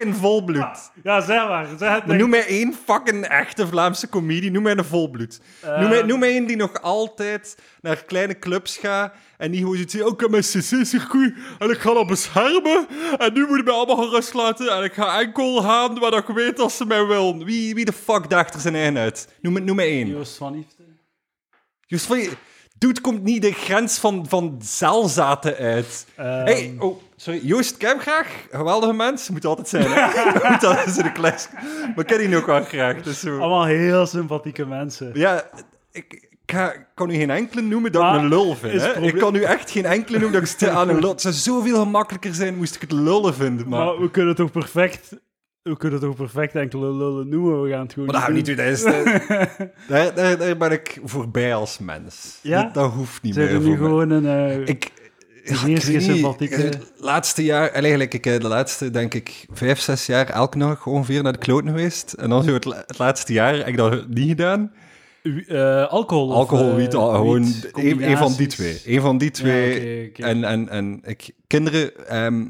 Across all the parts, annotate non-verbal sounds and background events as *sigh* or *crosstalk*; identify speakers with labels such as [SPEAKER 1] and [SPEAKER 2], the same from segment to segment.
[SPEAKER 1] fucking volbloed.
[SPEAKER 2] Ja, zeg maar. Zeg het
[SPEAKER 1] Noem mij één fucking echte Vlaamse comedie. Noem mij een volbloed.
[SPEAKER 2] Eh.
[SPEAKER 1] Noem, mij, noem mij één die nog altijd naar kleine clubs gaat en die gewoon zoiets zegt, oh, ik heb mijn cc-circuit en ik ga dat beschermen en nu moet je mij allemaal gerust laten en ik ga enkel gaan waar dat ik weet dat ze mij willen. Wie, wie de fuck daagt er zijn eigen uit? Noem, me- noem mij één.
[SPEAKER 2] Joost van Liefde.
[SPEAKER 1] Joost van je... Dude komt niet de grens van, van zeilzaten uit.
[SPEAKER 2] Ehm.
[SPEAKER 1] hey, oh, sorry. Joost, ik heb hem graag. Geweldige mens. Moet altijd zijn.
[SPEAKER 2] *laughs*
[SPEAKER 1] hè? *laughs* Moet altijd zijn de klas. Maar ik ken die ook wel graag. Dus zo.
[SPEAKER 2] Allemaal heel sympathieke mensen.
[SPEAKER 1] Ja, ik, ik ga- ik kan u geen enkele noemen dat
[SPEAKER 2] Maar
[SPEAKER 1] ik een lul vind.
[SPEAKER 2] is
[SPEAKER 1] Hè?
[SPEAKER 2] het probleem-
[SPEAKER 1] Ik kan u echt geen enkele noemen dat ik stil aan een lul... Het zou zoveel gemakkelijker zijn moest ik het lullen vinden. Maar,
[SPEAKER 2] Maar we kunnen toch perfect... We kunnen toch perfect enkele lullen noemen. We gaan het gewoon
[SPEAKER 1] maar dat gaan we niet doen. Dat
[SPEAKER 2] *laughs*
[SPEAKER 1] is, dat- daar, daar, daar ben ik voorbij als mens.
[SPEAKER 2] Ja?
[SPEAKER 1] Dat, dat hoeft niet
[SPEAKER 2] Zijn
[SPEAKER 1] meer
[SPEAKER 2] er
[SPEAKER 1] voor
[SPEAKER 2] nu
[SPEAKER 1] mij.
[SPEAKER 2] gewoon een... eh,
[SPEAKER 1] Ik, ja,
[SPEAKER 2] niet eens
[SPEAKER 1] ik weet
[SPEAKER 2] geen
[SPEAKER 1] niet.
[SPEAKER 2] sympathieke-
[SPEAKER 1] Ik- Het laatste jaar, en eigenlijk ik, eh, de laatste, denk ik, vijf, zes jaar elk nog ongeveer naar de kloten geweest. En dan zo het, la- het laatste jaar heb ik dat niet gedaan.
[SPEAKER 2] u- eh, alcohol of,
[SPEAKER 1] Alcohol,
[SPEAKER 2] eh,
[SPEAKER 1] wiet, al- gewoon
[SPEAKER 2] wiet,
[SPEAKER 1] een, een van die twee.
[SPEAKER 2] combinaties?
[SPEAKER 1] Een van die twee.
[SPEAKER 2] oké, oké.
[SPEAKER 1] En, en, en ik, kinderen, ehm,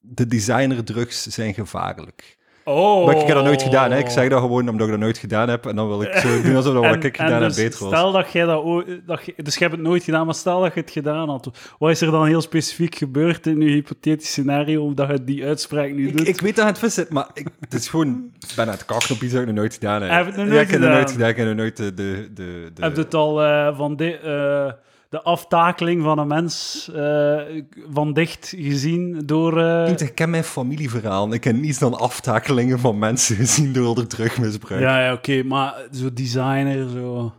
[SPEAKER 1] de designerdrugs zijn gevaarlijk.
[SPEAKER 2] Oh.
[SPEAKER 1] Maar ik heb dat nooit gedaan. Hè. Ik zeg dat gewoon omdat ik dat nooit gedaan heb. En dan wil ik
[SPEAKER 2] *laughs*
[SPEAKER 1] zo doen alsof dat
[SPEAKER 2] En-
[SPEAKER 1] wat ik
[SPEAKER 2] en
[SPEAKER 1] gedaan heb
[SPEAKER 2] dus
[SPEAKER 1] beter was.
[SPEAKER 2] Stel dat jij dat ooit... Dat je, dus je hebt het nooit gedaan, maar stel dat je het gedaan had. Wat is er dan heel specifiek gebeurd in je hypothetisch scenario dat je die uitspraak nu
[SPEAKER 1] Ik,
[SPEAKER 2] doet?
[SPEAKER 1] ik weet dat het vis zit, maar ik, *laughs* het is gewoon... Ik ben aan het kakken op iets dat ik nog nooit gedaan heb.
[SPEAKER 2] Heb je het nog
[SPEAKER 1] Ja,
[SPEAKER 2] nooit
[SPEAKER 1] ik heb nog
[SPEAKER 2] gedaan?
[SPEAKER 1] nooit gedaan. Ik heb nog nooit de... de, de, de-
[SPEAKER 2] Heb je het al eh, van de, eh, de aftakeling van een mens eh, van dicht gezien door... eh,
[SPEAKER 1] Niet, ik ken mijn familieverhaal. Ik heb niets dan aftakelingen van mensen *laughs* gezien door de drugmisbruik.
[SPEAKER 2] ja, ja oké, maar zo designer, zo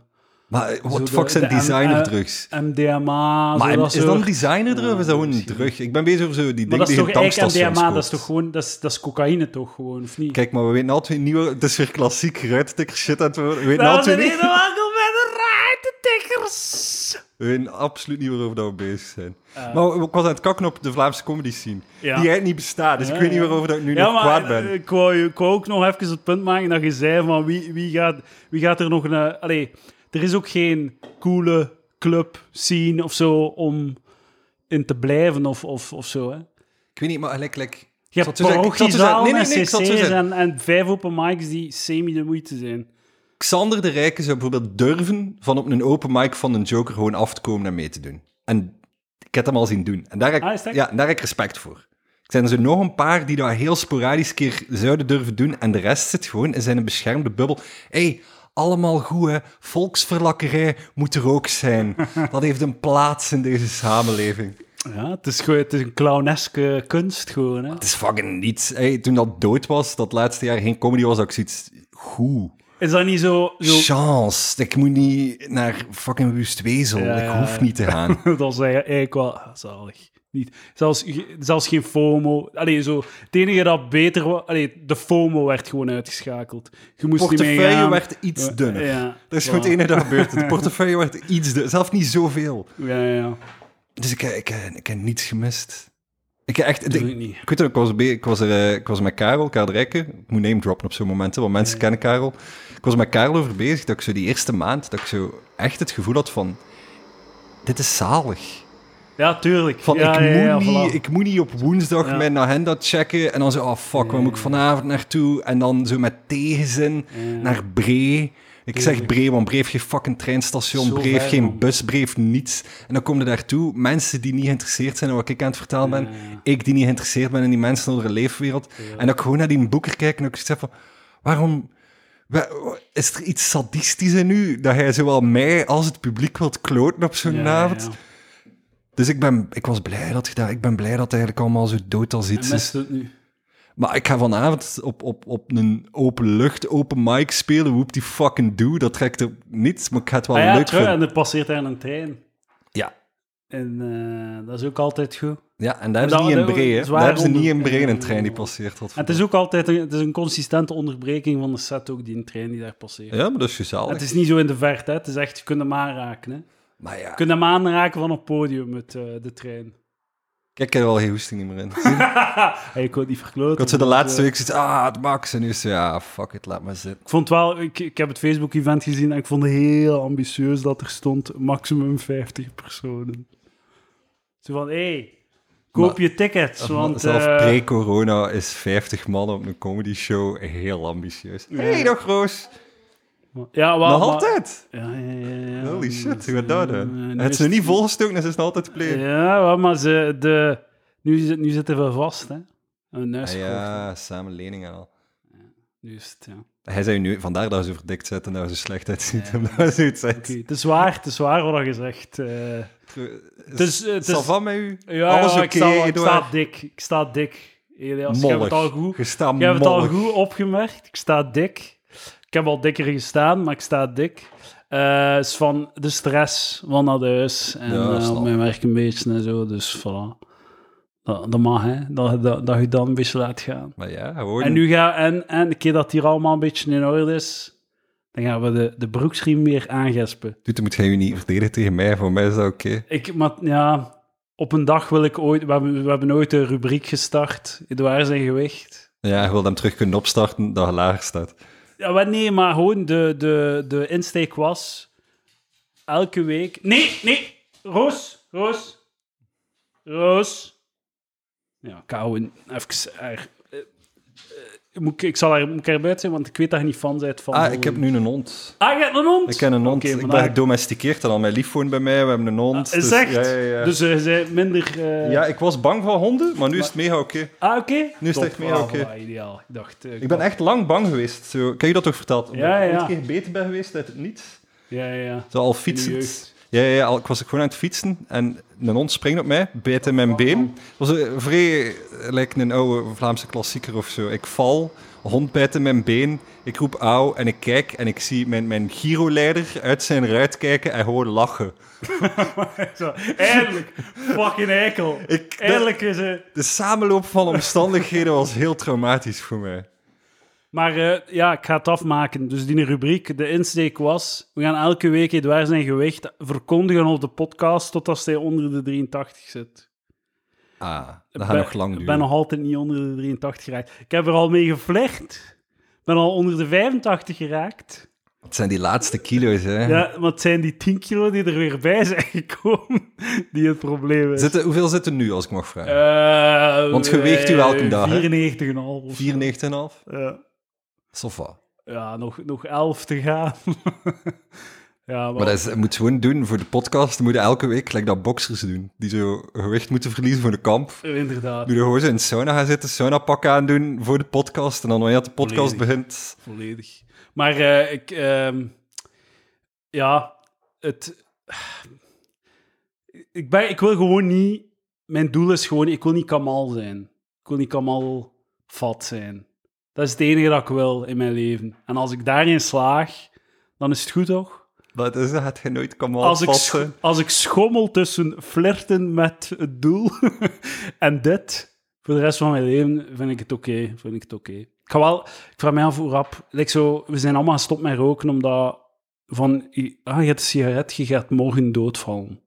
[SPEAKER 1] Maar
[SPEAKER 2] Zo
[SPEAKER 1] wat
[SPEAKER 2] de-
[SPEAKER 1] de fuck zijn
[SPEAKER 2] de M-
[SPEAKER 1] designerdrugs?
[SPEAKER 2] MDMA,
[SPEAKER 1] Maar
[SPEAKER 2] zo dat
[SPEAKER 1] is dat een
[SPEAKER 2] soort-
[SPEAKER 1] designerdrug of is dat gewoon een
[SPEAKER 2] misschien.
[SPEAKER 1] drug? Ik ben bezig over zo die
[SPEAKER 2] Maar
[SPEAKER 1] dingen
[SPEAKER 2] dat is
[SPEAKER 1] die
[SPEAKER 2] toch
[SPEAKER 1] je
[SPEAKER 2] eigenlijk
[SPEAKER 1] tankstations
[SPEAKER 2] MDMA, dat is
[SPEAKER 1] koopt.
[SPEAKER 2] toch gewoon... Dat is, dat is cocaïne toch gewoon, of niet?
[SPEAKER 1] Kijk, maar we weten altijd nieuwe... Het is weer klassiek ruittikker shit aan het worden. We weten
[SPEAKER 2] Nou, Dat is
[SPEAKER 1] altijd
[SPEAKER 2] een
[SPEAKER 1] niet...
[SPEAKER 2] wagel met de raartetikkers!
[SPEAKER 1] We weten absoluut niet waarover dat we bezig zijn.
[SPEAKER 2] Eh.
[SPEAKER 1] maar ik was aan het kakken op de Vlaamse comedy scene. Die
[SPEAKER 2] Ja.
[SPEAKER 1] eigenlijk niet bestaat, dus
[SPEAKER 2] Ja,
[SPEAKER 1] ik weet niet
[SPEAKER 2] ja.
[SPEAKER 1] waarover dat ik nu
[SPEAKER 2] Ja,
[SPEAKER 1] nog
[SPEAKER 2] maar
[SPEAKER 1] kwaad ben.
[SPEAKER 2] eh, Ik wou, ik wou ook nog even het punt maken dat je zei van wie, wie, gaat, wie gaat er nog een... Allee, er is ook geen coole club scene of zo om in te blijven of, of, of zo, hè.
[SPEAKER 1] Ik weet niet, maar gelijk... gelijk
[SPEAKER 2] Je
[SPEAKER 1] ik
[SPEAKER 2] hebt
[SPEAKER 1] zal het zo zeggen, ik zal het zo zeggen. Nee,
[SPEAKER 2] parochiezalen
[SPEAKER 1] nee,
[SPEAKER 2] en
[SPEAKER 1] nee, ik zal het zo
[SPEAKER 2] cc's
[SPEAKER 1] zeggen.
[SPEAKER 2] en, en vijf open mics die semi de moeite zijn.
[SPEAKER 1] Xander de Rijke zou bijvoorbeeld durven van op een open mic van een Joker gewoon af te komen en mee te doen. En ik heb hem al zien doen. En daar heb, ik-
[SPEAKER 2] Ah, is dat?
[SPEAKER 1] ja, daar heb ik respect voor. Er zijn er zo nog een paar die dat heel sporadisch een keer zouden durven doen. En de rest zit gewoon in zijn beschermde bubbel. Hé, hey, allemaal goed hè. Volksverlakkerij moet er ook
[SPEAKER 2] *laughs*
[SPEAKER 1] zijn. Dat heeft een plaats in deze samenleving.
[SPEAKER 2] Ja, het is, gewoon- het is een clowneske kunst gewoon, hè.
[SPEAKER 1] Het is fucking niets. Hey, toen dat dood was, dat laatste jaar geen comedy was, had ik zoiets... Goed.
[SPEAKER 2] Is dat niet zo... zo
[SPEAKER 1] Chance. Ik moet niet naar fucking Wustwezel.
[SPEAKER 2] Ja,
[SPEAKER 1] ik
[SPEAKER 2] ja,
[SPEAKER 1] hoef
[SPEAKER 2] ja.
[SPEAKER 1] niet te
[SPEAKER 2] *laughs*
[SPEAKER 1] gaan.
[SPEAKER 2] dat is eigenlijk wel ah, zalig. Niet. Zelfs, ge- zelfs geen FOMO. Allee, zo, het enige dat beter was... Allee, de FOMO werd gewoon uitgeschakeld. Je moest niet meer
[SPEAKER 1] portefeuille
[SPEAKER 2] gaan.
[SPEAKER 1] werd iets dunner.
[SPEAKER 2] Ja,
[SPEAKER 1] Dat is gewoon
[SPEAKER 2] voilà.
[SPEAKER 1] het enige dat gebeurt.
[SPEAKER 2] *laughs*
[SPEAKER 1] De portefeuille werd iets dunner. Zelf niet zoveel.
[SPEAKER 2] Ja, ja, ja.
[SPEAKER 1] Dus ik, ik, ik, heb niets gemist. Ik heb echt...
[SPEAKER 2] Doe
[SPEAKER 1] ik-
[SPEAKER 2] ik niet.
[SPEAKER 1] Ik weet nog, ik was, bij- ik was, er, eh, ik was met Karel, Karel Rijken. Ik moet name droppen op zo'n momenten, want mensen kennen Karel. Ik was met Karel over bezig dat ik zo die eerste maand, dat ik zo echt het gevoel had van... Dit is zalig.
[SPEAKER 2] Ja, tuurlijk.
[SPEAKER 1] Van,
[SPEAKER 2] ja,
[SPEAKER 1] ik,
[SPEAKER 2] ja, ja,
[SPEAKER 1] moet niet,
[SPEAKER 2] voilà.
[SPEAKER 1] ik moet niet op woensdag
[SPEAKER 2] Ja.
[SPEAKER 1] mijn agenda checken. En dan zo, oh fuck, waar moet ik vanavond naartoe? En dan zo met tegenzin naar Bree. Ik zeg Bree, want Bree heeft geen fucking treinstation.
[SPEAKER 2] Zo
[SPEAKER 1] Bree heeft
[SPEAKER 2] ver,
[SPEAKER 1] geen
[SPEAKER 2] man.
[SPEAKER 1] bus, Bree heeft niets. En dan komen er daartoe mensen die niet geïnteresseerd zijn in wat ik aan het vertalen ben. Ik die niet geïnteresseerd ben in die mensen onder de leefwereld. En dat ik gewoon naar die boeker kijk en ook zeg van, waarom... wa- wa- Is er iets sadistisch in u? Dat jij zowel mij als het publiek wilt kloten op zo'n
[SPEAKER 2] Ja, ja,
[SPEAKER 1] avond?
[SPEAKER 2] ja.
[SPEAKER 1] Dus ik, ben, ik was blij dat gedaan. Ik ben blij dat het eigenlijk allemaal zo dood als
[SPEAKER 2] En
[SPEAKER 1] iets is.
[SPEAKER 2] mist het nu.
[SPEAKER 1] Maar ik ga vanavond op, op, op een open lucht, open mic spelen. Whoop die fucking doe. Dat trekt er niets, maar ik ga het wel
[SPEAKER 2] Ah, ja,
[SPEAKER 1] leuk
[SPEAKER 2] terug,
[SPEAKER 1] vinden.
[SPEAKER 2] en er passeert daar een trein.
[SPEAKER 1] Ja.
[SPEAKER 2] En eh, dat is ook altijd goed.
[SPEAKER 1] Ja, en daar hebben ze
[SPEAKER 2] Dat-
[SPEAKER 1] niet in
[SPEAKER 2] dat-
[SPEAKER 1] Bree, hè.
[SPEAKER 2] zwaar
[SPEAKER 1] Daar hebben ze niet
[SPEAKER 2] onder-
[SPEAKER 1] in Bree een
[SPEAKER 2] Ja.
[SPEAKER 1] trein die passeert. wat
[SPEAKER 2] En het is ook altijd een, het is een consistente onderbreking van de set, ook die trein die daar passeert.
[SPEAKER 1] Ja, maar dat is
[SPEAKER 2] Het
[SPEAKER 1] gezellig.
[SPEAKER 2] is niet zo in de verte, hè. het is echt, je kunt hem aanraken. Hè. Je
[SPEAKER 1] Maar ja,
[SPEAKER 2] kunt hem aanraken van op het podium met eh, de trein.
[SPEAKER 1] kijk, ik heb er wel geen hoesting niet meer
[SPEAKER 2] *laughs*
[SPEAKER 1] in.
[SPEAKER 2] Hey, ik wil het niet verkloten.
[SPEAKER 1] Ik had zo de
[SPEAKER 2] maar,
[SPEAKER 1] laatste
[SPEAKER 2] eh,
[SPEAKER 1] week zoiets, ah, het max. En nu is het, ja, fuck it, laat maar zitten.
[SPEAKER 2] Ik vond wel, ik, ik heb het Facebook-event gezien en ik vond het heel ambitieus dat er stond maximum 50 personen. Zo van, hé, hey, Koop je tickets, want...
[SPEAKER 1] Zelf
[SPEAKER 2] eh,
[SPEAKER 1] pre-corona is 50 man op een comedy show heel ambitieus. hey, dag Roos.
[SPEAKER 2] ja, wel,
[SPEAKER 1] Nog
[SPEAKER 2] maar-
[SPEAKER 1] altijd.
[SPEAKER 2] Ja, ja, ja, ja.
[SPEAKER 1] Holy shit, hoe gaat dat
[SPEAKER 2] Eh,
[SPEAKER 1] dan?
[SPEAKER 2] nu
[SPEAKER 1] Het
[SPEAKER 2] is
[SPEAKER 1] is nog niet volgestoken, dus het is nog altijd play.
[SPEAKER 2] Ja, wel, maar ze, de, nu, zit- nu zitten we vast, hè.
[SPEAKER 1] Ah
[SPEAKER 2] Een neus gekocht, hè.
[SPEAKER 1] ja, samen leningen al.
[SPEAKER 2] Nu is het, ja. Oké,
[SPEAKER 1] Hij zei nu, vandaar dat ze verdikt zit en dat ze slecht uitziet. *laughs* Omdat ze iets uit.
[SPEAKER 2] het is waar, het is waar wat je zegt. eh.
[SPEAKER 1] Dus,
[SPEAKER 2] is- het
[SPEAKER 1] Sal
[SPEAKER 2] is-
[SPEAKER 1] van met u?
[SPEAKER 2] ja,
[SPEAKER 1] Alles
[SPEAKER 2] ja,
[SPEAKER 1] oké,
[SPEAKER 2] ik, sta, ik
[SPEAKER 1] Eduard?
[SPEAKER 2] sta dik, ik sta dik. Elias, je hebt
[SPEAKER 1] Mollig.
[SPEAKER 2] het al goed
[SPEAKER 1] Je staat
[SPEAKER 2] Ik heb het al
[SPEAKER 1] mollig.
[SPEAKER 2] goed opgemerkt. Ik sta dik. Ik heb al dikker gestaan, maar ik sta dik. Eh is van de stress van naar de huis en
[SPEAKER 1] Ja,
[SPEAKER 2] eh,
[SPEAKER 1] snap
[SPEAKER 2] op mijn werk een beetje en zo. Dus voilà. Dat, dat mag, hè. Dat, dat, dat je dan een beetje laat gaan.
[SPEAKER 1] Maar ja, gewoon.
[SPEAKER 2] En nu ga en, en de keer dat hier allemaal een beetje in orde is, dan gaan we de, de broeksriem weer aangespen.
[SPEAKER 1] Doet, moet jij je niet verdedigen tegen mij. Voor mij is dat oké.
[SPEAKER 2] Ik, maar ja, op een dag wil ik ooit... We hebben, we hebben ooit een rubriek gestart, Edouard zijn gewicht.
[SPEAKER 1] Ja, je wilt hem terug kunnen opstarten dat hij lager staat.
[SPEAKER 2] Ja, maar nee, maar gewoon de, de, de insteek was elke week. Nee, nee, Roos, Roos, Roos. Ja, ik hou een- even. haar- eh, eh, moet ik, ik zal haar, moet ik haar buiten zijn, want ik weet dat je niet fan bent van.
[SPEAKER 1] Ah,
[SPEAKER 2] honden.
[SPEAKER 1] ik heb nu een hond.
[SPEAKER 2] Ah, je hebt een hond?
[SPEAKER 1] Ik ken een hond.
[SPEAKER 2] Oké,
[SPEAKER 1] ik
[SPEAKER 2] maar
[SPEAKER 1] ben
[SPEAKER 2] daar-
[SPEAKER 1] gedomesticeerd en al mijn lief woont bij mij. We hebben een hond.
[SPEAKER 2] Ah, Is
[SPEAKER 1] dus-
[SPEAKER 2] echt?
[SPEAKER 1] Ja, ja, ja.
[SPEAKER 2] Dus eh, zij minder. eh,
[SPEAKER 1] Ja, ik was bang voor honden, maar nu is het mega oké.
[SPEAKER 2] Ah, oké.
[SPEAKER 1] Nu is het
[SPEAKER 2] Top,
[SPEAKER 1] echt meer
[SPEAKER 2] ah,
[SPEAKER 1] oké.
[SPEAKER 2] voilà, ideaal. Ik dacht. eh,
[SPEAKER 1] Ik ben echt lang bang geweest. Zo, ik heb je dat toch verteld? Omdat
[SPEAKER 2] Ja,
[SPEAKER 1] Ik
[SPEAKER 2] ja.
[SPEAKER 1] ooit een keer beter ben geweest uit het niets.
[SPEAKER 2] Ja, ja, ja.
[SPEAKER 1] Zo al
[SPEAKER 2] In de
[SPEAKER 1] fietsend.
[SPEAKER 2] jeugd.
[SPEAKER 1] Ja, ja, ja, al- ik was gewoon aan het fietsen en een hond springt op mij, bijt in mijn been. Het was een vrij, eh, lijkt een oude Vlaamse klassieker of zo. Ik val, hond bijt in mijn been, ik roep auw en ik kijk en ik zie mijn, mijn Giro-leider uit zijn ruit kijken en gewoon lachen.
[SPEAKER 2] *laughs* Zo, eindelijk, fucking eikel.
[SPEAKER 1] Ik, de,
[SPEAKER 2] Eindelijk is het.
[SPEAKER 1] de samenloop van omstandigheden was heel traumatisch voor mij.
[SPEAKER 2] Maar eh, ja, ik ga het afmaken. Dus die rubriek, de insteek was... We gaan elke week Edouard zijn gewicht verkondigen op de podcast totdat hij onder de 83 zit.
[SPEAKER 1] Ah, dat
[SPEAKER 2] Ben-
[SPEAKER 1] gaat nog lang
[SPEAKER 2] Ik
[SPEAKER 1] duren.
[SPEAKER 2] ben nog altijd niet onder de 83 geraakt. Ik heb er al mee geflirt. Ik ben al onder de 85 geraakt.
[SPEAKER 1] Het zijn die laatste kilo's, hè.
[SPEAKER 2] Ja, maar het zijn die 10 kilo die er weer bij zijn gekomen die het probleem is.
[SPEAKER 1] Zitten, hoeveel zitten nu, als ik mag vragen?
[SPEAKER 2] Eh,
[SPEAKER 1] Want je weegt u
[SPEAKER 2] eh,
[SPEAKER 1] elke dag, hè?
[SPEAKER 2] 94,5. of zo.
[SPEAKER 1] 94,5?
[SPEAKER 2] Ja.
[SPEAKER 1] Sofa. Maar,
[SPEAKER 2] ja, nog, nog 11 te gaan. *laughs* ja,
[SPEAKER 1] dat is, je moet gewoon doen voor de podcast. Je moet elke week gelijk dat boxers doen. Die zo gewicht moeten verliezen voor de kamp.
[SPEAKER 2] Inderdaad,
[SPEAKER 1] Doe je gewoon zo in de sauna gaan zitten, sauna pak aandoen voor de podcast. En dan wanneer de podcast
[SPEAKER 2] Volledig.
[SPEAKER 1] begint...
[SPEAKER 2] volledig. Maar eh, ik, ehm, ja, het. Ik, ben, ik wil gewoon niet. Mijn doel is gewoon, ik wil niet kamal zijn. Ik wil niet kamal vat zijn. Dat is het enige dat ik wil in mijn leven. En als ik daarin slaag, dan is het goed toch?
[SPEAKER 1] Dat is, dat gaat je nooit komen
[SPEAKER 2] Als ik,
[SPEAKER 1] afpassen.
[SPEAKER 2] scho- als ik schommel tussen flirten met het doel *laughs* en dit, voor de rest van mijn leven vind ik het oké. vind ik het oké. Ik ga wel, ik vraag mij af hoe rap. Like zo, we zijn allemaal gestopt met roken omdat van, i- ah, je hebt een sigaret, je gaat morgen doodvallen.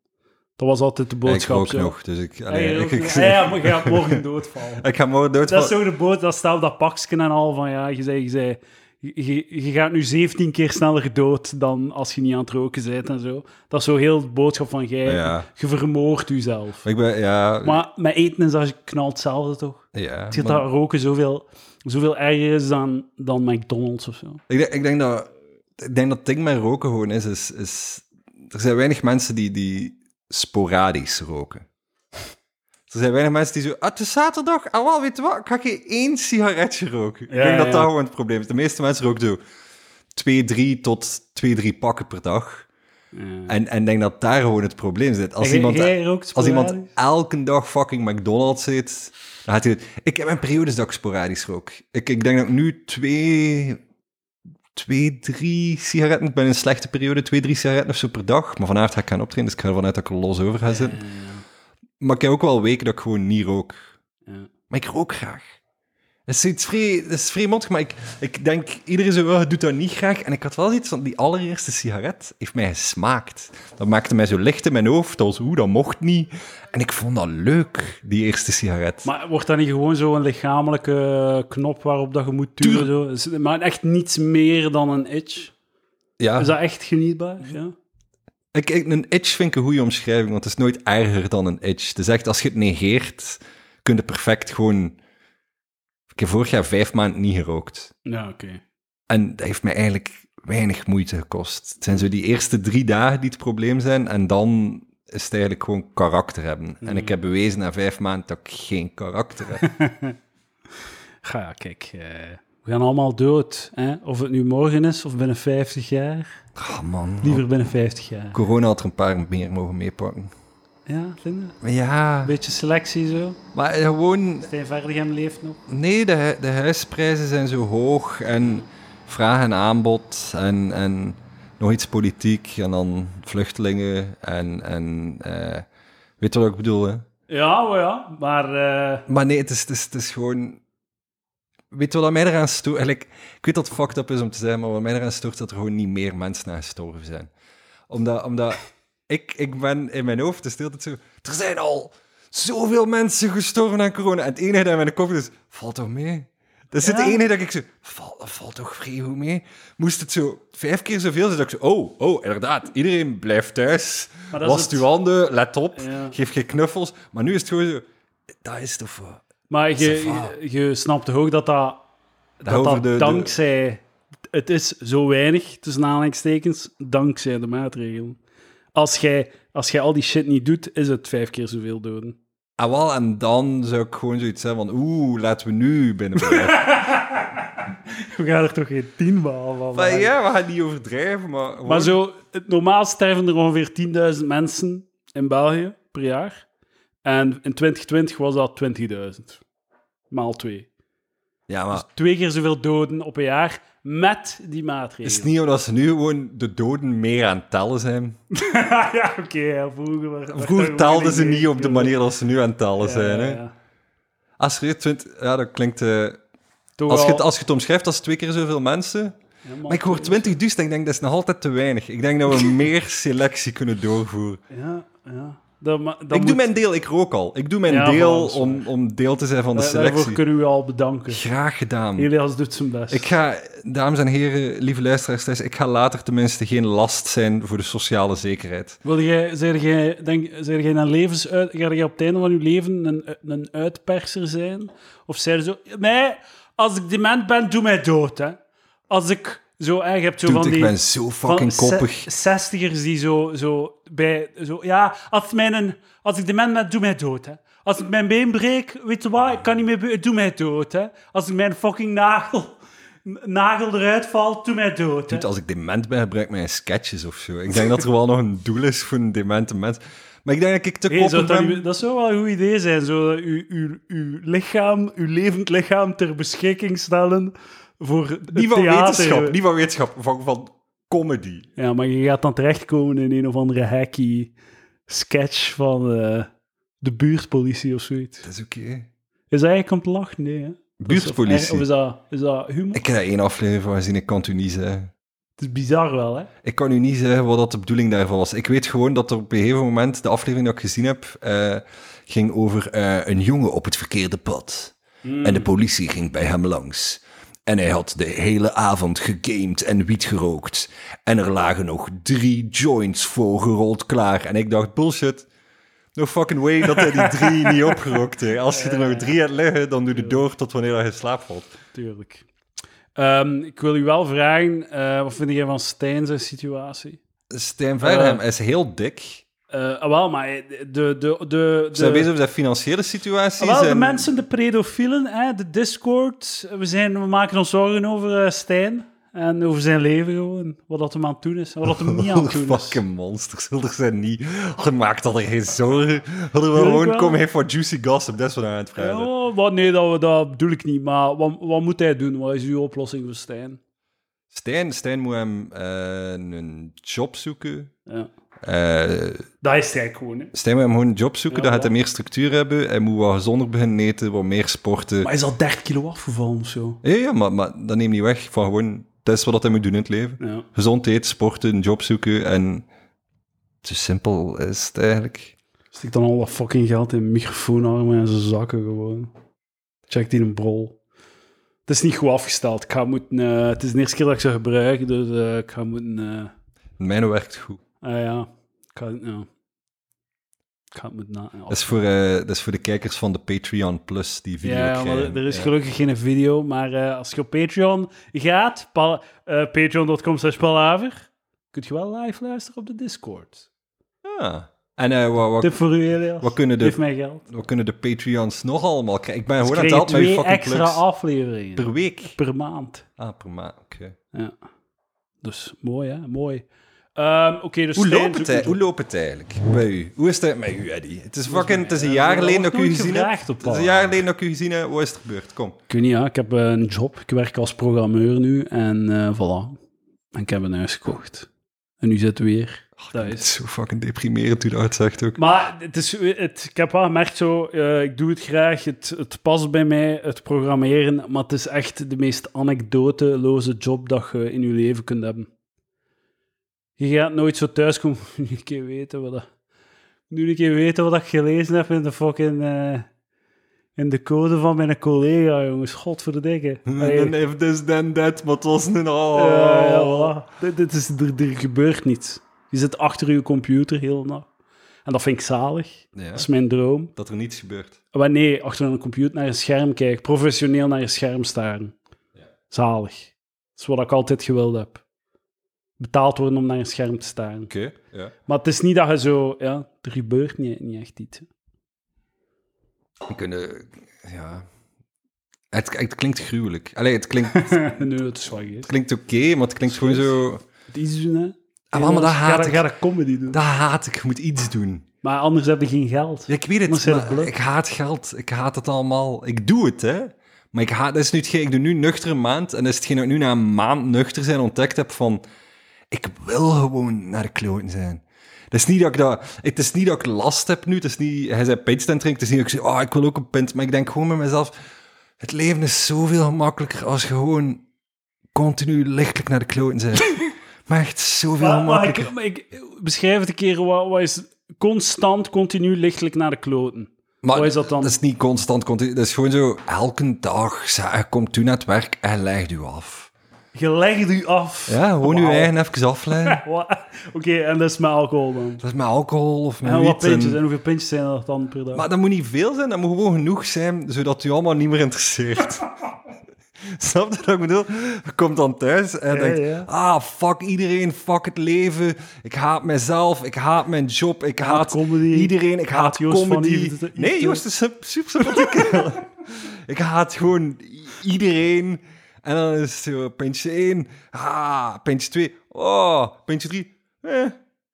[SPEAKER 2] Dat was altijd de
[SPEAKER 1] Ja, ik
[SPEAKER 2] boodschap.
[SPEAKER 1] rook
[SPEAKER 2] zo.
[SPEAKER 1] nog, dus ik...
[SPEAKER 2] Ja, je
[SPEAKER 1] allee, ik, *laughs*
[SPEAKER 2] rookt
[SPEAKER 1] ik,
[SPEAKER 2] nog. Ja, ja, maar je gaat morgen *laughs* doodvallen.
[SPEAKER 1] ik ga morgen dood.
[SPEAKER 2] Dat is toch de boot, dat staat op dat pakje en al van ja, je zei, je, zei je, je- je gaat nu 17 keer sneller dood dan als je niet aan het roken bent en zo. Dat is zo heel de boodschap van jij,
[SPEAKER 1] Ja.
[SPEAKER 2] je vermoordt jezelf.
[SPEAKER 1] Ik ben... Ja,
[SPEAKER 2] Maar met eten is dat knalt hetzelfde toch?
[SPEAKER 1] ja,
[SPEAKER 2] Het ziet
[SPEAKER 1] maar-
[SPEAKER 2] dat roken zoveel, zoveel erger is dan, dan McDonald's of zo.
[SPEAKER 1] Ik denk, ik denk dat ik denk dat het ding met roken gewoon is, is, is er zijn weinig mensen die, die sporadisch roken. Er zijn weinig mensen die zo, ah, het is zaterdag, ah, wel, weet je wat, ik ga geen één sigaretje roken. ik
[SPEAKER 2] Ja,
[SPEAKER 1] denk dat
[SPEAKER 2] ja.
[SPEAKER 1] dat gewoon het probleem is. De meeste mensen roken zo twee, drie tot twee, drie pakken per dag. En, en ik denk dat daar gewoon het probleem zit. Als
[SPEAKER 2] En jij-
[SPEAKER 1] iemand...
[SPEAKER 2] jij rookt
[SPEAKER 1] Als iemand
[SPEAKER 2] sporadisch?
[SPEAKER 1] elke dag fucking McDonald's eet, dan gaat hij het... Ik heb mijn periodes dat ik sporadisch rook. Ik, ik denk dat ik nu twee, twee, drie sigaretten... Ik ben in een slechte periode, twee, drie sigaretten of zo per dag. Maar vanavond ga ik gaan optreden, dus ik ga ervan uit dat ik er los over ga zitten. Maar ik heb ook wel weken dat ik gewoon niet rook.
[SPEAKER 2] Ja.
[SPEAKER 1] Maar ik rook graag. Dat is iets vrij, dat is vrij mottig, maar ik, ik denk, iedereen zo, "Oh, je doet dat niet graag. En ik had wel iets van, die allereerste sigaret heeft mij gesmaakt. Dat maakte mij zo licht in mijn hoofd, als hoe, dat mocht niet. En ik vond dat leuk, die eerste sigaret.
[SPEAKER 2] Maar wordt dat niet gewoon zo'n lichamelijke knop waarop dat je moet turen? Zo? Is- Maar echt niets meer dan een itch?
[SPEAKER 1] ja,
[SPEAKER 2] Is dat echt genietbaar? Ja.
[SPEAKER 1] Ik, ik- een edge vind ik een goede omschrijving, want het is nooit erger dan een edge. Het is echt, als je het negeert, kun je perfect gewoon... Ik heb vorig jaar vijf maanden niet gerookt.
[SPEAKER 2] Ja, oké.
[SPEAKER 1] En dat heeft mij eigenlijk weinig moeite gekost. Het zijn zo die eerste drie dagen die het probleem zijn. En dan is het eigenlijk gewoon karakter hebben. En ik heb bewezen na vijf maanden dat ik geen karakter heb.
[SPEAKER 2] Ga, kijk. eh, we gaan allemaal dood. Hè? Of het nu morgen is of binnen 50 jaar.
[SPEAKER 1] *laughs* Ah man.
[SPEAKER 2] Liever binnen 50 jaar.
[SPEAKER 1] Corona had er een paar meer mogen meepakken.
[SPEAKER 2] Ja, vind je?
[SPEAKER 1] Maar ja,
[SPEAKER 2] Beetje selectie zo.
[SPEAKER 1] maar gewoon...
[SPEAKER 2] Stijn Verdegem leeft nog.
[SPEAKER 1] Nee, de, hu- de huisprijzen zijn zo hoog. En vraag en aanbod. En, en nog iets politiek. En dan vluchtelingen. En... en eh, weet je wat ik bedoel, hè?
[SPEAKER 2] Ja, maar ja. Maar eh,
[SPEAKER 1] Maar nee, het is, het is, het is gewoon... Weet je wat mij eraan stoort? Eigenlijk, ik weet dat het fucked up is om te zeggen, maar wat mij eraan stoort, is dat er gewoon niet meer mensen naar gestorven zijn. Omdat, omdat ik, ik ben in mijn hoofd, is het altijd zo... Er zijn al zoveel mensen gestorven aan corona. En het enige dat in mijn kop is, valt toch mee? Dat is
[SPEAKER 2] Ja.
[SPEAKER 1] het enige dat ik zo... Val, valt toch vrij goed mee? Moest het zo vijf keer zoveel zijn, dat ik zo... Oh, oh, inderdaad. Iedereen blijft thuis.
[SPEAKER 2] Maar dat is
[SPEAKER 1] Was
[SPEAKER 2] het-
[SPEAKER 1] uw handen, let op.
[SPEAKER 2] Ja.
[SPEAKER 1] Geef geen knuffels. Maar nu is het gewoon zo... Dat is toch wat?
[SPEAKER 2] maar je,
[SPEAKER 1] Ça
[SPEAKER 2] je, je snapt toch ook dat dat, dat,
[SPEAKER 1] over
[SPEAKER 2] dat
[SPEAKER 1] de- de-
[SPEAKER 2] dankzij... Het is zo weinig, tussen aanhalingstekens, dankzij de maatregelen. Als jij, als jij al die shit niet doet, is het vijf keer zoveel doden.
[SPEAKER 1] Ah, wel, en dan zou ik gewoon zoiets hebben van... Oeh, laten we nu binnen *laughs* blijven.
[SPEAKER 2] We gaan er toch geen tien maal
[SPEAKER 1] maar
[SPEAKER 2] van maken?
[SPEAKER 1] ja, we gaan niet overdrijven, maar... gewoon-
[SPEAKER 2] Maar zo, het, normaal sterven er ongeveer 10.000 mensen in België per jaar. En in 2020 was dat 20.000. Maal twee.
[SPEAKER 1] Ja, maar
[SPEAKER 2] Twee keer zoveel doden op een jaar met die
[SPEAKER 1] is het
[SPEAKER 2] maatregelen.
[SPEAKER 1] niet omdat ze nu gewoon de doden meer aan het tellen zijn?
[SPEAKER 2] *laughs* ja, oké, ja, vroeger... was- was dat *laughs*
[SPEAKER 1] Vroeger
[SPEAKER 2] gewoon
[SPEAKER 1] telden ze
[SPEAKER 2] idee.
[SPEAKER 1] niet op de manier als ze nu aan het tellen
[SPEAKER 2] Ja,
[SPEAKER 1] zijn, hè?
[SPEAKER 2] ja, ja.
[SPEAKER 1] Als er 20... Ja, dat klinkt... eh,
[SPEAKER 2] Toch
[SPEAKER 1] als, je
[SPEAKER 2] al-
[SPEAKER 1] het, als je het omschrijft als twee keer zoveel mensen...
[SPEAKER 2] Ja, maal
[SPEAKER 1] Maar ik hoor
[SPEAKER 2] twee.
[SPEAKER 1] 20 dus, en ik denk dat is nog altijd te weinig. Ik denk dat we meer selectie kunnen doorvoeren.
[SPEAKER 2] Ja, ja. Dat, ma- dat
[SPEAKER 1] ik
[SPEAKER 2] moet-
[SPEAKER 1] doe mijn deel, ik rook al. Ik doe mijn
[SPEAKER 2] Ja,
[SPEAKER 1] deel
[SPEAKER 2] voilà, dat is
[SPEAKER 1] om, om deel te zijn van de
[SPEAKER 2] daar- Daarvoor
[SPEAKER 1] selectie.
[SPEAKER 2] kunnen we u al bedanken.
[SPEAKER 1] Graag gedaan.
[SPEAKER 2] Elias doet zijn best.
[SPEAKER 1] Ik ga, dames en heren, lieve luisteraars thuis, ik ga later tenminste geen last zijn voor de sociale zekerheid.
[SPEAKER 2] Wil jij, zeg jij, denk, zeg jij een levensuit, ga jij op het einde van je leven een, een uitperser zijn? Of zei je zo, nee, als ik dement ben, doe mij dood, hè. Als ik zo, hè, je hebt zo
[SPEAKER 1] Doet,
[SPEAKER 2] van
[SPEAKER 1] ik
[SPEAKER 2] die...
[SPEAKER 1] ben zo
[SPEAKER 2] van
[SPEAKER 1] fucking koppig.
[SPEAKER 2] ze- Zestigers die zo, zo bij, zo, ja, als, mijn, als ik dement ben, doe mij dood, hè. Als ik mijn been breek, weet je wat, ik kan niet meer, be- doe mij dood, hè. Als ik mijn fucking nagel, nagel eruit valt, doe mij dood, hè.
[SPEAKER 1] Doet, als ik dement ben, gebruik ik mijn sketches of zo. Ik denk dat er wel nog een doel is voor een demente mens. Maar ik denk dat ik te
[SPEAKER 2] Hey,
[SPEAKER 1] koppig
[SPEAKER 2] zou dat,
[SPEAKER 1] ben.
[SPEAKER 2] niet- dat zou wel een goed idee zijn. Zo, dat uw, uw, uw lichaam, uw levend lichaam ter beschikking stellen voor het
[SPEAKER 1] Niet van
[SPEAKER 2] theater.
[SPEAKER 1] wetenschap, niet van wetenschap, van, van comedy.
[SPEAKER 2] Ja, maar je gaat dan terechtkomen in een of andere hacky sketch van eh, de buurtpolitie of zoiets.
[SPEAKER 1] Dat is oké.
[SPEAKER 2] Is dat eigenlijk om te lachen? Nee, hè? Of,
[SPEAKER 1] Buurtpolitie.
[SPEAKER 2] of is, dat, is dat humor?
[SPEAKER 1] Ik heb daar één aflevering van gezien, ik kan het u niet zeggen.
[SPEAKER 2] Het is bizar wel, hè?
[SPEAKER 1] Ik kan u niet zeggen wat dat de bedoeling daarvan was. Ik weet gewoon dat er op een gegeven moment, de aflevering dat ik gezien heb, eh, ging over eh, een jongen op het verkeerde pad.
[SPEAKER 2] Hmm.
[SPEAKER 1] En de politie ging bij hem langs. En hij had de hele avond gegamed en wiet gerookt. En er lagen nog drie joints voorgerold klaar. En ik dacht, bullshit. No fucking way dat hij die
[SPEAKER 2] *laughs*
[SPEAKER 1] drie niet opgerookt heeft. Als je er nog drie hebt liggen, dan doe je door tot wanneer hij in slaap valt.
[SPEAKER 2] Tuurlijk. Ehm, ik wil u wel vragen, eh, wat vind jij van Stijn zijn situatie?
[SPEAKER 1] Stijn Veilighem is heel dik.
[SPEAKER 2] Eh, ah, wel, maar de... de, de, de
[SPEAKER 1] Ze zijn bezig met zijn financiële situatie.
[SPEAKER 2] Ah, Wel, de
[SPEAKER 1] zijn-
[SPEAKER 2] mensen, de pedofielen, hè, de Discord. We, zijn, we maken ons zorgen over eh, Stijn. En over zijn leven gewoon. Wat dat hem aan het doen is. en Wat dat hem niet aan het doen is.
[SPEAKER 1] Fucking monsters. Zullen zijn niet. Je maakt dat er geen zorgen. Hadden we
[SPEAKER 2] Tuurlijk
[SPEAKER 1] gewoon
[SPEAKER 2] wel.
[SPEAKER 1] komen heen voor juicy gossip. Dat is wat we aan het vragen. zijn.
[SPEAKER 2] Ja, wat, nee, dat, dat bedoel ik niet. Maar wat, wat moet hij doen? Wat is uw oplossing voor Stijn?
[SPEAKER 1] Stijn, Stijn moet hem eh, een job zoeken.
[SPEAKER 2] Ja.
[SPEAKER 1] Eh,
[SPEAKER 2] Dat is hij gewoon. Hè.
[SPEAKER 1] Stijn moet hem gewoon een job zoeken.
[SPEAKER 2] Ja,
[SPEAKER 1] dan gaat hij
[SPEAKER 2] voilà.
[SPEAKER 1] meer structuur hebben. Hij moet wat gezonder beginnen eten, wat meer sporten.
[SPEAKER 2] Maar hij is al 30 kilo afgevallen of zo.
[SPEAKER 1] Ja, ja, maar, maar dat neemt niet weg van gewoon... Dat is wat hij moet doen in het leven.
[SPEAKER 2] Ja.
[SPEAKER 1] Gezond eten, sporten, een job zoeken en... Zo simpel is het eigenlijk.
[SPEAKER 2] Stik dan al dat fucking geld in microfoonarmen en zijn zakken gewoon. Check die een brol. Het is niet goed afgesteld. Ik ga moeten, eh, het is de eerste keer dat ik ze gebruik, dus eh, ik ga moeten... eh,
[SPEAKER 1] Mijn werkt goed.
[SPEAKER 2] Ah ja, Ik ga, ja. Ik ga het met na... oh.
[SPEAKER 1] Dat is, voor, eh, dat is voor de kijkers van de Patreon Plus die video
[SPEAKER 2] ja,
[SPEAKER 1] krijgen.
[SPEAKER 2] maar er- er is
[SPEAKER 1] Ja.
[SPEAKER 2] gelukkig geen video, maar eh, als je op Patreon gaat, pal- eh, patreon.com slash palaver, kun je wel live luisteren op de Discord.
[SPEAKER 1] Ah. En eh, wat, wat,
[SPEAKER 2] Tip voor u, Elias.
[SPEAKER 1] wat kunnen de
[SPEAKER 2] Geef mij geld.
[SPEAKER 1] wat kunnen de Patreons nog allemaal krijgen? Ik ben
[SPEAKER 2] Dus
[SPEAKER 1] gewoon aan het
[SPEAKER 2] krijg je
[SPEAKER 1] helpen met nou je
[SPEAKER 2] twee
[SPEAKER 1] fucking
[SPEAKER 2] extra
[SPEAKER 1] plugs.
[SPEAKER 2] afleveringen
[SPEAKER 1] Per
[SPEAKER 2] per,
[SPEAKER 1] week?
[SPEAKER 2] maand.
[SPEAKER 1] Ah, per maand, oké.
[SPEAKER 2] Dus mooi, hè? Mooi. Ehm, Oké, dus
[SPEAKER 1] Hoe
[SPEAKER 2] Stijn
[SPEAKER 1] loopt het
[SPEAKER 2] zoekt
[SPEAKER 1] ei- Hoe loopt het eigenlijk bij u? Hoe is het met u, Eddie? Het is fucking, het is een
[SPEAKER 2] eh,
[SPEAKER 1] jaar
[SPEAKER 2] dat
[SPEAKER 1] geleden dat
[SPEAKER 2] wordt
[SPEAKER 1] ik u
[SPEAKER 2] nooit
[SPEAKER 1] gezien heb.
[SPEAKER 2] gevraagd op
[SPEAKER 1] Het is een
[SPEAKER 2] Paul.
[SPEAKER 1] jaar geleden dat ik u gezien heb. Wat is er gebeurd? Kom.
[SPEAKER 2] Ik weet niet, ja. Ik heb eh, een job. Ik werk als programmeur nu. En eh, voilà. En ik heb een huis gekocht. En nu zit het weer. dat
[SPEAKER 1] Het
[SPEAKER 2] is...
[SPEAKER 1] is zo fucking deprimerend hoe dat het zegt ook.
[SPEAKER 2] Maar het is, het, ik heb wel gemerkt zo, eh, ik doe het graag, het, het past bij mij, het programmeren, maar het is echt de meest anekdoteloze job dat je in je leven kunt hebben. Je gaat nooit zo thuis komen, *laughs* nu een keer weten wat dat, nu een keer weten wat ik gelezen heb in de fucking, eh, in de code van mijn collega, jongens, *laughs* godverdikke. *laughs* Allee.
[SPEAKER 1] En if this then that, maar het was een... Oh.
[SPEAKER 2] Ja, ja, voilà. Dit- dit is, er, er gebeurt niets. Je zit achter je computer heel de nacht. En dat vind ik zalig.
[SPEAKER 1] Ja,
[SPEAKER 2] Dat is mijn droom.
[SPEAKER 1] dat er niets gebeurt.
[SPEAKER 2] Maar nee, achter een computer naar een scherm kijken. Professioneel naar een scherm staren. Zalig. Dat is wat ik altijd gewild heb. Betaald worden om naar een scherm te staren.
[SPEAKER 1] Oké, ja.
[SPEAKER 2] Maar het is niet dat je zo... Ja, er gebeurt niet, niet echt iets.
[SPEAKER 1] *laughs* We kunnen... Ja... Het, het klinkt gruwelijk. Allee, het klinkt, het
[SPEAKER 2] nee, dat is wel geest.
[SPEAKER 1] klinkt oké, maar het klinkt gewoon zo...
[SPEAKER 2] Iets doen, hè.
[SPEAKER 1] Ah, maar dat haat
[SPEAKER 2] ga,
[SPEAKER 1] ik.
[SPEAKER 2] ga dat comedy doen.
[SPEAKER 1] Dat haat ik, je moet iets doen.
[SPEAKER 2] Maar anders heb je geen geld.
[SPEAKER 1] Ja, ik weet
[SPEAKER 2] Maar
[SPEAKER 1] het,
[SPEAKER 2] zijn er
[SPEAKER 1] maar
[SPEAKER 2] geluk?
[SPEAKER 1] ik haat geld. Ik haat het allemaal. Ik doe het, hè. Maar ik, haat, dat is nu hetgeen, ik doe nu nuchter een maand. En dat is hetgeen dat ik nu na een maand nuchter zijn ontdekt heb van... Ik wil gewoon naar de kloten zijn. Het is, niet dat ik dat, het is niet dat ik last heb nu. Het is niet... Hij zei pint aan het drinken. Het is niet dat ik zeg, oh, ik wil ook een pint. Maar ik denk gewoon bij mezelf... Het leven is zoveel gemakkelijker als je gewoon continu lichtelijk naar de kloten zijn. maar echt zoveel
[SPEAKER 2] Maar, maar
[SPEAKER 1] makkelijker.
[SPEAKER 2] ik, maar ik- beschrijf het een keer. Wat, wat is constant, continu, lichtelijk naar de kloten?
[SPEAKER 1] Maar
[SPEAKER 2] Hoe is dat dan?
[SPEAKER 1] Dat is niet constant. continu. Dat is gewoon zo elke dag. ze- Je komt toe naar het werk en legt u af.
[SPEAKER 2] Je legt u af.
[SPEAKER 1] Ja, gewoon uw
[SPEAKER 2] Wauw.
[SPEAKER 1] eigen even afleiden.
[SPEAKER 2] Wat? Oké, en dat is met alcohol dan.
[SPEAKER 1] Dat is met alcohol of met
[SPEAKER 2] En wat
[SPEAKER 1] wiet.
[SPEAKER 2] pintjes en
[SPEAKER 1] en-
[SPEAKER 2] hoeveel pintjes zijn dat dan per dag?
[SPEAKER 1] Maar dat moet niet veel zijn. Dat moet gewoon genoeg zijn, zodat u allemaal niet meer
[SPEAKER 2] *laughs*
[SPEAKER 1] interesseert. Snap je wat ik bedoel? Je komt dan thuis en
[SPEAKER 2] Ja,
[SPEAKER 1] denkt...
[SPEAKER 2] ja.
[SPEAKER 1] Ah, fuck iedereen, fuck het leven. Ik haat mezelf, ik haat mijn job, ik haat
[SPEAKER 2] comedy.
[SPEAKER 1] iedereen, ik haat,
[SPEAKER 2] Haat Joost van
[SPEAKER 1] comedy.
[SPEAKER 2] Iep- Iep-
[SPEAKER 1] nee, Joost is sup- super sympathiek. *laughs* ik haat gewoon i- iedereen. En dan is het zo, pintje 1, ah, pintje 2, oh, pintje 3, eh.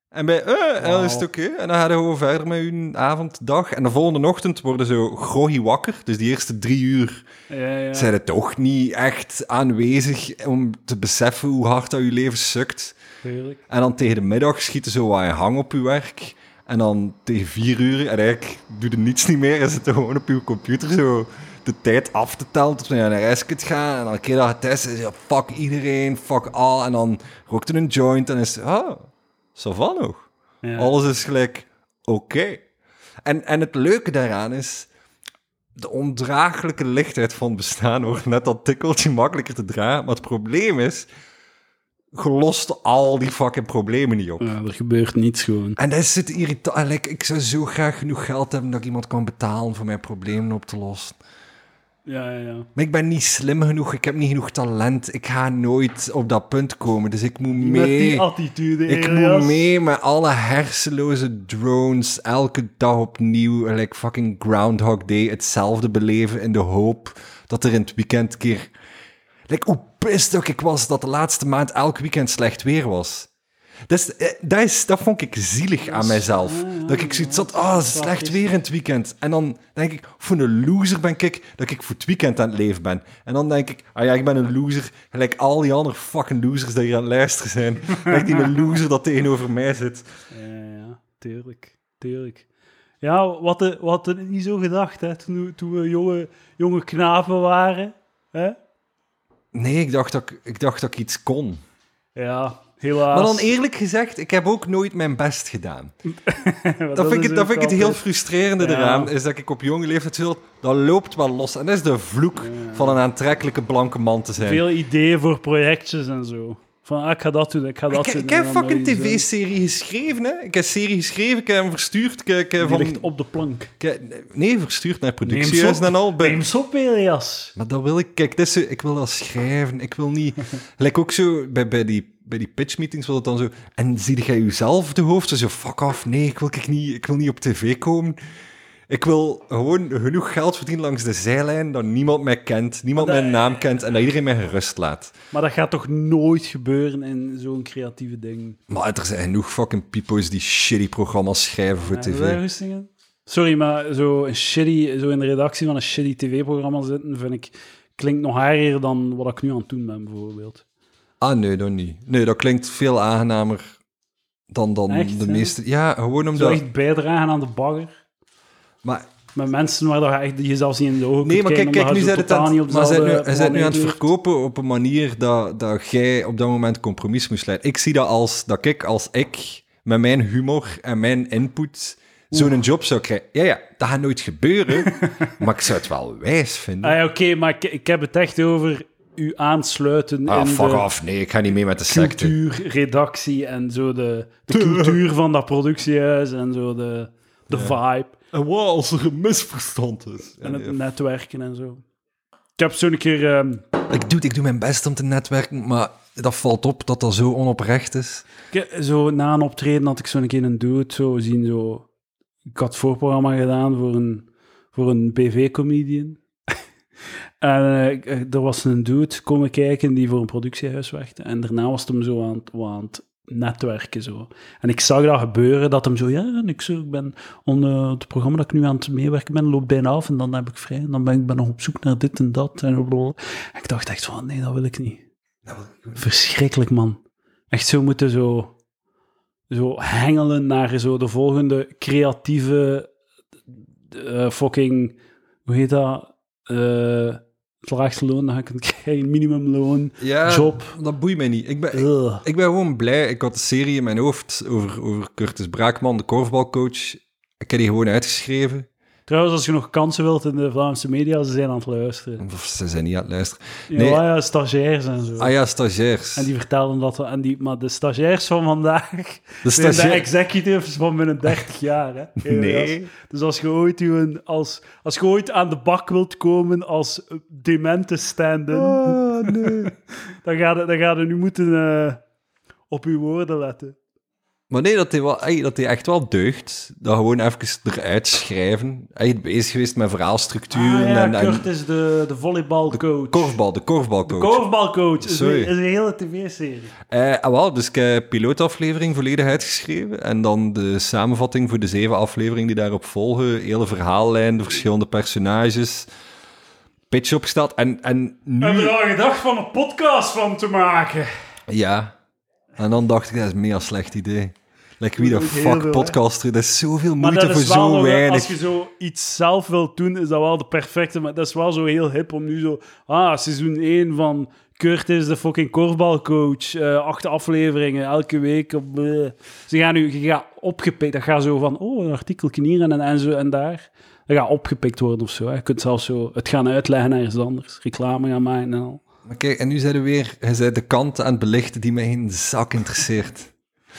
[SPEAKER 1] En, bij, eh, en dan is het oké. En dan gaan we gewoon verder met hun avond, dag. En de volgende ochtend worden zo groggy wakker. Dus die eerste drie uur
[SPEAKER 2] ja, ja.
[SPEAKER 1] zijn er toch niet echt aanwezig om te beseffen hoe hard dat je leven sukt.
[SPEAKER 2] Tuurlijk.
[SPEAKER 1] En dan tegen de middag schieten zo wat in hang op je werk. En dan tegen vier uur, en eigenlijk doe je niets niet meer, is het gewoon op je computer zo de tijd af te tellen tot je naar de rest kunt gaan. En dan een keer dat je test is, ja, fuck iedereen, fuck al. En dan rookt er een joint en is het, ah, zo van nog.
[SPEAKER 2] Ja.
[SPEAKER 1] Alles is gelijk oké. En, en het leuke daaraan is, de ondraaglijke lichtheid van het bestaan wordt net dat tikkeltje makkelijker te dragen. Maar het probleem is, gelost al die fucking problemen niet op.
[SPEAKER 2] Ja, er gebeurt niets gewoon.
[SPEAKER 1] En dat is het irritant. Like, ik zou zo graag genoeg geld hebben dat ik iemand kan betalen voor mijn problemen op te lossen.
[SPEAKER 2] Ja, ja, ja.
[SPEAKER 1] Maar ik ben niet slim genoeg, ik heb niet genoeg talent. Ik ga nooit op dat punt komen, dus ik moet
[SPEAKER 2] Met die
[SPEAKER 1] mee.
[SPEAKER 2] attitude,
[SPEAKER 1] Ik
[SPEAKER 2] Elias.
[SPEAKER 1] moet mee met alle hersenloze drones elke dag opnieuw, like fucking Groundhog Day, hetzelfde beleven in de hoop dat er in het weekend een keer... Like, hoe pissed ook ik was dat de laatste maand elk weekend slecht weer was. Dus, eh, dat, is, dat vond ik zielig aan mijzelf.
[SPEAKER 2] Mm.
[SPEAKER 1] Dat ik zoiets had, ah, slecht weer in het weekend. En dan denk ik, voor een loser ben ik dat ik voor het weekend aan het leven ben. En dan denk ik, ah ja, ik ben een loser. Gelijk al die andere fucking losers die hier aan het luisteren zijn.
[SPEAKER 2] *laughs*
[SPEAKER 1] Gelijk die een loser dat tegenover mij zit.
[SPEAKER 2] Ja, ja, ja. Tuurlijk. Tuurlijk. Ja, wat we wat er niet zo gedacht, hè. Toen, we- toen we jonge, jonge knapen waren. Hè?
[SPEAKER 1] Nee, ik dacht dat ik, ik, dacht dat ik iets kon.
[SPEAKER 2] Ja, helaas.
[SPEAKER 1] Maar dan
[SPEAKER 2] *laughs*
[SPEAKER 1] eerlijk gezegd, ik heb ook nooit mijn best gedaan.
[SPEAKER 2] dat,
[SPEAKER 1] Dat, vind ik, het-
[SPEAKER 2] is
[SPEAKER 1] dat
[SPEAKER 2] ook
[SPEAKER 1] vind ik het
[SPEAKER 2] altijd-
[SPEAKER 1] heel frustrerende
[SPEAKER 2] Ja.
[SPEAKER 1] eraan, is dat ik op jonge leeftijd zo... Dat loopt wel los. En dat is de vloek van een aantrekkelijke blanke man te zijn.
[SPEAKER 2] Veel ideeën voor projectjes en zo. Van, ah, ik ga dat doen, ik ga dat
[SPEAKER 1] Ik,
[SPEAKER 2] doen.
[SPEAKER 1] ik
[SPEAKER 2] en
[SPEAKER 1] heb
[SPEAKER 2] dan
[SPEAKER 1] fucking
[SPEAKER 2] dat je zo-
[SPEAKER 1] tv-serie geschreven, hè. Ik heb serie geschreven, ik heb hem verstuurd. Ik, ik heb
[SPEAKER 2] eh, Die
[SPEAKER 1] van,
[SPEAKER 2] ligt op de plank.
[SPEAKER 1] ik heb- nee, verstuurd naar
[SPEAKER 2] Neem ze
[SPEAKER 1] productiehuis
[SPEAKER 2] op.
[SPEAKER 1] en al. bij-
[SPEAKER 2] Neem ze op, Elias.
[SPEAKER 1] Maar dat wil ik, kijk, dit is zo- ik wil dat schrijven. Ik wil
[SPEAKER 2] *laughs*
[SPEAKER 1] niet. Lijkt ook zo bij, bij die, bij die pitchmeetings, was het dan zo. En zie jij jezelf de hoofd? Zo, fuck off, nee, ik wil, ik, niet, ik wil niet op tv komen. Ik wil gewoon genoeg geld verdienen langs de zijlijn dat niemand mij kent, niemand
[SPEAKER 2] Maar dat-
[SPEAKER 1] mijn naam kent en dat iedereen mij gerust laat.
[SPEAKER 2] Maar dat gaat toch nooit gebeuren in zo'n creatieve ding.
[SPEAKER 1] Maar er zijn genoeg fucking people's die shitty programma's schrijven voor
[SPEAKER 2] Hebben wij
[SPEAKER 1] tv.
[SPEAKER 2] rustig in? Sorry, maar zo, een shitty, zo in de redactie van een shitty tv-programma zitten, vind ik, klinkt nog haarier dan wat ik nu aan het doen ben, bijvoorbeeld.
[SPEAKER 1] Ah, nee, dat niet. Nee, dat klinkt veel aangenamer dan, dan
[SPEAKER 2] Echt,
[SPEAKER 1] de
[SPEAKER 2] hè?
[SPEAKER 1] meeste. Ja, gewoon
[SPEAKER 2] Zo
[SPEAKER 1] omdat.
[SPEAKER 2] echt bijdragen aan de bagger.
[SPEAKER 1] Maar
[SPEAKER 2] Met mensen waar dat je echt jezelf niet in de
[SPEAKER 1] Nee,
[SPEAKER 2] ogen kunt
[SPEAKER 1] maar kijk, kijk
[SPEAKER 2] kijken,
[SPEAKER 1] nu
[SPEAKER 2] omdat je
[SPEAKER 1] zijn
[SPEAKER 2] zo
[SPEAKER 1] het
[SPEAKER 2] totaal
[SPEAKER 1] aan,
[SPEAKER 2] niet op
[SPEAKER 1] maar zij
[SPEAKER 2] dezelfde
[SPEAKER 1] nu, zij nu aan het
[SPEAKER 2] planeet leeft.
[SPEAKER 1] verkopen op een manier dat, dat jij op dat moment compromis moest leiden. Ik zie dat als dat ik als ik met mijn humor en mijn input zo'n job zou krijgen. Ja, ja, dat gaat nooit
[SPEAKER 2] *laughs*
[SPEAKER 1] gebeuren, maar ik zou het wel wijs vinden.
[SPEAKER 2] Ah, ja, Oké, maar ik, ik heb het echt over u aansluiten
[SPEAKER 1] Ah,
[SPEAKER 2] in
[SPEAKER 1] fuck
[SPEAKER 2] de
[SPEAKER 1] off, nee, ik ga niet mee met de secte.
[SPEAKER 2] cultuur, redactie en zo de, de cultuur van dat productiehuis en zo de, de vibe.
[SPEAKER 1] En wat als er een misverstand is?
[SPEAKER 2] En het netwerken en zo. Ik heb zo'n keer... ehm,
[SPEAKER 1] Ik, doe, ik doe mijn best om te netwerken, maar dat valt op dat dat zo onoprecht is.
[SPEAKER 2] ik- eh, zo na een optreden had ik zo'n keer een dude zo zien. Zo, ik had voorprogramma gedaan voor een, voor een BV-comedian. *laughs* en eh, ik- eh, er was een dude komen kijken die voor een productiehuis werkte. En daarna was het hem zo aan, het- wat aan het netwerken. Zo. En ik zag dat gebeuren, dat hem zo... Ja, en ik, zo, ik ben onder het programma dat ik nu aan het meewerken ben, loopt bijna af. En dan heb ik vrij. En dan ben ik ben nog op zoek naar dit en dat. En, blablabla. en ik dacht echt van, nee, dat wil ik niet. Verschrikkelijk, man. Echt zo moeten zo, zo hengelen naar zo de volgende creatieve eh, fucking... Hoe heet dat? Eh, het laagste loon dat je kunt krijgen, minimumloon.
[SPEAKER 1] Ja,
[SPEAKER 2] Job.
[SPEAKER 1] dat boeit mij niet. Ik ben,
[SPEAKER 2] Ugh.
[SPEAKER 1] Ik ben gewoon blij. Ik had de serie in mijn hoofd over, over Curtis Braakman, de korfbalcoach. Ik heb die gewoon uitgeschreven.
[SPEAKER 2] Trouwens, als je nog kansen wilt in de Vlaamse media, ze zijn aan het luisteren.
[SPEAKER 1] Of ze zijn niet aan het luisteren.
[SPEAKER 2] Ja,
[SPEAKER 1] Nee.
[SPEAKER 2] ja stagiairs en zo.
[SPEAKER 1] Ah ja, stagiairs.
[SPEAKER 2] En die vertellen dat... En die, maar de stagiairs van *laughs* vandaag
[SPEAKER 1] de
[SPEAKER 2] zijn de
[SPEAKER 1] stagiair...
[SPEAKER 2] executives van binnen 30 jaar. Hè?
[SPEAKER 1] *laughs*
[SPEAKER 2] Helaas. Dus als je ooit, uw- als, als je ooit aan de bak wilt komen als eh, demente stand-in,
[SPEAKER 1] Ah, nee.
[SPEAKER 2] dan ga je, dan ga je nu moeten eh, op uw woorden letten.
[SPEAKER 1] Maar nee, dat hij, wel, ey, dat hij echt wel deugt. Dat gewoon even eruit schrijven. Hij is bezig geweest met verhaalstructuren.
[SPEAKER 2] Ah ja,
[SPEAKER 1] en, en
[SPEAKER 2] Kurt is de, de volleybalcoach.
[SPEAKER 1] korfbal, de korfbalcoach.
[SPEAKER 2] Korfbalcoach is,
[SPEAKER 1] Sorry.
[SPEAKER 2] een- is een hele tv-serie.
[SPEAKER 1] Eh, ah, wel, dus ik heb pilootaflevering volledig uitgeschreven. En dan de samenvatting voor de zeven afleveringen die daarop volgen. Hele verhaallijn, de verschillende personages. Pitch opgesteld. En, en
[SPEAKER 2] We hebben
[SPEAKER 1] nu...
[SPEAKER 2] er al gedacht van een podcast van te maken.
[SPEAKER 1] Ja. En dan dacht ik, dat is een mega slecht idee. Like wie de
[SPEAKER 2] Dat moet heel
[SPEAKER 1] fuck
[SPEAKER 2] veel, hè?
[SPEAKER 1] podcaster. Dat is zoveel
[SPEAKER 2] Maar
[SPEAKER 1] moeite
[SPEAKER 2] dat
[SPEAKER 1] voor
[SPEAKER 2] is wel
[SPEAKER 1] zo
[SPEAKER 2] nog-
[SPEAKER 1] weinig.
[SPEAKER 2] als je zo iets zelf wilt doen, is dat wel de perfecte. Maar dat is wel zo heel hip om nu zo... Ah, seizoen 1 van Kurt is de fucking korfbalcoach. eh, acht afleveringen, elke week. Op, eh. Ze gaan nu je gaat opgepikt. Dat gaat zo van, oh, een artikeltje hier en, en zo en daar. Dat gaat opgepikt worden of zo. Hè. Je kunt zelfs zo het gaan uitleggen naar iets anders. Reclame gaan maken en al.
[SPEAKER 1] Maar kijk, en nu zijn we weer... Hij zei de kant aan het belichten die mij geen zak
[SPEAKER 2] *laughs*
[SPEAKER 1] interesseert.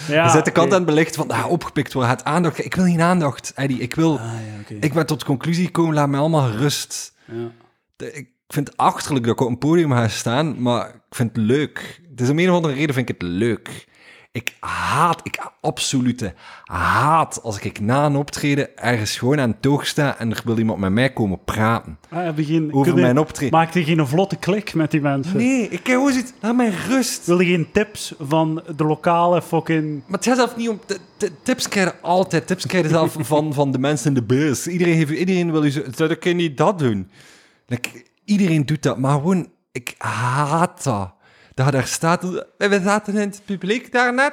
[SPEAKER 2] Ja,
[SPEAKER 1] hij zet de kant
[SPEAKER 2] oké.
[SPEAKER 1] aan het belichten van, ah, opgepikt worden, gaat aandacht. Ik wil geen aandacht, Eddie. Ik wil...
[SPEAKER 2] Ah, ja, oké.
[SPEAKER 1] Ik ben tot de conclusie gekomen, laat mij allemaal rust.
[SPEAKER 2] Ja.
[SPEAKER 1] De- ik vind het achterlijk dat ik op een podium ga staan, maar ik vind het leuk. Dus om een of andere reden vind ik het leuk. Ik haat, ik absolute haat als ik na een optreden ergens gewoon aan het toog sta en er wil iemand met mij komen praten
[SPEAKER 2] Ah, heb je geen-
[SPEAKER 1] over
[SPEAKER 2] kun je-
[SPEAKER 1] mijn optreden.
[SPEAKER 2] Maak je geen vlotte klik met die mensen?
[SPEAKER 1] Nee, ik heb gewoon zoiets, laat mij rust.
[SPEAKER 2] Wil je geen tips van de lokale fucking...
[SPEAKER 1] Maar het gaat zelf niet om... t- t- Tips krijgen altijd. Tips krijgen zelf van, van de mensen in de bus. Iedereen, heeft, iedereen wil je zo... Zou ik niet dat doen? Like, iedereen doet dat, maar gewoon... Ik haat dat. Dat je daar staat... en We zaten in het publiek daarnet.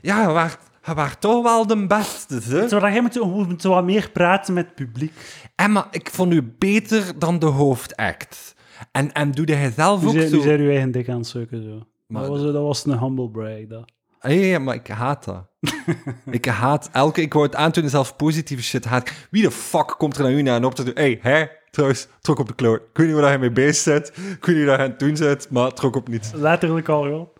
[SPEAKER 1] Ja, je waart, je waart toch wel de beste, hè?
[SPEAKER 2] Zodat jij moet, hoe moet wat meer praten met het publiek.
[SPEAKER 1] Emma, ik vond u beter dan de hoofdact. En, en doe jij zelf
[SPEAKER 2] Nu
[SPEAKER 1] ook
[SPEAKER 2] zijn,
[SPEAKER 1] zo...
[SPEAKER 2] nu zijn je eigen dik aan het sukken, zo.
[SPEAKER 1] Maar-
[SPEAKER 2] dat, was, dat was een humble brag, dat.
[SPEAKER 1] Ah, Ja, ja, maar ik haat
[SPEAKER 2] *laughs*
[SPEAKER 1] dat. ik haat elke... Ik wou het aantonen, zelf positieve shit haat. ik. Wie de fuck komt er naar u naar en op te doen? Hé, hey, hè? Trouwens, trok op de kloot. Ik weet niet waar hij mee bezig bent. Ik weet niet wat hij aan het doen bent, maar trok op niets.
[SPEAKER 2] Letterlijk al, joh.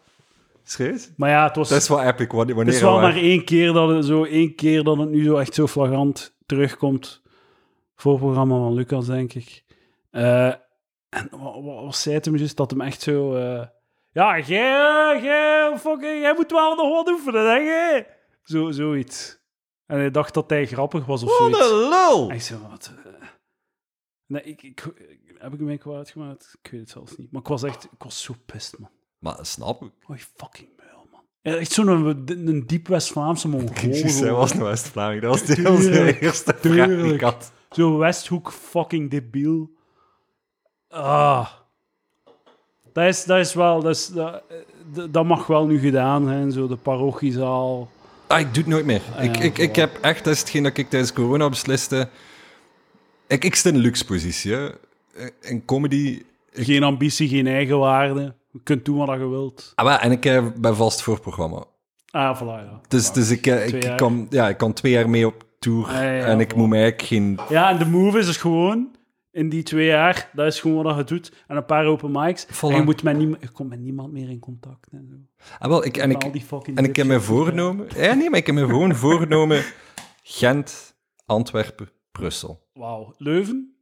[SPEAKER 1] Serieus?
[SPEAKER 2] Maar ja, het was,
[SPEAKER 1] Dat is wel epic. wanneer-
[SPEAKER 2] het is
[SPEAKER 1] Wanneer
[SPEAKER 2] wel
[SPEAKER 1] we-
[SPEAKER 2] maar één keer, dat het zo, één keer dat het nu zo echt zo flagrant terugkomt. Voor het programma van Lucas, denk ik. Eh, en wat, wat, wat zei het hem juist? Dat hem echt zo... eh, ja, jij, eh, jij, fucking, jij moet wel nog wat oefenen, hè? jij?" Zo, zoiets. En hij dacht dat hij grappig was of
[SPEAKER 1] Wat
[SPEAKER 2] zoiets.
[SPEAKER 1] een lul!
[SPEAKER 2] En ik zei, wat? eh, Nee, ik, ik, ik- heb ik mij kwaad gemaakt? Ik weet het zelfs niet. Maar ik was echt, ik was zo pist, man.
[SPEAKER 1] Maar snap ik.
[SPEAKER 2] Oh, je fucking muil, man. Ja, echt zo'n een, een diep West-Vlaamse
[SPEAKER 1] Precies, hij
[SPEAKER 2] mongool.
[SPEAKER 1] was
[SPEAKER 2] gewoon.
[SPEAKER 1] een West-Vlaming. Dat was de
[SPEAKER 2] Tuurlijk,
[SPEAKER 1] onze eerste vraag die ik
[SPEAKER 2] tuurlijk.
[SPEAKER 1] had.
[SPEAKER 2] Zo'n Westhoek fucking debiel. Ah. Dat is, dat is wel, dat, is, dat, eh, d- dat mag wel nu gedaan zijn, zo de parochiezaal.
[SPEAKER 1] Ah, ik doe het nooit meer. ik,
[SPEAKER 2] ja,
[SPEAKER 1] ik, ik
[SPEAKER 2] voilà.
[SPEAKER 1] heb echt, dat is hetgeen dat ik tijdens corona besliste. Ik, ik zit in een luxe positie. hè. In comedy.
[SPEAKER 2] Geen ambitie, geen eigenwaarde. Je kunt doen wat je wilt.
[SPEAKER 1] Ah, wel, en ik eh, ben vast voor het programma.
[SPEAKER 2] Ah, voilà, ja.
[SPEAKER 1] Dus, dus ik, eh,
[SPEAKER 2] Twee
[SPEAKER 1] ik, ik
[SPEAKER 2] jaar.
[SPEAKER 1] kan, ja, ik kan twee jaar mee op tour.
[SPEAKER 2] Ja, ja, ja,
[SPEAKER 1] en ik
[SPEAKER 2] voilà.
[SPEAKER 1] moet mij eigenlijk geen.
[SPEAKER 2] Ja, en de move is dus gewoon in die twee jaar, dat is gewoon wat je doet. En een paar open mics.
[SPEAKER 1] Voilà.
[SPEAKER 2] En je, moet met niem- je komt met niemand meer in contact. En, zo.
[SPEAKER 1] Ah, wel, ik, en,
[SPEAKER 2] Al
[SPEAKER 1] ik,
[SPEAKER 2] die fucking
[SPEAKER 1] en ik heb mij
[SPEAKER 2] dipshit.
[SPEAKER 1] voorgenomen. Ja, nee, maar ik heb mij gewoon *laughs* voorgenomen. Gent, Antwerpen, Brussel.
[SPEAKER 2] Wauw, Leuven,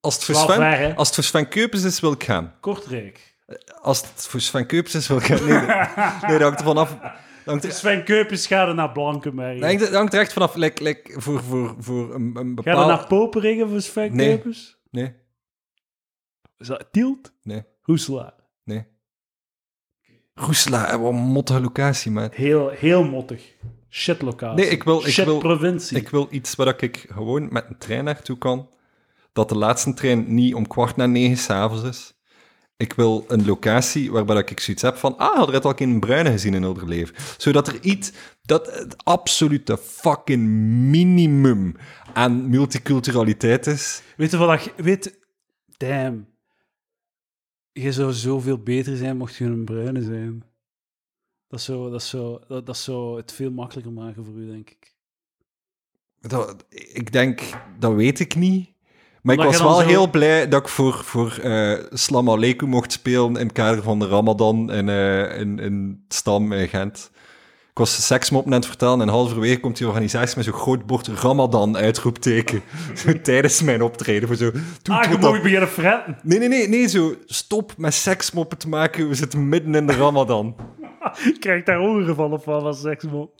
[SPEAKER 1] Als het, voor
[SPEAKER 2] Wel ver,
[SPEAKER 1] Sven,
[SPEAKER 2] hè?
[SPEAKER 1] als het voor Sven Keupens is, wil ik gaan.
[SPEAKER 2] Kortrijk.
[SPEAKER 1] Als het voor Sven Keupens is, wil ik gaan. Nee, dat- nee dat hangt ervan af. Dat hangt er-
[SPEAKER 2] Sven Keupens gaat er naar Blankenberg.
[SPEAKER 1] Nee, dat hangt er echt vanaf. Like, like, voor, voor, voor een, een
[SPEAKER 2] Ga je
[SPEAKER 1] bepaald...
[SPEAKER 2] naar Poperingen voor Sven
[SPEAKER 1] Nee.
[SPEAKER 2] Keupens?
[SPEAKER 1] Nee,
[SPEAKER 2] Is dat Tielt?
[SPEAKER 1] nee,
[SPEAKER 2] Roeselaar.
[SPEAKER 1] nee. Roesla, eh, wat een motte locatie, man.
[SPEAKER 2] Heel, heel mottig. Shit locatie.
[SPEAKER 1] Nee, ik wil- ik
[SPEAKER 2] Shit
[SPEAKER 1] wil-
[SPEAKER 2] provincie.
[SPEAKER 1] Ik wil iets waar ik gewoon met een trein naartoe kan. Dat de laatste trein niet om kwart na negen s'avonds is. Ik wil een locatie waarbij ik zoiets heb van... Ah, had er het al in Bruine gezien in ouder leven. Zodat er iets... Dat het absolute fucking minimum aan multiculturaliteit is.
[SPEAKER 2] Weet je wat? dat- Weet... Damn. Je zou zoveel beter zijn mocht je een bruine zijn. Dat zou, dat zou, dat, dat zou het veel makkelijker maken voor u, denk ik.
[SPEAKER 1] Dat, ik denk, dat weet ik niet. Maar
[SPEAKER 2] Omdat
[SPEAKER 1] ik
[SPEAKER 2] je
[SPEAKER 1] was
[SPEAKER 2] dan
[SPEAKER 1] wel
[SPEAKER 2] zo-
[SPEAKER 1] heel blij dat ik voor, voor eh, Slam Aleikum mocht spelen in het kader van de Ramadan in, eh, in, in het Stam in Gent. Ik was de seksmop aan het vertellen en halverwege komt die organisatie met zo'n groot bord Ramadan uitroepteken. *laughs* Zo tijdens mijn optreden. Voor zo, doe
[SPEAKER 2] Ah,
[SPEAKER 1] tot
[SPEAKER 2] je
[SPEAKER 1] dat-
[SPEAKER 2] moet beginnen fretten. *laughs*
[SPEAKER 1] Nee, nee, nee, nee, zo stop met seksmoppen te maken. We zitten midden in de Ramadan.
[SPEAKER 2] Je krijgt daar ongevallen van als seksmom.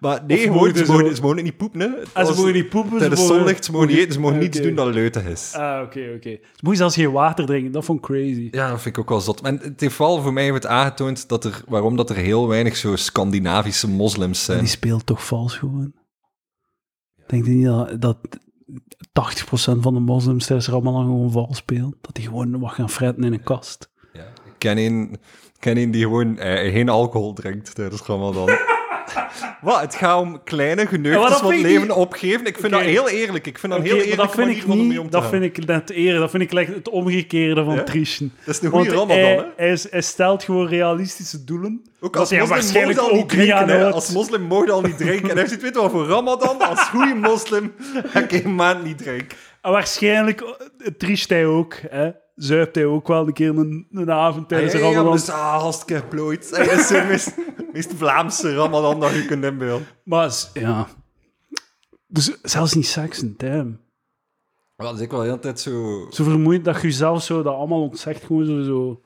[SPEAKER 1] Maar nee,
[SPEAKER 2] Of
[SPEAKER 1] gewoon,
[SPEAKER 2] mogen
[SPEAKER 1] ze
[SPEAKER 2] zo-
[SPEAKER 1] mogen, ze mogen niet poepen. Hè.
[SPEAKER 2] En ze
[SPEAKER 1] Als-
[SPEAKER 2] mogen niet poepen.
[SPEAKER 1] Tijdens zonlicht, ze mogen niet eten, ze mogen
[SPEAKER 2] Oké.
[SPEAKER 1] niets doen dat leuten is.
[SPEAKER 2] Ah, oké, oké. Ze moesten zelfs geen water drinken. Dat vond ik crazy.
[SPEAKER 1] Ja, dat vind ik ook wel zot. En het heeft vooral voor mij heeft het aangetoond dat er, waarom dat er heel weinig zo Scandinavische moslims zijn.
[SPEAKER 2] Die speelt toch vals gewoon? Denk je niet dat, dat 80% van de moslims tijdens Ramadan gewoon vals spelen? Dat die gewoon wat gaan fretten in een kast.
[SPEAKER 1] Ja. Ik ken één, ik ken één die gewoon eh, geen alcohol drinkt tijdens
[SPEAKER 2] *laughs*
[SPEAKER 1] Ramadan. Wat? Het gaat om kleine
[SPEAKER 2] Ja, maar
[SPEAKER 1] geneugtes
[SPEAKER 2] dat
[SPEAKER 1] van
[SPEAKER 2] vind
[SPEAKER 1] het
[SPEAKER 2] ik
[SPEAKER 1] leven
[SPEAKER 2] niet-
[SPEAKER 1] opgeven. Ik vind
[SPEAKER 2] Oké.
[SPEAKER 1] dat heel eerlijk. Ik vind dat
[SPEAKER 2] Oké,
[SPEAKER 1] een heel
[SPEAKER 2] maar
[SPEAKER 1] eerlijk
[SPEAKER 2] dat vind ik niet, dat vind
[SPEAKER 1] ik...
[SPEAKER 2] ik net ere, dat vind ik like het omgekeerde van
[SPEAKER 1] Ja?
[SPEAKER 2] Trischen.
[SPEAKER 1] Dat is een goede
[SPEAKER 2] Want
[SPEAKER 1] Ramadan, hè?
[SPEAKER 2] hij, hij, is- hij stelt gewoon realistische doelen.
[SPEAKER 1] Ook
[SPEAKER 2] dat
[SPEAKER 1] als
[SPEAKER 2] hij
[SPEAKER 1] moslim
[SPEAKER 2] waarschijnlijk
[SPEAKER 1] mocht al niet
[SPEAKER 2] ook niet
[SPEAKER 1] drinken.
[SPEAKER 2] aan
[SPEAKER 1] hè.
[SPEAKER 2] uit.
[SPEAKER 1] Als moslim mocht al niet
[SPEAKER 2] *laughs*
[SPEAKER 1] drinken. En hij zegt, weet je wat, voor Ramadan, als goede moslim, ga ik een maand niet drinken.
[SPEAKER 2] En Ah, waarschijnlijk eh, triest hij ook, hè? Zuipt hij ook wel een keer een, een avond tijdens
[SPEAKER 1] Hey,
[SPEAKER 2] Ramadan.
[SPEAKER 1] Ja, dus, ah, hartstikke plooit. Hey, dat is de *laughs* meest, meest Vlaamse Ramadan dat je kunt inbeelden.
[SPEAKER 2] Maar s- ja. Dus zelfs niet seksen, damn.
[SPEAKER 1] Dat is ik wel de hele tijd zo...
[SPEAKER 2] Zo vermoeiend dat je jezelf zo dat allemaal ontzegt, gewoon zo. zo.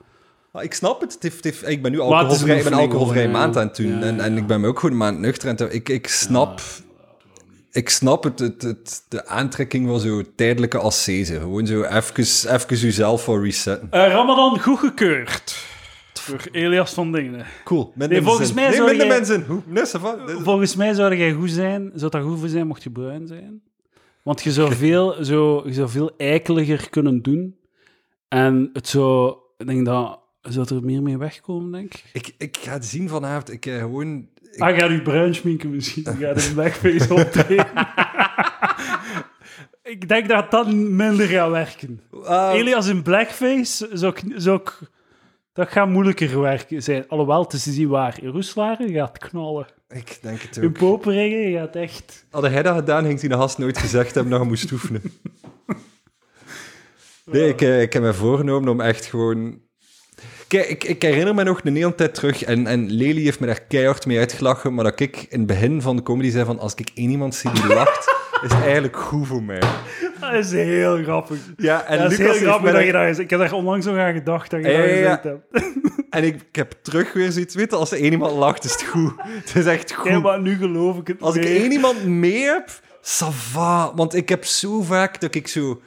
[SPEAKER 1] Ah, ik snap het. Het heeft- het heeft- ik ben nu
[SPEAKER 2] is een
[SPEAKER 1] alcoholvrij, ik ben
[SPEAKER 2] oefening,
[SPEAKER 1] alcoholvrij
[SPEAKER 2] hoor, ja.
[SPEAKER 1] maand aan het doen.
[SPEAKER 2] Ja, ja,
[SPEAKER 1] En, en ik ben me ook gewoon een maand nuchter. En ik, ik snap... Ik snap het, het, het- de aantrekking van zo tijdelijke ascese. Gewoon zo even, even jezelf voor resetten.
[SPEAKER 2] Eh, Ramadan goedgekeurd. Voor Elias van Dingen.
[SPEAKER 1] Cool. Minder
[SPEAKER 2] Nee, volgens
[SPEAKER 1] mensen.
[SPEAKER 2] mij
[SPEAKER 1] Nee,
[SPEAKER 2] zou
[SPEAKER 1] minder
[SPEAKER 2] jij-
[SPEAKER 1] mensen. Hoe? Nee, ça va. Dit is-
[SPEAKER 2] Volgens mij zou jij goed zijn, zou dat goed voor zijn mocht je bruin zijn. Want je zou veel, zo, je zou veel eikeliger kunnen doen. En het zou, ik denk dat, zou er meer mee wegkomen, denk ik.
[SPEAKER 1] Ik, ik ga het zien vanavond. Ik eh, gewoon... ik-
[SPEAKER 2] Ah, gaat u bruin schminken misschien. Gaat
[SPEAKER 1] *laughs*
[SPEAKER 2] een blackface optreden. ik denk dat dat minder gaat werken.
[SPEAKER 1] ah,
[SPEAKER 2] Elias in blackface zou ik... Zou ik dat gaat moeilijker werken zijn. Alhoewel, het is te zien waar. In Roeslaren gaat knallen.
[SPEAKER 1] ik denk het
[SPEAKER 2] In
[SPEAKER 1] ook.
[SPEAKER 2] Poperingen gaat echt...
[SPEAKER 1] Had hij dat gedaan, ging hij de gast nooit gezegd hebben dat hij moest oefenen. Nee, ik, eh, ik heb me voorgenomen om echt gewoon... Kijk, ik, ik herinner me nog een hele tijd terug, en, en Lely heeft me daar keihard mee uitgelachen, maar dat ik in het begin van de comedy zei van, als ik één iemand zie die lacht, is het eigenlijk goed voor mij.
[SPEAKER 2] Dat is heel grappig.
[SPEAKER 1] Ja, en
[SPEAKER 2] dat
[SPEAKER 1] Lucas
[SPEAKER 2] is heel
[SPEAKER 1] heeft
[SPEAKER 2] grappig
[SPEAKER 1] mij
[SPEAKER 2] dat
[SPEAKER 1] daar-
[SPEAKER 2] je daar is. Ik heb daar onlangs nog aan gedacht dat je
[SPEAKER 1] Ja,
[SPEAKER 2] daar
[SPEAKER 1] ja, ja.
[SPEAKER 2] gezegd hebt.
[SPEAKER 1] En ik, ik heb terug weer zoiets, weet je, als er één iemand lacht, is het goed. Het is echt goed.
[SPEAKER 2] Ja, maar nu geloof ik het
[SPEAKER 1] Als ik
[SPEAKER 2] meer.
[SPEAKER 1] één iemand mee heb, sava. Want ik heb zo vaak dat ik zo 80%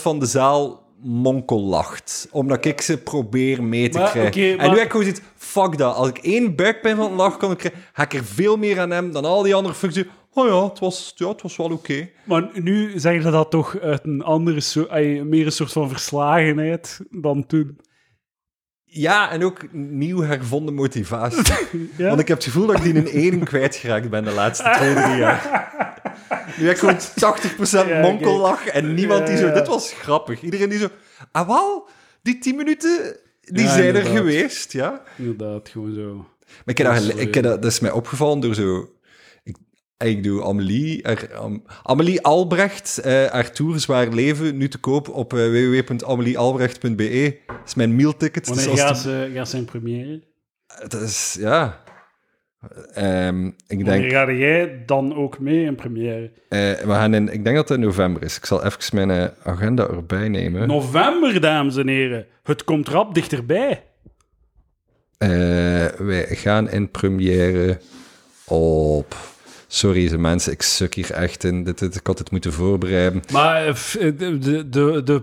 [SPEAKER 1] van de zaal monkel lacht. Omdat ik ze probeer mee te
[SPEAKER 2] Maar,
[SPEAKER 1] krijgen.
[SPEAKER 2] oké,
[SPEAKER 1] En
[SPEAKER 2] maar-
[SPEAKER 1] nu heb ik gewoon zoiets, fuck dat. Als ik één buikpijn van het lachen kan krijgen, ga ik er veel meer aan hem dan al die andere functies. Oh ja, het was, ja, het was wel oké.
[SPEAKER 2] Maar nu zeg je dat toch uit een andere soort... ay, meer een soort van verslagenheid dan toen.
[SPEAKER 1] Ja, en ook nieuw hervonden motivatie.
[SPEAKER 2] *laughs* Ja?
[SPEAKER 1] Want ik heb het gevoel dat ik die in één kwijtgeraakt ben de laatste twee, drie jaar. Nu heb ik gewoon 80%
[SPEAKER 2] Ja, oké.
[SPEAKER 1] monkellach en niemand die
[SPEAKER 2] Ja,
[SPEAKER 1] zo...
[SPEAKER 2] ja.
[SPEAKER 1] Dit was grappig. Iedereen die zo... Ah, wel, die 10 minuten, die
[SPEAKER 2] Ja,
[SPEAKER 1] zijn er
[SPEAKER 2] inderdaad.
[SPEAKER 1] geweest, ja.
[SPEAKER 2] Inderdaad, gewoon zo.
[SPEAKER 1] Maar ik heb dat, gele-
[SPEAKER 2] Sorry.
[SPEAKER 1] ik heb dat, dat is mij opgevallen door zo... Ik, ik doe Amelie... haar- Am- Amelie Albrecht, eh haar tour Zwaar Leven, nu te koop op eh, www.ameliealbrecht.be. E. Dat is mijn mealticket. Dus
[SPEAKER 2] Wanneer
[SPEAKER 1] als
[SPEAKER 2] gaat
[SPEAKER 1] de-
[SPEAKER 2] ze, gaat ze in première?
[SPEAKER 1] Dat is... Ja. Ehm, ik denk...
[SPEAKER 2] Wanneer ga jij dan ook mee in première?
[SPEAKER 1] Eh, we gaan in, ik denk dat het in november is. Ik zal even mijn eh, agenda erbij nemen.
[SPEAKER 2] November, dames en heren. Het komt rap dichterbij.
[SPEAKER 1] Eh, wij gaan in première op. Sorry, ze mensen, ik suk hier echt in. Dit, dit- ik had het moeten voorbereiden.
[SPEAKER 2] Maar eh, f- eh, de, de, de, de-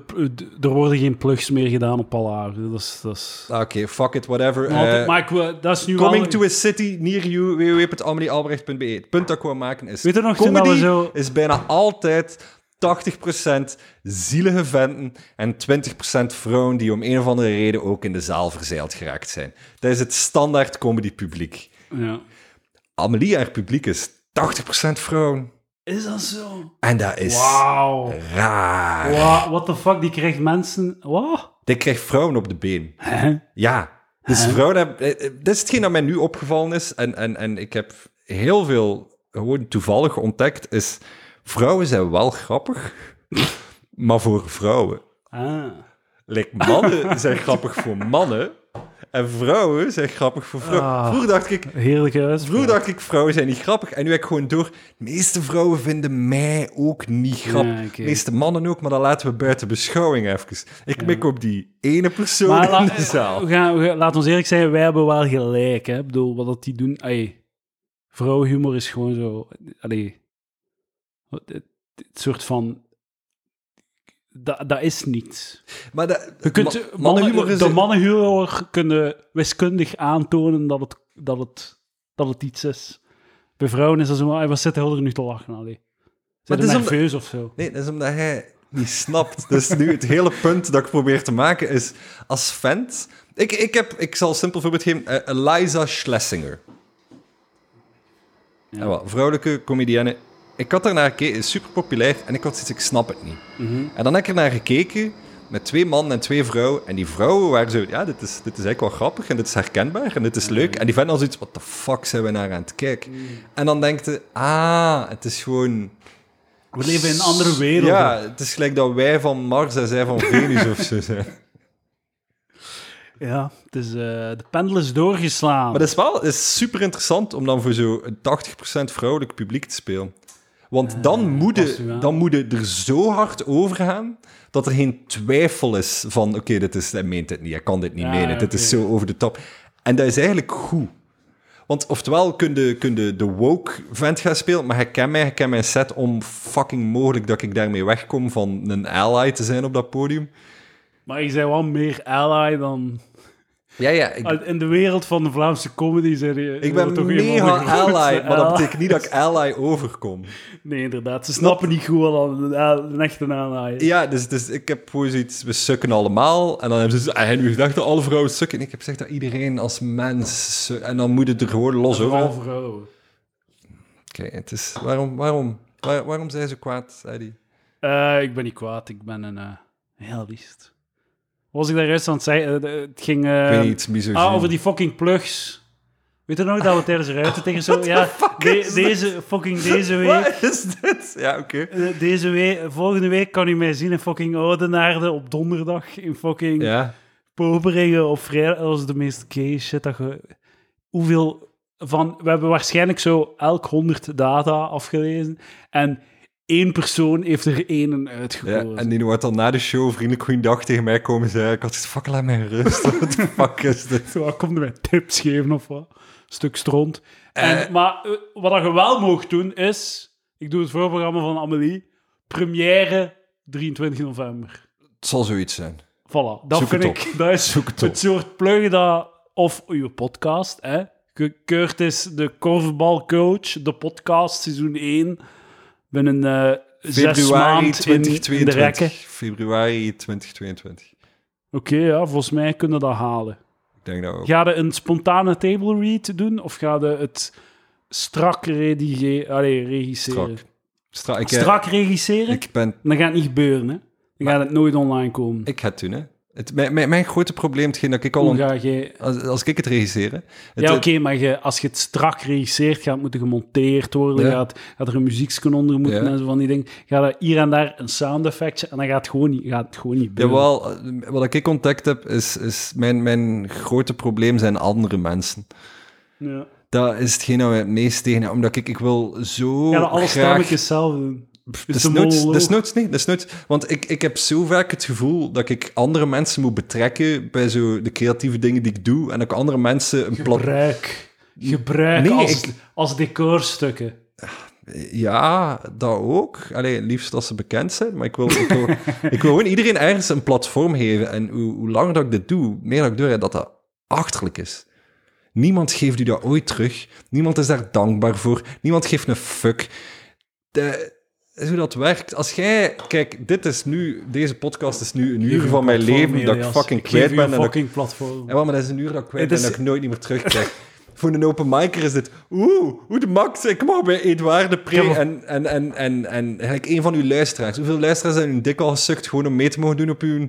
[SPEAKER 2] er worden geen plugs meer gedaan op Palaar. Dat is... Dat is...
[SPEAKER 1] Ah, Oké, fuck it, whatever.
[SPEAKER 2] Want-
[SPEAKER 1] Eh,
[SPEAKER 2] maar ik wil- dat is nu
[SPEAKER 1] coming
[SPEAKER 2] wel...
[SPEAKER 1] to a city near you, www.ameliealbrecht.be. Het punt dat ik wil maken is...
[SPEAKER 2] Weet je nog, toen dat
[SPEAKER 1] comedy
[SPEAKER 2] we zo-
[SPEAKER 1] is bijna altijd... 80% zielige venten en 20% vrouwen die om een of andere reden ook in de zaal verzeild geraakt zijn. Dat is het standaard comedy publiek.
[SPEAKER 2] Ja.
[SPEAKER 1] Amelie, haar publiek is 80% vrouwen.
[SPEAKER 2] Is dat zo?
[SPEAKER 1] En dat is
[SPEAKER 2] Wauw.
[SPEAKER 1] raar.
[SPEAKER 2] Wow, what the fuck, die krijgt mensen... Wat?
[SPEAKER 1] Die krijgt vrouwen op de been. Ja. Dus vrouwen hebben... eh, eh, Dat is hetgeen dat mij nu opgevallen is. En, en, en ik heb heel veel gewoon toevallig ontdekt, is... Vrouwen zijn wel grappig, *laughs* maar voor vrouwen.
[SPEAKER 2] Ah.
[SPEAKER 1] Like,
[SPEAKER 2] *laughs*
[SPEAKER 1] mannen zijn grappig voor mannen. En vrouwen zijn grappig voor vrouwen.
[SPEAKER 2] Ah.
[SPEAKER 1] Vroeger dacht ik,
[SPEAKER 2] Heerlijke uitspraak.
[SPEAKER 1] Vroeger dacht ik, vrouwen zijn niet grappig. En nu heb ik gewoon door, de meeste vrouwen vinden mij ook niet grappig.
[SPEAKER 2] Ja, oké.
[SPEAKER 1] De meeste mannen ook, maar dat laten we buiten beschouwing even. Ik mik op die ene persoon
[SPEAKER 2] Maar la-
[SPEAKER 1] in de zaal.
[SPEAKER 2] we gaan, we gaan- laat ons eerlijk zijn, wij hebben wel gelijk. Hè? Ik bedoel, wat dat die doen... Ay, vrouwenhumor is gewoon zo... Allee, wat- het, het soort van... Dat, dat is niets.
[SPEAKER 1] Maar dat,
[SPEAKER 2] Je kunt,
[SPEAKER 1] ma-
[SPEAKER 2] mannen-
[SPEAKER 1] eh, mannenhumor is...
[SPEAKER 2] de mannenhumor kunnen wiskundig aantonen dat het, dat, het, dat het iets is. Bij vrouwen is dat zo van, "Ai, wat zit hij er nu te lachen? Allee. Zijn
[SPEAKER 1] het is
[SPEAKER 2] ze
[SPEAKER 1] om-
[SPEAKER 2] nerveus of zo?
[SPEAKER 1] Nee, dat is omdat hij niet snapt. Dus nu het hele punt dat ik probeer te maken is, als vent... Ik, ik, heb, ik zal een simpel voorbeeld geven. Eh, Eliza Schlesinger.
[SPEAKER 2] Ja.
[SPEAKER 1] Ja. wel, vrouwelijke comedienne. Ik had daarnaar gekeken, is super populair. En ik had zoiets, ik snap het niet. En dan heb ik er naar gekeken met twee mannen en twee vrouwen. En die vrouwen waren zo, ja, dit is, dit is eigenlijk wel grappig en dit is herkenbaar en dit is leuk. En die vinden al zoiets, wat de fuck zijn we naar aan het kijken? En dan denkt je, ah, het is gewoon...
[SPEAKER 2] We leven in een andere wereld.
[SPEAKER 1] Ja, het is gelijk dat wij van Mars en zij van Venus of zo
[SPEAKER 2] *laughs*
[SPEAKER 1] zijn.
[SPEAKER 2] Ja, het is, eh, de pendel is doorgeslaan.
[SPEAKER 1] Maar dat is wel dat is super interessant om dan voor zo'n 80% vrouwelijk publiek te spelen. Want dan moet
[SPEAKER 2] past u
[SPEAKER 1] je
[SPEAKER 2] aan.
[SPEAKER 1] dan moet je er zo hard over gaan dat er geen twijfel is van oké, dit is hij meent het niet, hij kan dit niet
[SPEAKER 2] Ja,
[SPEAKER 1] menen, dit
[SPEAKER 2] oké.
[SPEAKER 1] is zo over de top. En dat is eigenlijk goed. Want oftewel kun je, kun je de woke vent gaan spelen, maar hij kent mij, hij kent mijn set om fucking mogelijk dat ik daarmee wegkom van een ally te zijn op dat podium.
[SPEAKER 2] Maar ik zei wel meer ally dan...
[SPEAKER 1] Ja, ja, ik,
[SPEAKER 2] In de wereld van de Vlaamse comedy zijn Ah, die-
[SPEAKER 1] ik
[SPEAKER 2] zijn er
[SPEAKER 1] ben
[SPEAKER 2] toch een van de
[SPEAKER 1] mega
[SPEAKER 2] grootste
[SPEAKER 1] ally, maar
[SPEAKER 2] *laughs*
[SPEAKER 1] dat
[SPEAKER 2] allies.
[SPEAKER 1] betekent niet dat ik ally overkom.
[SPEAKER 2] Nee, inderdaad. Ze snappen niet goed wat een, een echte ally is.
[SPEAKER 1] Ja, dus, dus ik heb gewoon zoiets, we sukken allemaal. En dan hebben ze en nu gedacht dat alle vrouwen sukken. En ik heb gezegd dat iedereen als mens su- En dan moet het er gewoon los over.
[SPEAKER 2] Vooral
[SPEAKER 1] Oké,
[SPEAKER 2] vrouwen.
[SPEAKER 1] het is... Waarom, waarom, waar- waarom zijn ze kwaad, Eddie?
[SPEAKER 2] Eh, ik ben niet kwaad, ik ben een eh, heel liefst. Wat was ik daar juist aan het zeggen? Eh, de- het ging eh,
[SPEAKER 1] Ik weet niet, iets misogyn.
[SPEAKER 2] ah, over die fucking plugs. Weet je nog dat we het tijdens ruiten
[SPEAKER 1] *laughs*
[SPEAKER 2] tegen zo... Ja, de-
[SPEAKER 1] is dit?
[SPEAKER 2] deze, fucking deze week...
[SPEAKER 1] Wat is dit? Ja, oké.
[SPEAKER 2] eh, Deze week, volgende week kan u mij zien in fucking Oudenaarde op donderdag in fucking
[SPEAKER 1] Ja.
[SPEAKER 2] poperingen op vrijdag, dat was de meest gay shit dat je... Hoeveel van... We hebben waarschijnlijk zo elk 100 data afgelezen en één persoon heeft er één
[SPEAKER 1] Ja,
[SPEAKER 2] uitgekozen.
[SPEAKER 1] en die wordt dan na de show vriendelijk goeiedag tegen mij komen zeggen. Ik had zoiets, fuck, laat mij in rust. *laughs* Wat de fuck is dit?
[SPEAKER 2] Zo, wat komt er met tips geven of wat? Stuk stront. En, maar eh, wat dat je wel mocht doen is... Ik doe het voorprogramma van Amelie. Première 23 november.
[SPEAKER 1] Het zal zoiets zijn.
[SPEAKER 2] Voilà. Dat
[SPEAKER 1] Zoek
[SPEAKER 2] vind
[SPEAKER 1] het
[SPEAKER 2] ik... *laughs* Dat is
[SPEAKER 1] Zoek het op.
[SPEAKER 2] het soort pluggen dat... Of uw podcast, hè. Gekeurd is de korfbalcoach, de podcast, seizoen 1. Binnen eh zes
[SPEAKER 1] Februari
[SPEAKER 2] maanden in, in de
[SPEAKER 1] 2022.
[SPEAKER 2] rekken.
[SPEAKER 1] Februari 2022.
[SPEAKER 2] Oké, ja, volgens mij kunnen we dat halen.
[SPEAKER 1] Ik denk dat we ook.
[SPEAKER 2] Ga je een spontane table read doen of ga je het strak redige- allee, regisseren?
[SPEAKER 1] Strak.
[SPEAKER 2] Strak,
[SPEAKER 1] Stra- ik, eh,
[SPEAKER 2] regisseren?
[SPEAKER 1] ik ben
[SPEAKER 2] Dan gaat het niet gebeuren, hè? Dan gaat het nooit online komen.
[SPEAKER 1] Ik ga het doen, hè. Het, mijn, mijn, mijn grote probleem, hetgeen dat ik al...
[SPEAKER 2] Hoe
[SPEAKER 1] ont-
[SPEAKER 2] ga jij...
[SPEAKER 1] Als, als ik het regisseer, hè. Het-
[SPEAKER 2] Ja, oké, maar je, als je het strak regisseert, gaat het moeten gemonteerd worden,
[SPEAKER 1] Ja.
[SPEAKER 2] gaat, gaat er een muzieksken onder moeten
[SPEAKER 1] Ja.
[SPEAKER 2] en zo van die dingen. Gaat er hier en daar een sound effectje en dan gaat het gewoon niet, gaat het gewoon niet gebeuren.
[SPEAKER 1] Jawel, eh, wat ik ontdekt heb, is... is mijn, mijn grote probleem zijn andere mensen.
[SPEAKER 2] Ja.
[SPEAKER 1] Dat is hetgeen dat we het meest tegen Omdat ik, ik wil zo
[SPEAKER 2] Ga je alle
[SPEAKER 1] graag...
[SPEAKER 2] stammetjes zelf doen? Is de
[SPEAKER 1] Desnoods,
[SPEAKER 2] monoloog.
[SPEAKER 1] desnoods niet, desnoods. Want ik, ik heb zo vaak het gevoel dat ik andere mensen moet betrekken bij zo de creatieve dingen die ik doe. En dat ik andere mensen een plat...
[SPEAKER 2] Gebruik. Gebruik
[SPEAKER 1] Nee,
[SPEAKER 2] als,
[SPEAKER 1] ik-
[SPEAKER 2] als decorstukken.
[SPEAKER 1] Ja, dat ook. Allee, liefst als ze bekend zijn, maar ik wil, ik *laughs* wil, ik wil gewoon iedereen ergens een platform geven. En hoe, hoe langer dat ik dit doe, hoe meer dat ik doe, dat dat achterlijk is. Niemand geeft u dat ooit terug. Niemand is daar dankbaar voor. Niemand geeft een fuck. De, is hoe dat werkt. Als jij... Kijk, dit is nu... Deze podcast is nu een uur van mijn leven dat ik fucking kwijt ben. En dat ik-
[SPEAKER 2] fucking platform.
[SPEAKER 1] ja, wel, maar dat is een uur dat ik kwijt
[SPEAKER 2] Het
[SPEAKER 1] ben
[SPEAKER 2] is-
[SPEAKER 1] dat ik nooit niet meer terugkrijg. *laughs* Voor een open micer is dit... Oeh, hoe de max. Ik mag bij Edouard de
[SPEAKER 2] Ik
[SPEAKER 1] Pre
[SPEAKER 2] heb al-
[SPEAKER 1] en, en, en, en, en gelijk één van uw luisteraars. Hoeveel luisteraars zijn hun dik al gesukt gewoon om mee te mogen doen op uw,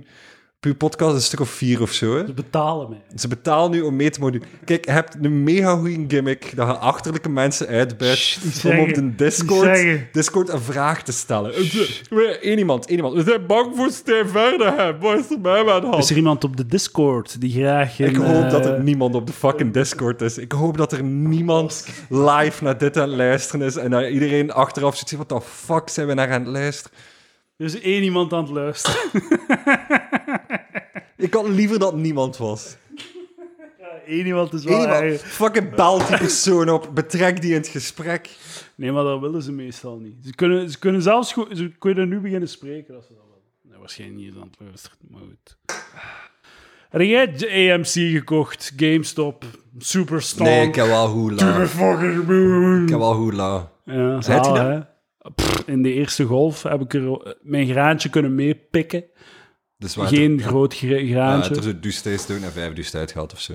[SPEAKER 1] op uw podcast? Een stuk of vier of zo, hè?
[SPEAKER 2] Ze betalen mij.
[SPEAKER 1] Ze betalen nu om mee te mogen doen. Kijk, je hebt een mega goede gimmick dat je achterlijke mensen uitbuit
[SPEAKER 2] Shh,
[SPEAKER 1] om
[SPEAKER 2] niet zeggen,
[SPEAKER 1] op de
[SPEAKER 2] niet
[SPEAKER 1] Discord,
[SPEAKER 2] zeggen.
[SPEAKER 1] Discord een vraag te stellen. Eén iemand, één iemand. We zijn bang voor Stijn Verderhem. Wat is er met hem aan de hand?
[SPEAKER 2] Is er iemand op de Discord die graag...
[SPEAKER 1] Ik hoop
[SPEAKER 2] eh,
[SPEAKER 1] dat er niemand op de fucking Discord is. Ik hoop dat er niemand live naar dit aan het luisteren is. En dat iedereen achteraf zit. Wat de fuck zijn we naar aan het luisteren?
[SPEAKER 2] Er is één iemand aan het luisteren. *laughs*
[SPEAKER 1] Ik had liever dat niemand was.
[SPEAKER 2] Eén iemand is wel...
[SPEAKER 1] Iemand,
[SPEAKER 2] eigen.
[SPEAKER 1] fucking bel die persoon op. Betrek die in het gesprek.
[SPEAKER 2] Nee, maar dat willen ze meestal niet. Ze kunnen, ze kunnen zelfs goed, ze kunnen nu beginnen spreken als ze dat willen. Nee, waarschijnlijk niet aan het luisteren, maar goed. Heb jij de AMC gekocht? GameStop? Superstar?
[SPEAKER 1] Nee, ik heb wel hoela.
[SPEAKER 2] fucking moon.
[SPEAKER 1] Ik heb wel hoela.
[SPEAKER 2] Ja,
[SPEAKER 1] Zet je
[SPEAKER 2] zalig,
[SPEAKER 1] dat?
[SPEAKER 2] hè? Pff, in de eerste golf heb ik er eh, mijn graantje kunnen meepikken.
[SPEAKER 1] Dus waar
[SPEAKER 2] Geen groot gra-
[SPEAKER 1] er,
[SPEAKER 2] graantje.
[SPEAKER 1] er zo douche steeds doen en vijf douche tijd gehad of zo.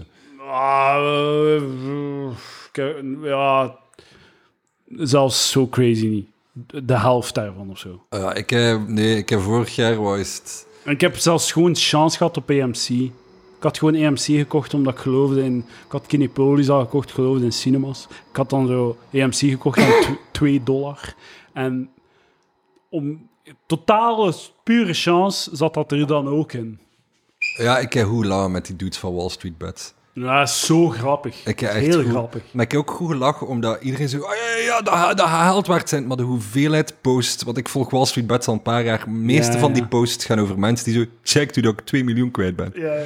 [SPEAKER 2] Ah, eh, eh, ik heb- ja, zelfs zo crazy niet. De helft daarvan of zo.
[SPEAKER 1] Eh, ik heb, nee, ik heb vorig jaar was het...
[SPEAKER 2] En ik heb zelfs gewoon chance gehad op AMC. Ik had gewoon AMC gekocht omdat ik geloofde in... Ik had Kinepolis al gekocht, ik geloofde in cinemas. Ik had dan zo AMC gekocht aan
[SPEAKER 1] *laughs*
[SPEAKER 2] tw- 2 dollar. En om totale, pure chance zat dat er dan ook in.
[SPEAKER 1] Ja, ik heb hoela met die dudes van Wall Street Bets.
[SPEAKER 2] Ja, zo grappig.
[SPEAKER 1] Ik heb echt
[SPEAKER 2] Heel
[SPEAKER 1] goed-
[SPEAKER 2] grappig.
[SPEAKER 1] Maar ik heb ook goed gelachen, omdat iedereen zo... "Ah, ja, ja, ja, dat, dat gehaald waard zijn. Maar de hoeveelheid posts... Want ik volg Wall Street Bets al een paar jaar. De meeste
[SPEAKER 2] Ja,
[SPEAKER 1] van
[SPEAKER 2] ja.
[SPEAKER 1] die posts gaan over mensen die zo... Check u dat ik 2 miljoen kwijt ben.
[SPEAKER 2] Ja, ja.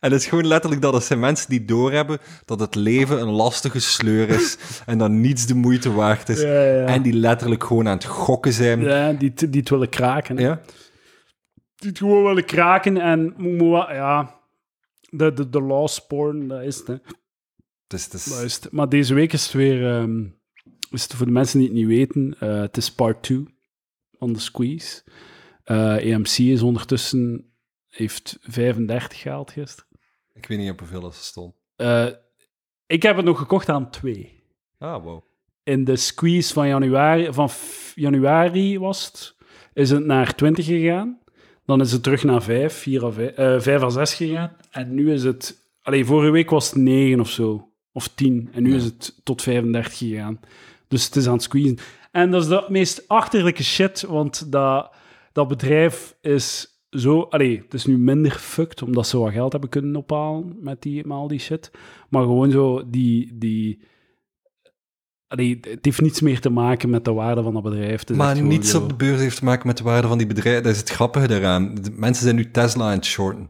[SPEAKER 1] En het is gewoon letterlijk dat het zijn mensen die doorhebben... dat het leven een lastige sleur
[SPEAKER 2] *laughs*
[SPEAKER 1] is. en dat niets de moeite waard is.
[SPEAKER 2] Ja, ja.
[SPEAKER 1] En die letterlijk gewoon aan het gokken zijn. Ja.
[SPEAKER 2] Ja, die, die het willen kraken. Die het gewoon willen kraken en moet- moet wel- ja, de, de, de lost porn, dat is het. Hè.
[SPEAKER 1] Dus het is...
[SPEAKER 2] Dat is het. Maar deze week is het weer, ehm, is het voor de mensen die het niet weten, eh, het is part 2 van de squeeze. Eh EMC is ondertussen, heeft 35 gehaald gisteren.
[SPEAKER 1] Ik weet niet op hoeveel dat ze stond.
[SPEAKER 2] Eh, ik heb het nog gekocht aan 2.
[SPEAKER 1] Ah, wow.
[SPEAKER 2] in de squeeze van januari, van f- januari was het, is het naar 20 gegaan. Dan is het terug naar 5, 4 à 5, eh, 5 à 6 gegaan. En nu is het... Allee, vorige week was het 9 of zo. Of 10. En nu
[SPEAKER 1] Ja.
[SPEAKER 2] is het tot 35 gegaan. Dus het is aan het squeezen. En dat is de meest achterlijke shit, want dat, dat bedrijf is zo, allee, het is nu minder fucked omdat ze wat geld hebben kunnen ophalen met, die, met al die shit. Maar gewoon zo, die. die allee, het heeft niets meer te maken met de waarde van dat bedrijf. Het is echt
[SPEAKER 1] Maar
[SPEAKER 2] gewoon
[SPEAKER 1] niets
[SPEAKER 2] zo-
[SPEAKER 1] op de beurs heeft te maken met de waarde van die bedrijven. Dat is het grappige daaraan. De mensen zijn nu Tesla aan het shorten.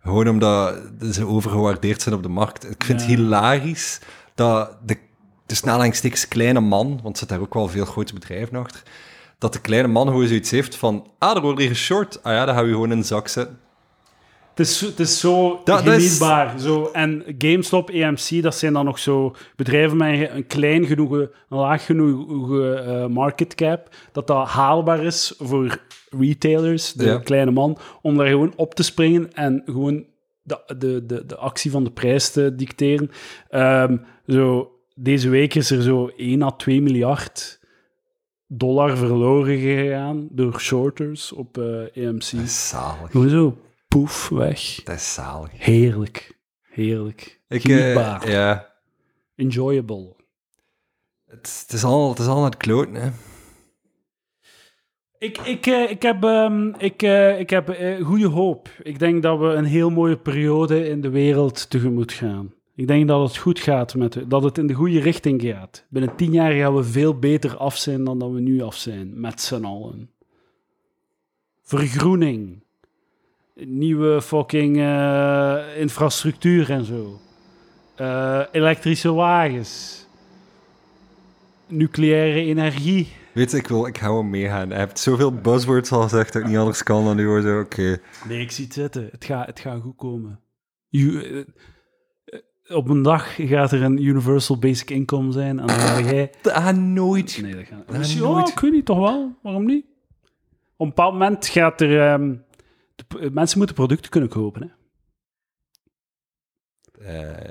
[SPEAKER 1] Gewoon omdat ze overgewaardeerd zijn op de markt. Ik vind
[SPEAKER 2] Ja.
[SPEAKER 1] het hilarisch dat de, tussen aanhalingstekens kleine man, want er zitten daar ook wel veel grote bedrijven achter, dat de kleine man gewoon zoiets heeft van, ah, er wordt hier geshort. Ah ja, dat gaan we gewoon in de zak zetten.
[SPEAKER 2] Het is, het is zo
[SPEAKER 1] Dat- dat is-
[SPEAKER 2] genietbaar. Zo. En GameStop, EMC, dat zijn dan nog zo bedrijven met een klein genoeg, een laag genoeg eh, market cap, dat dat haalbaar is voor retailers, de
[SPEAKER 1] Ja.
[SPEAKER 2] kleine man, om daar gewoon op te springen en gewoon de, de, de, de actie van de prijs te dicteren. Ehm, zo, deze week is er zo 1 à 2 miljard dollar verloren gegaan door shorters op eh, EMC.
[SPEAKER 1] Dat is zalig.
[SPEAKER 2] Gewoon zo, poef, weg.
[SPEAKER 1] Dat is zalig.
[SPEAKER 2] Heerlijk. Heerlijk.
[SPEAKER 1] Ik, eh,
[SPEAKER 2] Genietbaar.
[SPEAKER 1] ja,
[SPEAKER 2] Enjoyable.
[SPEAKER 1] het, het is al, het is al aan het kloten, hè.
[SPEAKER 2] Ik, ik, eh, ik heb, ehm, ik, eh, ik heb eh, goede hoop. Ik denk dat we een heel mooie periode in de wereld tegemoet gaan. Ik denk dat het goed gaat, met, de- dat het in de goede richting gaat. Binnen tien jaar gaan we veel beter af zijn dan dat we nu af zijn, met z'n allen. Vergroening. Nieuwe fucking eh, infrastructuur en zo. Eh, elektrische wagens. Nucleaire energie.
[SPEAKER 1] Weet je, ik wil, ik hou hem meegaan. Hij heeft zoveel buzzwords al gezegd dat ik niet anders kan dan nu hoor. Zo, Oké.
[SPEAKER 2] Nee, ik zie het zitten. Het gaat het gaat goed komen. U- eh, eh, op een dag gaat er een universal basic income zijn en dan ga jij...
[SPEAKER 1] Dat gaat nooit.
[SPEAKER 2] Nee, dat gaat
[SPEAKER 1] Dat
[SPEAKER 2] Misschien,
[SPEAKER 1] nooit.
[SPEAKER 2] oh, ik weet niet, toch wel? Waarom niet? Op een bepaald moment gaat er... ehm, de p- eh, mensen moeten producten kunnen kopen, hè.
[SPEAKER 1] Eh,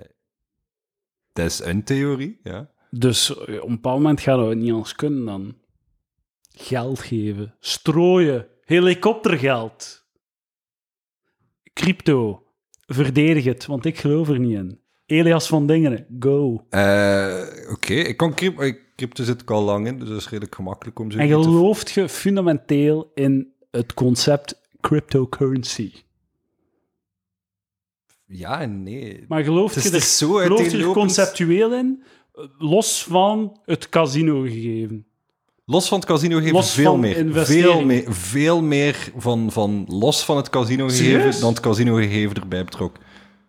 [SPEAKER 1] dat is een theorie, ja.
[SPEAKER 2] Dus eh, op een bepaald moment gaan we het niet anders kunnen dan geld geven, strooien, helikoptergeld, crypto, verdedig het, want ik geloof er niet in. Elias van Dingenen, go.
[SPEAKER 1] Eh, Oké, ik kan crypto, crypto zit ik al lang in, dus dat is redelijk gemakkelijk om zo.
[SPEAKER 2] En gelooft je fundamenteel in het concept cryptocurrency?
[SPEAKER 1] Ja en nee.
[SPEAKER 2] Maar gelooft
[SPEAKER 1] Het is,
[SPEAKER 2] je
[SPEAKER 1] het
[SPEAKER 2] er,
[SPEAKER 1] is zo
[SPEAKER 2] gelooft je er
[SPEAKER 1] uiteenlopend.
[SPEAKER 2] conceptueel in, eh, los van het casino gegeven?
[SPEAKER 1] Los van het casino geven
[SPEAKER 2] Los
[SPEAKER 1] veel
[SPEAKER 2] van
[SPEAKER 1] meer.
[SPEAKER 2] investering.
[SPEAKER 1] Veel meer, veel meer van, van los van het casino gegeven
[SPEAKER 2] Serieus?
[SPEAKER 1] dan het casino gegeven erbij betrokken.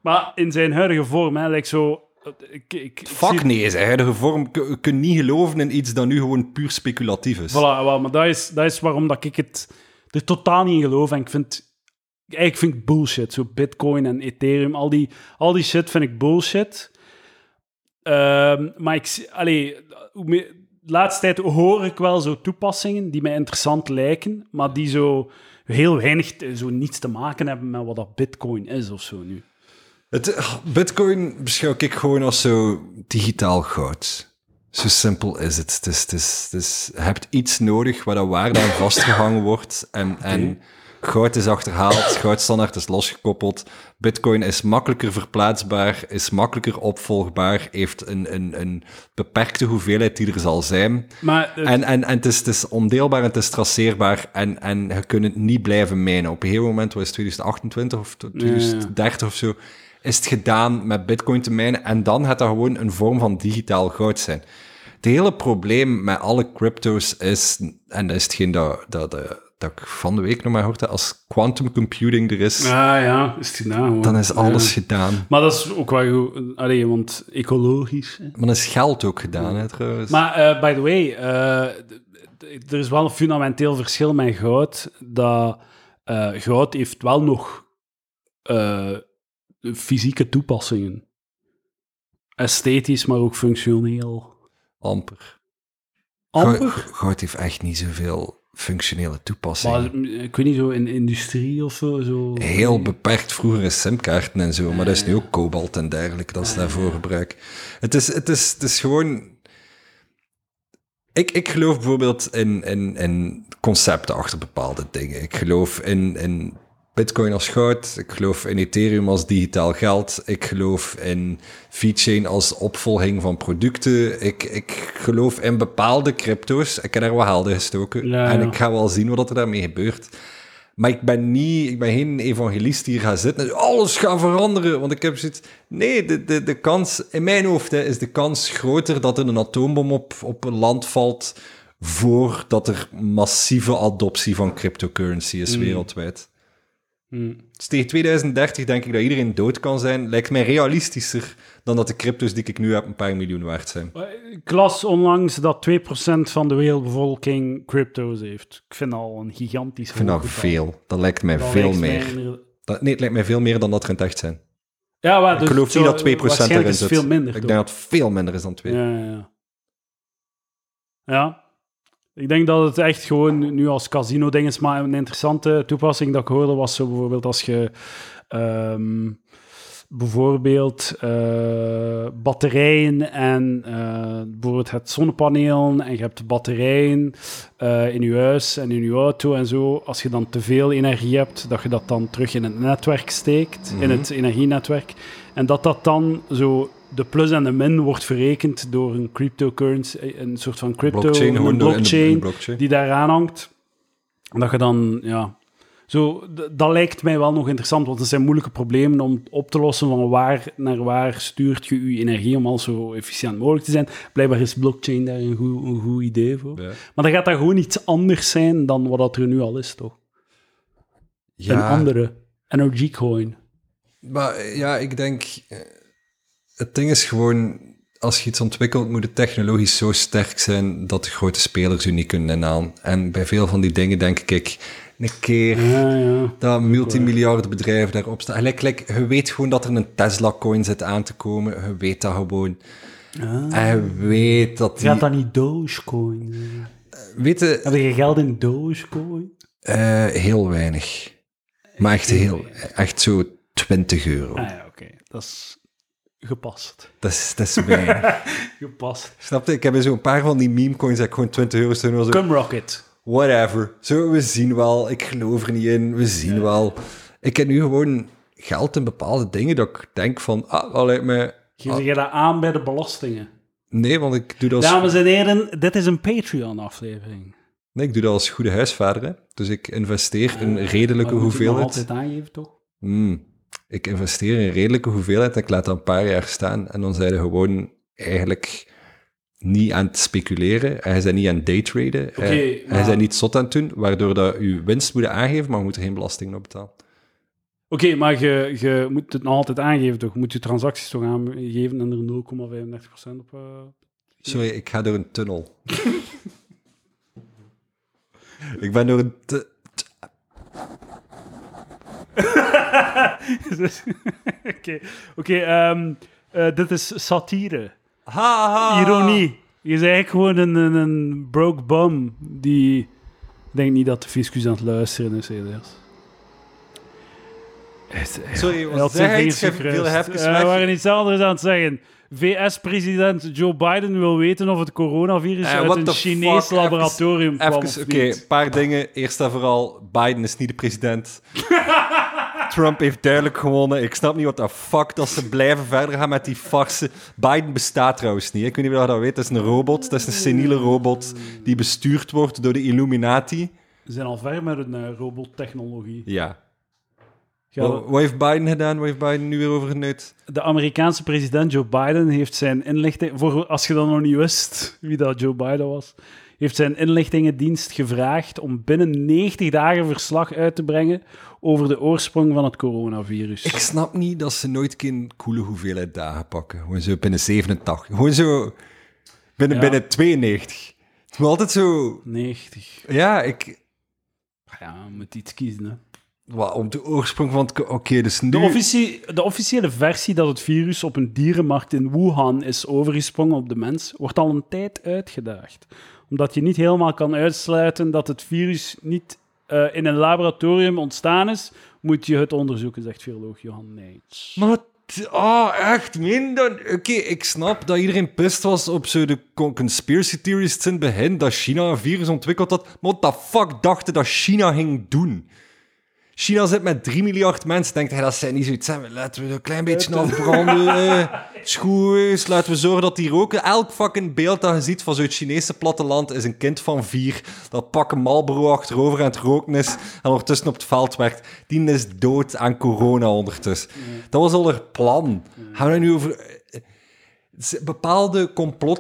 [SPEAKER 2] Maar in zijn huidige vorm, hè, lijkt zo... eh, Ik, ik, ik zie-
[SPEAKER 1] Fuck nee, zijn huidige vorm. Je je kunt niet geloven in iets dat nu gewoon puur speculatief is.
[SPEAKER 2] Voilà, wel, maar dat is, dat is waarom dat ik het er totaal niet in geloof. En ik vind, eigenlijk vind ik bullshit. Zo Bitcoin en Ethereum, al die, al die shit vind ik bullshit. Ehm, maar ik, zie- allee, hoe meer- de laatste tijd hoor ik wel zo toepassingen die mij interessant lijken, maar die zo heel weinig, eh, zo niets te maken hebben met wat dat Bitcoin is of zo nu.
[SPEAKER 1] Het, ah, Bitcoin beschouw ik gewoon als zo digitaal goud. Zo simpel is het. Het is, het is, het is- je hebt iets nodig waar dat waarde aan vastgehangen wordt. En, en goud is achterhaald, goudstandaard is losgekoppeld. Bitcoin is makkelijker verplaatsbaar, is makkelijker opvolgbaar, heeft een, een, een beperkte hoeveelheid die er zal zijn.
[SPEAKER 2] Maar eh,
[SPEAKER 1] En, en, en het, is, het is ondeelbaar en het is traceerbaar. En, en je kunt het niet blijven mijnen. Op een gegeven moment, was het 2028 of t- 2030 of zo, is het gedaan met bitcoin te mijnen. En dan gaat dat gewoon een vorm van digitaal goud zijn. Het hele probleem met alle crypto's is, en dat is hetgeen dat, dat, dat, dat ik van de week nog maar hoorde, als quantum computing er is,
[SPEAKER 2] ja, Ah, ja, is het gedaan. hoor.
[SPEAKER 1] dan is alles
[SPEAKER 2] Ja.
[SPEAKER 1] gedaan.
[SPEAKER 2] Maar dat is ook wel goed, allee, want ecologisch. Hè.
[SPEAKER 1] Maar dan is geld ook gedaan, hè, trouwens.
[SPEAKER 2] Maar eh, by the way, eh, d- d- er is wel een fundamenteel verschil met goud. Dat eh, goud heeft wel nog eh, fysieke toepassingen. Esthetisch, maar ook functioneel.
[SPEAKER 1] Amper.
[SPEAKER 2] Amper.
[SPEAKER 1] Goud, goud heeft echt niet zoveel functionele toepassingen.
[SPEAKER 2] Maar, mm, ik weet niet, zo in industrie of zo. zo.
[SPEAKER 1] Heel beperkt vroeger is simkaarten en zo, maar dat is nu ook kobalt en dergelijke,
[SPEAKER 2] Ah,
[SPEAKER 1] dat is daarvoor gebruik. Het is, het is, het is gewoon... Ik, ik geloof bijvoorbeeld in, in, in concepten achter bepaalde dingen. Ik geloof in, in bitcoin als goud, ik geloof in ethereum als digitaal geld, ik geloof in VeChain als opvolging van producten, ik, ik geloof in bepaalde crypto's. Ik heb daar wel helder gestoken
[SPEAKER 2] Ja,
[SPEAKER 1] en
[SPEAKER 2] ja.
[SPEAKER 1] ik ga wel zien wat er daarmee gebeurt. Maar ik ben, niet, ik ben geen evangelist die hier gaat zitten. en Alles gaat veranderen. Want ik heb zoiets. Nee, de, de, de kans. In mijn hoofd hè, is de kans groter dat er een atoombom op, op een land valt. voordat er massieve adoptie van cryptocurrency is
[SPEAKER 2] Mm.
[SPEAKER 1] wereldwijd.
[SPEAKER 2] Hm.
[SPEAKER 1] Dus tegen 2030 denk ik dat iedereen dood kan zijn. Lijkt mij realistischer dan dat de crypto's die ik nu heb een paar miljoen waard zijn.
[SPEAKER 2] Ik las onlangs dat 2% van de wereldbevolking crypto's heeft. Ik vind dat al een gigantisch
[SPEAKER 1] Ik vind
[SPEAKER 2] hoog
[SPEAKER 1] dat
[SPEAKER 2] getal.
[SPEAKER 1] veel. Dat lijkt mij
[SPEAKER 2] Dat
[SPEAKER 1] veel
[SPEAKER 2] lijkt mij
[SPEAKER 1] meer.
[SPEAKER 2] inderdaad-
[SPEAKER 1] Dat, nee, het lijkt mij veel meer dan dat er in het echt zijn.
[SPEAKER 2] Ja, maar
[SPEAKER 1] ik
[SPEAKER 2] dus
[SPEAKER 1] geloof
[SPEAKER 2] zo-
[SPEAKER 1] niet dat 2%
[SPEAKER 2] waarschijnlijk
[SPEAKER 1] erin
[SPEAKER 2] is
[SPEAKER 1] zit.
[SPEAKER 2] het veel minder.
[SPEAKER 1] ik
[SPEAKER 2] toch?
[SPEAKER 1] denk dat het veel minder is dan 2.
[SPEAKER 2] Ja, ja, ja. Ja. Ik denk dat het echt gewoon nu als casino-ding is, maar een interessante toepassing dat ik hoorde was zo bijvoorbeeld als je ehm, bijvoorbeeld eh, batterijen en eh, bijvoorbeeld het zonnepaneel en je hebt batterijen eh, in je huis en in je auto en zo. Als je dan te veel energie hebt, dat je dat dan terug in het netwerk steekt, in
[SPEAKER 1] Mhm.
[SPEAKER 2] het energienetwerk. En dat dat dan zo de plus en de min wordt verrekend door een cryptocurrency, eh, een soort van crypto,
[SPEAKER 1] Blockchain, gewoon
[SPEAKER 2] een
[SPEAKER 1] door in de- in de
[SPEAKER 2] blockchain
[SPEAKER 1] blockchain.
[SPEAKER 2] die daaraan hangt. En dat je dan, ja... Zo, d- dat lijkt mij wel nog interessant, want het zijn moeilijke problemen om op te lossen van waar naar waar stuurt je je energie om al zo efficiënt mogelijk te zijn. Blijkbaar is blockchain daar een goed, een goed idee voor.
[SPEAKER 1] Ja.
[SPEAKER 2] Maar dan gaat dat gewoon iets anders zijn dan wat dat er nu al is, toch? Een
[SPEAKER 1] Ja,
[SPEAKER 2] andere energy coin.
[SPEAKER 1] Maar eh, ja, ik denk... eh, Het ding is gewoon... Als je iets ontwikkelt, moet het technologisch zo sterk zijn dat de grote spelers je niet kunnen inhalen. En bij veel van die dingen denk ik, een keer
[SPEAKER 2] Ja, ja.
[SPEAKER 1] dat multimiljarden bedrijven daarop staan. Gelijk, gelijk, je weet gewoon dat er een Tesla-coin zit aan te komen. Je weet dat gewoon.
[SPEAKER 2] Ah.
[SPEAKER 1] En je weet dat die...
[SPEAKER 2] Gaat dat niet Dogecoin? zijn?
[SPEAKER 1] Weet je,
[SPEAKER 2] Heb je geld in Dogecoin?
[SPEAKER 1] Eh, heel weinig. Maar echt heel, echt zo 20 euro.
[SPEAKER 2] Eh, Ah ja, oké. Dat is gepast.
[SPEAKER 1] Dat is, dat is
[SPEAKER 2] *laughs*
[SPEAKER 1] weinig.
[SPEAKER 2] Gepast.
[SPEAKER 1] Snap je? Ik heb in zo'n paar van die meme coins dat ik gewoon 20 euro steun. was Zo,
[SPEAKER 2] Cumrocket.
[SPEAKER 1] whatever. Zo, we zien wel. Ik geloof er niet in. We zien wel. Ik heb nu gewoon geld in bepaalde dingen dat ik denk van, ah, dat lijkt mij...
[SPEAKER 2] Geef je dat aan bij de belastingen?
[SPEAKER 1] Nee, want ik doe dat als,
[SPEAKER 2] Dames en heren, dit is een Patreon-aflevering.
[SPEAKER 1] nee, ik doe dat als goede huisvader. hè. Dus ik investeer een redelijke
[SPEAKER 2] Ah, Maar moet je het nog
[SPEAKER 1] hoeveelheid.
[SPEAKER 2] altijd aangeven, toch?
[SPEAKER 1] Hmm. Ik investeer een redelijke hoeveelheid en ik laat dat een paar jaar staan. En dan zijn ze gewoon eigenlijk niet aan het speculeren. En hij zijn niet aan het daytraden. Eh,
[SPEAKER 2] Oké,
[SPEAKER 1] hij
[SPEAKER 2] maar-
[SPEAKER 1] zijn niet zot aan het doen, waardoor dat je winst moet aangeven, maar je moet er geen belasting op betalen.
[SPEAKER 2] Oké, maar je, je moet het nog altijd aangeven, toch? Je moet je transacties toch aangeven en er 0,35% op... eh, *laughs*
[SPEAKER 1] Sorry, ik ga door een tunnel. *laughs* ik ben door een... tu-
[SPEAKER 2] Dus- Oké, oké, ehm, eh, dit is satire.
[SPEAKER 1] Ha, ha.
[SPEAKER 2] Ironie. Je is eigenlijk gewoon een, een, een broke bum die... Ik denk niet dat de fiscus aan het luisteren is, helaas.
[SPEAKER 1] Sorry,
[SPEAKER 2] Hij had
[SPEAKER 1] wat
[SPEAKER 2] zijn
[SPEAKER 1] zeg je?
[SPEAKER 2] vingers
[SPEAKER 1] Ik heb veel
[SPEAKER 2] gekruist.
[SPEAKER 1] hefjes
[SPEAKER 2] Eh,
[SPEAKER 1] weg.
[SPEAKER 2] We waren iets anders aan het zeggen. VS-president Joe Biden wil weten of het coronavirus
[SPEAKER 1] Eh,
[SPEAKER 2] Dus uit
[SPEAKER 1] what
[SPEAKER 2] een
[SPEAKER 1] the
[SPEAKER 2] Chinees
[SPEAKER 1] fuck?
[SPEAKER 2] laboratorium
[SPEAKER 1] Even,
[SPEAKER 2] kwam.
[SPEAKER 1] oké,
[SPEAKER 2] of
[SPEAKER 1] een
[SPEAKER 2] niet.
[SPEAKER 1] paar dingen. Eerst en vooral, Biden is niet de
[SPEAKER 2] *laughs*
[SPEAKER 1] president. Trump heeft duidelijk gewonnen. Ik snap niet wat de fuck dat ze blijven verder gaan met die farse. Biden bestaat trouwens niet. Ik weet niet of je dat weet. Dat is een robot. Dat is een seniele robot die bestuurd wordt door de Illuminati.
[SPEAKER 2] We zijn al ver met een eh, robottechnologie.
[SPEAKER 1] Ja.
[SPEAKER 2] Gaan
[SPEAKER 1] Wat, wat heeft Biden gedaan? Wat heeft Biden nu weer over genut?
[SPEAKER 2] we- De Amerikaanse president Joe Biden heeft zijn inlichting... Voor, als je dat nog niet wist, wie dat Joe Biden was... Heeft zijn inlichtingendienst gevraagd om binnen 90 dagen verslag uit te brengen over de oorsprong van het coronavirus.
[SPEAKER 1] Ik snap niet dat ze nooit geen coole hoeveelheid dagen pakken. Gewoon zo binnen 87. Gewoon zo binnen,
[SPEAKER 2] Ja.
[SPEAKER 1] binnen 92. Het is altijd zo...
[SPEAKER 2] 90.
[SPEAKER 1] Ja, ik...
[SPEAKER 2] Ja, je moet iets kiezen, hè.
[SPEAKER 1] Wat, om de oorsprong van het... ko- Oké, dus nu...
[SPEAKER 2] De, officie- de officiële versie dat het virus op een dierenmarkt in Wuhan is overgesprongen op de mens, wordt al een tijd uitgedaagd. Omdat je niet helemaal kan uitsluiten dat het virus niet eh, in een laboratorium ontstaan is, moet je het onderzoeken, zegt viroloog Johan Nijts.
[SPEAKER 1] Maar t- ah, echt minder. Oké, ik snap dat iedereen pist was op zo de con- conspiracy theorists in het begin dat China een virus ontwikkeld had. Maar wat de fuck dachten dat China ging doen? China zit met 3 miljard mensen. Denkt hij dat zij niet zoiets hebben? Laten we er een klein beetje afbranden. Schoers, laten we zorgen dat die roken. Elk fucking beeld dat je ziet van zo'n Chinese platteland is een kind van vier. Dat pakken Marlboro achterover aan het roken is. En ondertussen op het veld werkt. Die is dood aan corona ondertussen. Dat was al haar plan. Gaan we daar nu over. Z- Bepaalde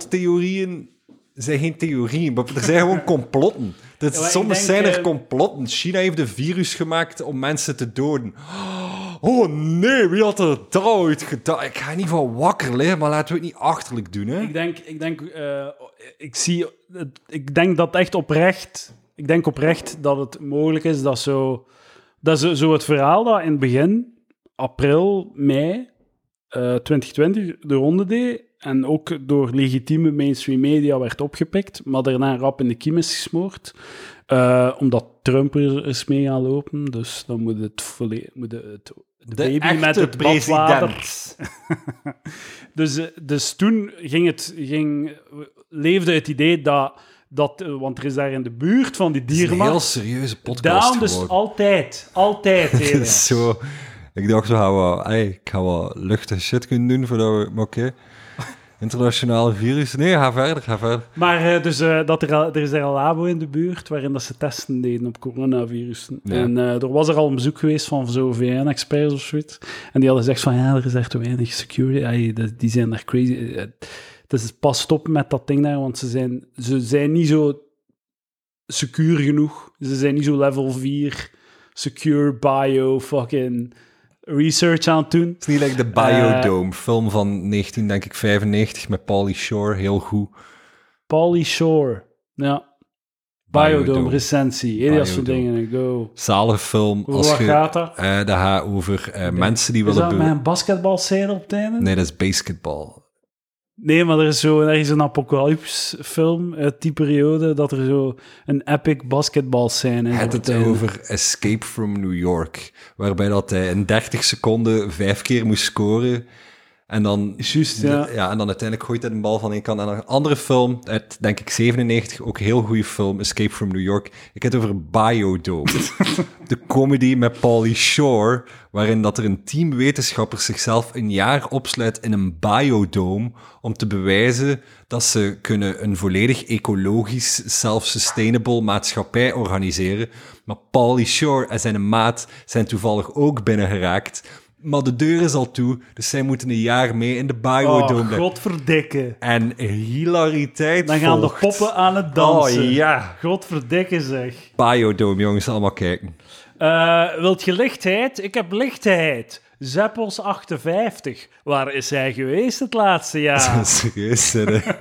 [SPEAKER 1] complottheorieën zijn geen theorieën, maar er zijn gewoon complotten.
[SPEAKER 2] *laughs*
[SPEAKER 1] Dat,
[SPEAKER 2] Ja, maar ik
[SPEAKER 1] soms
[SPEAKER 2] denk,
[SPEAKER 1] zijn er
[SPEAKER 2] eh,
[SPEAKER 1] complotten. China heeft een virus gemaakt om mensen te doden. Oh nee, wie had er dat ooit gedaan? Ik ga niet van wakker liggen, maar laten we het niet achterlijk doen. Hè?
[SPEAKER 2] Ik denk, ik denk, eh, ik zie, het- ik denk dat echt oprecht, ik denk oprecht dat het mogelijk is dat zo, dat zo, zo het verhaal dat in het begin, april, mei eh, 2020 de ronde deed en ook door legitieme mainstream media werd opgepikt, maar daarna rap in de kiem is gesmoord. eh, omdat Trump er is mee gaan lopen, dus dan moet het, volle- moet het de, baby met het badwater *laughs* dus, eh, dus toen ging het, ging, leefde het idee dat, dat, eh, want er is daar in de buurt van die
[SPEAKER 1] Het is een heel
[SPEAKER 2] dierenmarkt.
[SPEAKER 1] serieuze podcast
[SPEAKER 2] Down, dus
[SPEAKER 1] geworden.
[SPEAKER 2] altijd,
[SPEAKER 1] *laughs*
[SPEAKER 2] altijd.
[SPEAKER 1] Het
[SPEAKER 2] Elias.
[SPEAKER 1] is zo... Ik dacht, we gaan wel, ey, ik ga wel luchtig shit kunnen doen voordat we... Maar
[SPEAKER 2] *laughs*
[SPEAKER 1] oké, internationale virus. Nee, ga verder, ga verder.
[SPEAKER 2] Maar eh, dus, eh, dat er, al- er is daar een labo in de buurt waarin dat ze testen deden op coronavirus.
[SPEAKER 1] Ja.
[SPEAKER 2] En eh, er was er al een bezoek geweest van zo'n VN-experts of zoiets. En die hadden gezegd van, ja, er is echt te weinig security. Ay, dat- die zijn daar crazy. Eh, Dus pas stop met dat ding daar, want ze zijn, ze zijn niet zo secuur genoeg. Ze zijn niet zo level 4 secure bio fucking research aan het doen.
[SPEAKER 1] Het is niet like de Biodome,
[SPEAKER 2] Eh.
[SPEAKER 1] film van 19, denk ik, 95, met Pauly Shore, heel goed.
[SPEAKER 2] Polly Shore. Ja. Biodome,
[SPEAKER 1] Biodome.
[SPEAKER 2] recensie. Elias van
[SPEAKER 1] Biodome.
[SPEAKER 2] Dingen, go.
[SPEAKER 1] Zalig film. Als
[SPEAKER 2] Waar
[SPEAKER 1] je,
[SPEAKER 2] gaat dat?
[SPEAKER 1] eh, dat gaat over eh, mensen die
[SPEAKER 2] Is
[SPEAKER 1] willen...
[SPEAKER 2] dat
[SPEAKER 1] be-
[SPEAKER 2] met een basketbalscène op het einde?
[SPEAKER 1] Nee, dat is basketbal.
[SPEAKER 2] Nee, maar er is, zo, er is een apocalypsfilm uit die periode dat er zo een epic basketbalscène is.
[SPEAKER 1] Hij had
[SPEAKER 2] op
[SPEAKER 1] het
[SPEAKER 2] einde.
[SPEAKER 1] over Escape from New York, waarbij dat hij in 30 seconden vijf keer moest scoren. En dan,
[SPEAKER 2] Juist, ja.
[SPEAKER 1] en dan uiteindelijk gooit hij een bal van één kant. En een andere film, uit denk ik 97, ook een heel goede film, Escape from New York. Ik heb het over Biodome. de comedy met Pauly Shore, waarin dat er een team wetenschappers zichzelf een jaar opsluit in een biodome om te bewijzen dat ze kunnen een volledig ecologisch, self-sustainable maatschappij organiseren. Maar Pauly Shore en zijn maat zijn toevallig ook binnengeraakt. Maar de deur is al toe, dus zij moeten een jaar mee in de biodome
[SPEAKER 2] Oh,
[SPEAKER 1] blijven.
[SPEAKER 2] godverdikke.
[SPEAKER 1] En hilariteit
[SPEAKER 2] Dan gaan de
[SPEAKER 1] volgt.
[SPEAKER 2] poppen aan het dansen.
[SPEAKER 1] Oh ja,
[SPEAKER 2] Godverdikke zeg.
[SPEAKER 1] biodome jongens, allemaal kijken.
[SPEAKER 2] Eh, wilt je lichtheid? Ik heb lichtheid. Zeppels 58. Waar is hij geweest het laatste
[SPEAKER 1] *laughs*
[SPEAKER 2] jaar?
[SPEAKER 1] Serieus, hè, hè.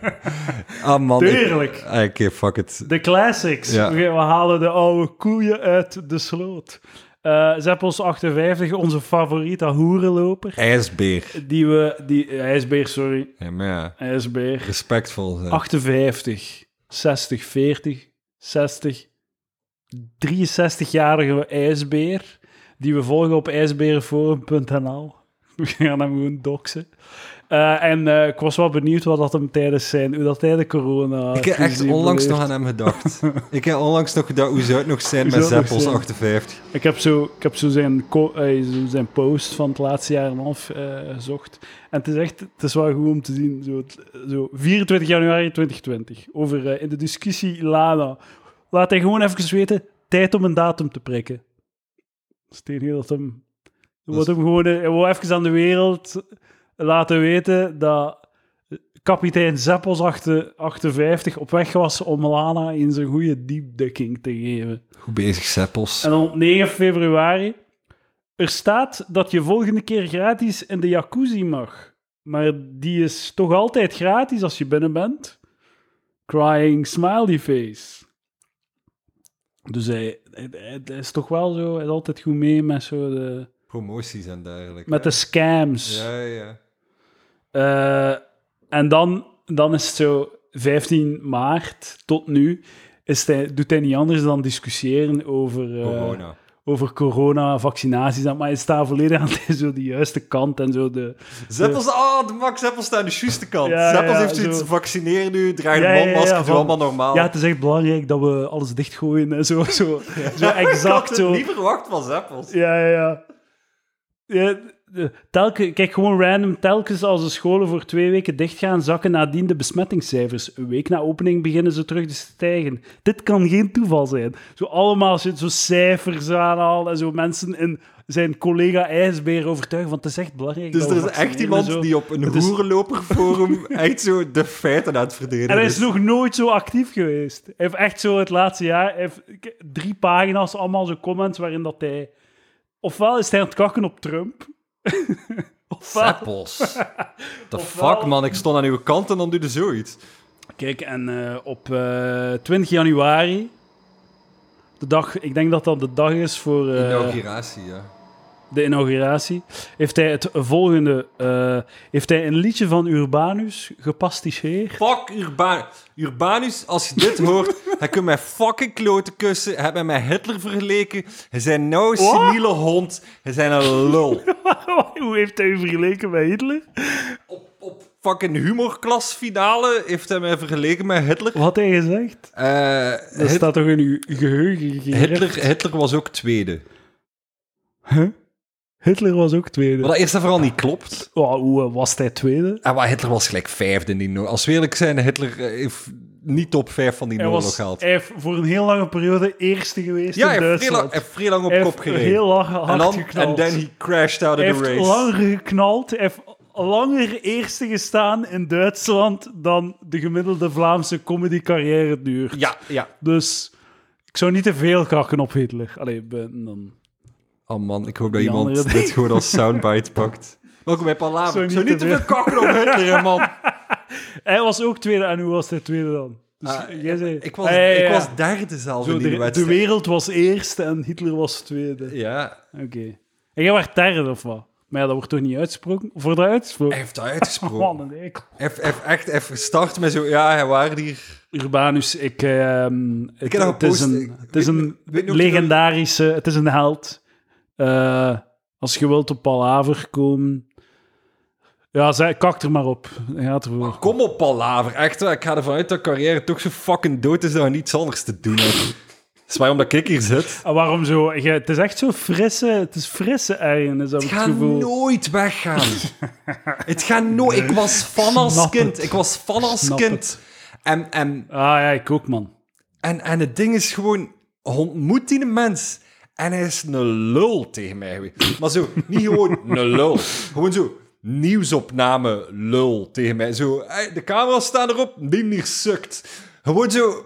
[SPEAKER 1] Ah man, ik-
[SPEAKER 2] Tuurlijk.
[SPEAKER 1] Ah, Oké, fuck it.
[SPEAKER 2] De classics.
[SPEAKER 1] Ja.
[SPEAKER 2] We, we halen de oude koeien uit de sloot. Eh Zeppels 58, onze favoriete hoerenloper.
[SPEAKER 1] IJsbeer.
[SPEAKER 2] Die we... Die, eh, ijsbeer, sorry.
[SPEAKER 1] Ja, maar ja,
[SPEAKER 2] IJsbeer.
[SPEAKER 1] respectvol zijn.
[SPEAKER 2] 58, 60, 40, 60. 63-jarige ijsbeer. Die we volgen op ijsberenforum.nl. We gaan hem gewoon doxen. Eh, en eh, ik was wel benieuwd wat dat hem tijdens zijn... Hoe dat hij de corona...
[SPEAKER 1] ik heb echt onlangs nog aan hem
[SPEAKER 2] *laughs*
[SPEAKER 1] gedacht. ik heb onlangs nog gedacht, hoe zou het nog zijn
[SPEAKER 2] Hoe
[SPEAKER 1] met
[SPEAKER 2] zou het nog
[SPEAKER 1] Zeppels
[SPEAKER 2] zijn?
[SPEAKER 1] 58?
[SPEAKER 2] Ik heb zo, ik heb zo, zijn, ko- eh, zo zijn post van het laatste jaar en een half eh, gezocht. En het is echt, het is wel goed om te zien. Zo, het- zo 24 januari 2020. Over eh, in de discussie Lana. Laat hij gewoon even weten, tijd om een datum te prikken. Steen heel dat hem...
[SPEAKER 1] Dat
[SPEAKER 2] Wordt
[SPEAKER 1] is-
[SPEAKER 2] hem gewoon eh, hij wou even aan de wereld laten weten dat eh, kapitein Zeppels 58 op weg was om Lana in zijn goede diepdekking te geven.
[SPEAKER 1] Goed bezig, Zeppels.
[SPEAKER 2] En dan op 9 februari. Er staat dat je volgende keer gratis in de jacuzzi mag. Maar die is toch altijd gratis als je binnen bent. Crying smiley face. Dus hij, hij, hij- hij is toch wel zo... Hij is altijd goed mee met, zo de,
[SPEAKER 1] Promoties en dergelijke.
[SPEAKER 2] met de scams.
[SPEAKER 1] Ja, ja.
[SPEAKER 2] Eh, en dan, dan is het zo, 15 maart tot nu, is hij, doet hij niet anders dan discussiëren over... eh,
[SPEAKER 1] Corona.
[SPEAKER 2] over corona, vaccinaties. en- Maar je staat volledig aan *laughs* zo de juiste kant en zo de...
[SPEAKER 1] Zeppels, ah, de Max Zeppels staat aan de juiste kant.
[SPEAKER 2] Ja,
[SPEAKER 1] Zeppels
[SPEAKER 2] ja,
[SPEAKER 1] heeft zoiets,
[SPEAKER 2] zo.
[SPEAKER 1] vaccineer nu, draag
[SPEAKER 2] Ja, ja,
[SPEAKER 1] de
[SPEAKER 2] ja,
[SPEAKER 1] mondmasker, doe
[SPEAKER 2] van-
[SPEAKER 1] allemaal normaal.
[SPEAKER 2] Ja, het is echt belangrijk dat we alles dichtgooien en
[SPEAKER 1] *laughs*
[SPEAKER 2] zo. Zo, zo exact
[SPEAKER 1] Ik had
[SPEAKER 2] zo.
[SPEAKER 1] het niet verwacht van Zeppels.
[SPEAKER 2] Ja, ja, ja. ja de- telke- kijk, gewoon random. Telkens als de scholen voor twee weken dichtgaan, zakken nadien de besmettingscijfers. Een week na opening beginnen ze terug te stijgen. Dit kan geen toeval zijn. Zo allemaal zit zo cijfers aanhalen en zo mensen in zijn collega IJsbeer overtuigen, want het is echt belangrijk.
[SPEAKER 1] Dus
[SPEAKER 2] dat
[SPEAKER 1] er
[SPEAKER 2] we
[SPEAKER 1] is echt
[SPEAKER 2] vaccineren en
[SPEAKER 1] iemand
[SPEAKER 2] zo.
[SPEAKER 1] die op een
[SPEAKER 2] Het
[SPEAKER 1] *laughs*
[SPEAKER 2] is-
[SPEAKER 1] hoerenloperforum echt zo de feiten aan het verdedigen
[SPEAKER 2] En hij is nog nooit zo actief geweest. Hij heeft echt zo het laatste jaar hij heeft ik- drie pagina's, allemaal zo comments waarin dat hij... Ofwel is hij aan het kakken op Trump. ofwel...
[SPEAKER 1] Zeppels. The
[SPEAKER 2] Ofwel-
[SPEAKER 1] fuck, man. Ik stond aan uw kant en dan doe je zoiets.
[SPEAKER 2] Kijk, en eh, op eh, 20 januari, de dag, ik denk dat dat de dag is voor eh,
[SPEAKER 1] Inauguratie, ja.
[SPEAKER 2] de inauguratie, heeft hij het volgende, eh, heeft hij een liedje van Urbanus *laughs* gepasticheerd.
[SPEAKER 1] Fuck Urban Urbanus, als je dit *laughs* hoort, hij kunt mij fucking kloten kussen. Hij heeft mij met Hitler vergeleken. Hij zijn nou een
[SPEAKER 2] Wat?
[SPEAKER 1] seniele hond. Hij zijn een *laughs* lul.
[SPEAKER 2] Oh, Hoe heeft hij u vergeleken bij Hitler?
[SPEAKER 1] Op, op fucking humorklasfinale heeft hij mij vergeleken met Hitler.
[SPEAKER 2] Wat had hij gezegd?
[SPEAKER 1] Eh,
[SPEAKER 2] Dat
[SPEAKER 1] Hit-
[SPEAKER 2] staat toch in uw geheugen gegeven?
[SPEAKER 1] Hitler, Hitler was ook tweede.
[SPEAKER 2] Huh? Hitler was ook tweede.
[SPEAKER 1] Wat dat eerst en vooral niet klopt.
[SPEAKER 2] Oh, hoe eh, was hij tweede?
[SPEAKER 1] En wat Ah, Hitler was gelijk vijfde in die no- Als we eerlijk zijn, Hitler eh, heeft niet top vijf van die
[SPEAKER 2] Hij,
[SPEAKER 1] oorlog
[SPEAKER 2] was,
[SPEAKER 1] gehaald.
[SPEAKER 2] hij heeft voor een heel lange periode eerste geweest
[SPEAKER 1] Ja,
[SPEAKER 2] in
[SPEAKER 1] hij heeft vrij
[SPEAKER 2] Duitsland.
[SPEAKER 1] lang, hij heeft vrij lang op
[SPEAKER 2] Hij
[SPEAKER 1] kop
[SPEAKER 2] heeft
[SPEAKER 1] gereden.
[SPEAKER 2] heel lang hard
[SPEAKER 1] En dan,
[SPEAKER 2] geknald.
[SPEAKER 1] and then he crashed out of
[SPEAKER 2] Hij
[SPEAKER 1] the
[SPEAKER 2] heeft
[SPEAKER 1] race.
[SPEAKER 2] langer geknald. Hij heeft langer eerste gestaan in Duitsland dan de gemiddelde Vlaamse comedy-carrière duurt.
[SPEAKER 1] Ja, ja.
[SPEAKER 2] Dus ik zou niet te veel kakken op Hitler. Allee, ben- dan...
[SPEAKER 1] Oh man, ik hoop dat
[SPEAKER 2] Die
[SPEAKER 1] iemand
[SPEAKER 2] andere-
[SPEAKER 1] dit gewoon als soundbite pakt. Welkom bij Palaver.
[SPEAKER 2] Zo
[SPEAKER 1] ik zou
[SPEAKER 2] niet
[SPEAKER 1] niet te
[SPEAKER 2] te
[SPEAKER 1] veel kakken op Hitler, hè, man.
[SPEAKER 2] Hij was ook tweede. En hoe was hij tweede dan? Dus
[SPEAKER 1] Ah,
[SPEAKER 2] jij zei...
[SPEAKER 1] Ik was,
[SPEAKER 2] Ah, ja, ja,
[SPEAKER 1] ik
[SPEAKER 2] ja.
[SPEAKER 1] was derde zelf
[SPEAKER 2] Zo,
[SPEAKER 1] in die
[SPEAKER 2] de, de
[SPEAKER 1] wedstrijd.
[SPEAKER 2] wereld was eerste en Hitler was tweede.
[SPEAKER 1] ja,
[SPEAKER 2] Oké. En jij werd derde of wat? Maar ja, dat wordt toch niet uitgesproken? Voor dat
[SPEAKER 1] hij
[SPEAKER 2] uitgesproken?
[SPEAKER 1] heeft dat uitgesproken.
[SPEAKER 2] *laughs* Man, een eikel.
[SPEAKER 1] Hij heeft- hij heeft echt even gestart met zo... Ja, hij waren hier...
[SPEAKER 2] Urbanus, ik, ehm,
[SPEAKER 1] heb
[SPEAKER 2] het,
[SPEAKER 1] dat
[SPEAKER 2] het is
[SPEAKER 1] gepost.
[SPEAKER 2] een,
[SPEAKER 1] Ik
[SPEAKER 2] het is
[SPEAKER 1] weet-
[SPEAKER 2] een
[SPEAKER 1] weet niet of je
[SPEAKER 2] legendarische, het is een held. Eh, als je wilt op Palaver komen, ja, zij, kak er maar op. Hij gaat ervoor.
[SPEAKER 1] Oh, Kom op, Palaver. Echt waar, ik ga ervan uit dat carrière toch zo fucking dood is dat we niets anders te doen hebben. Dat is waarom dat ik hier zit.
[SPEAKER 2] En Ah, waarom zo? Je- het is echt zo frisse, het is frisse eieren, is dat
[SPEAKER 1] Het
[SPEAKER 2] het,
[SPEAKER 1] gaat
[SPEAKER 2] gevoel.
[SPEAKER 1] nooit
[SPEAKER 2] *laughs*
[SPEAKER 1] weggaan. het gaat nooit... Ik was fan als
[SPEAKER 2] Snap
[SPEAKER 1] kind.
[SPEAKER 2] het.
[SPEAKER 1] Ik was fan als
[SPEAKER 2] Snap
[SPEAKER 1] kind.
[SPEAKER 2] het.
[SPEAKER 1] En, en,
[SPEAKER 2] Ah ja, ik ook, man.
[SPEAKER 1] en, en het ding is gewoon... je Ontmoet die mens... En hij is een lul tegen mij geweest. Maar zo, niet gewoon een lul. Gewoon zo, nieuwsopname lul tegen mij. Zo, hey, de camera's staan erop, die hier sukt. Gewoon zo...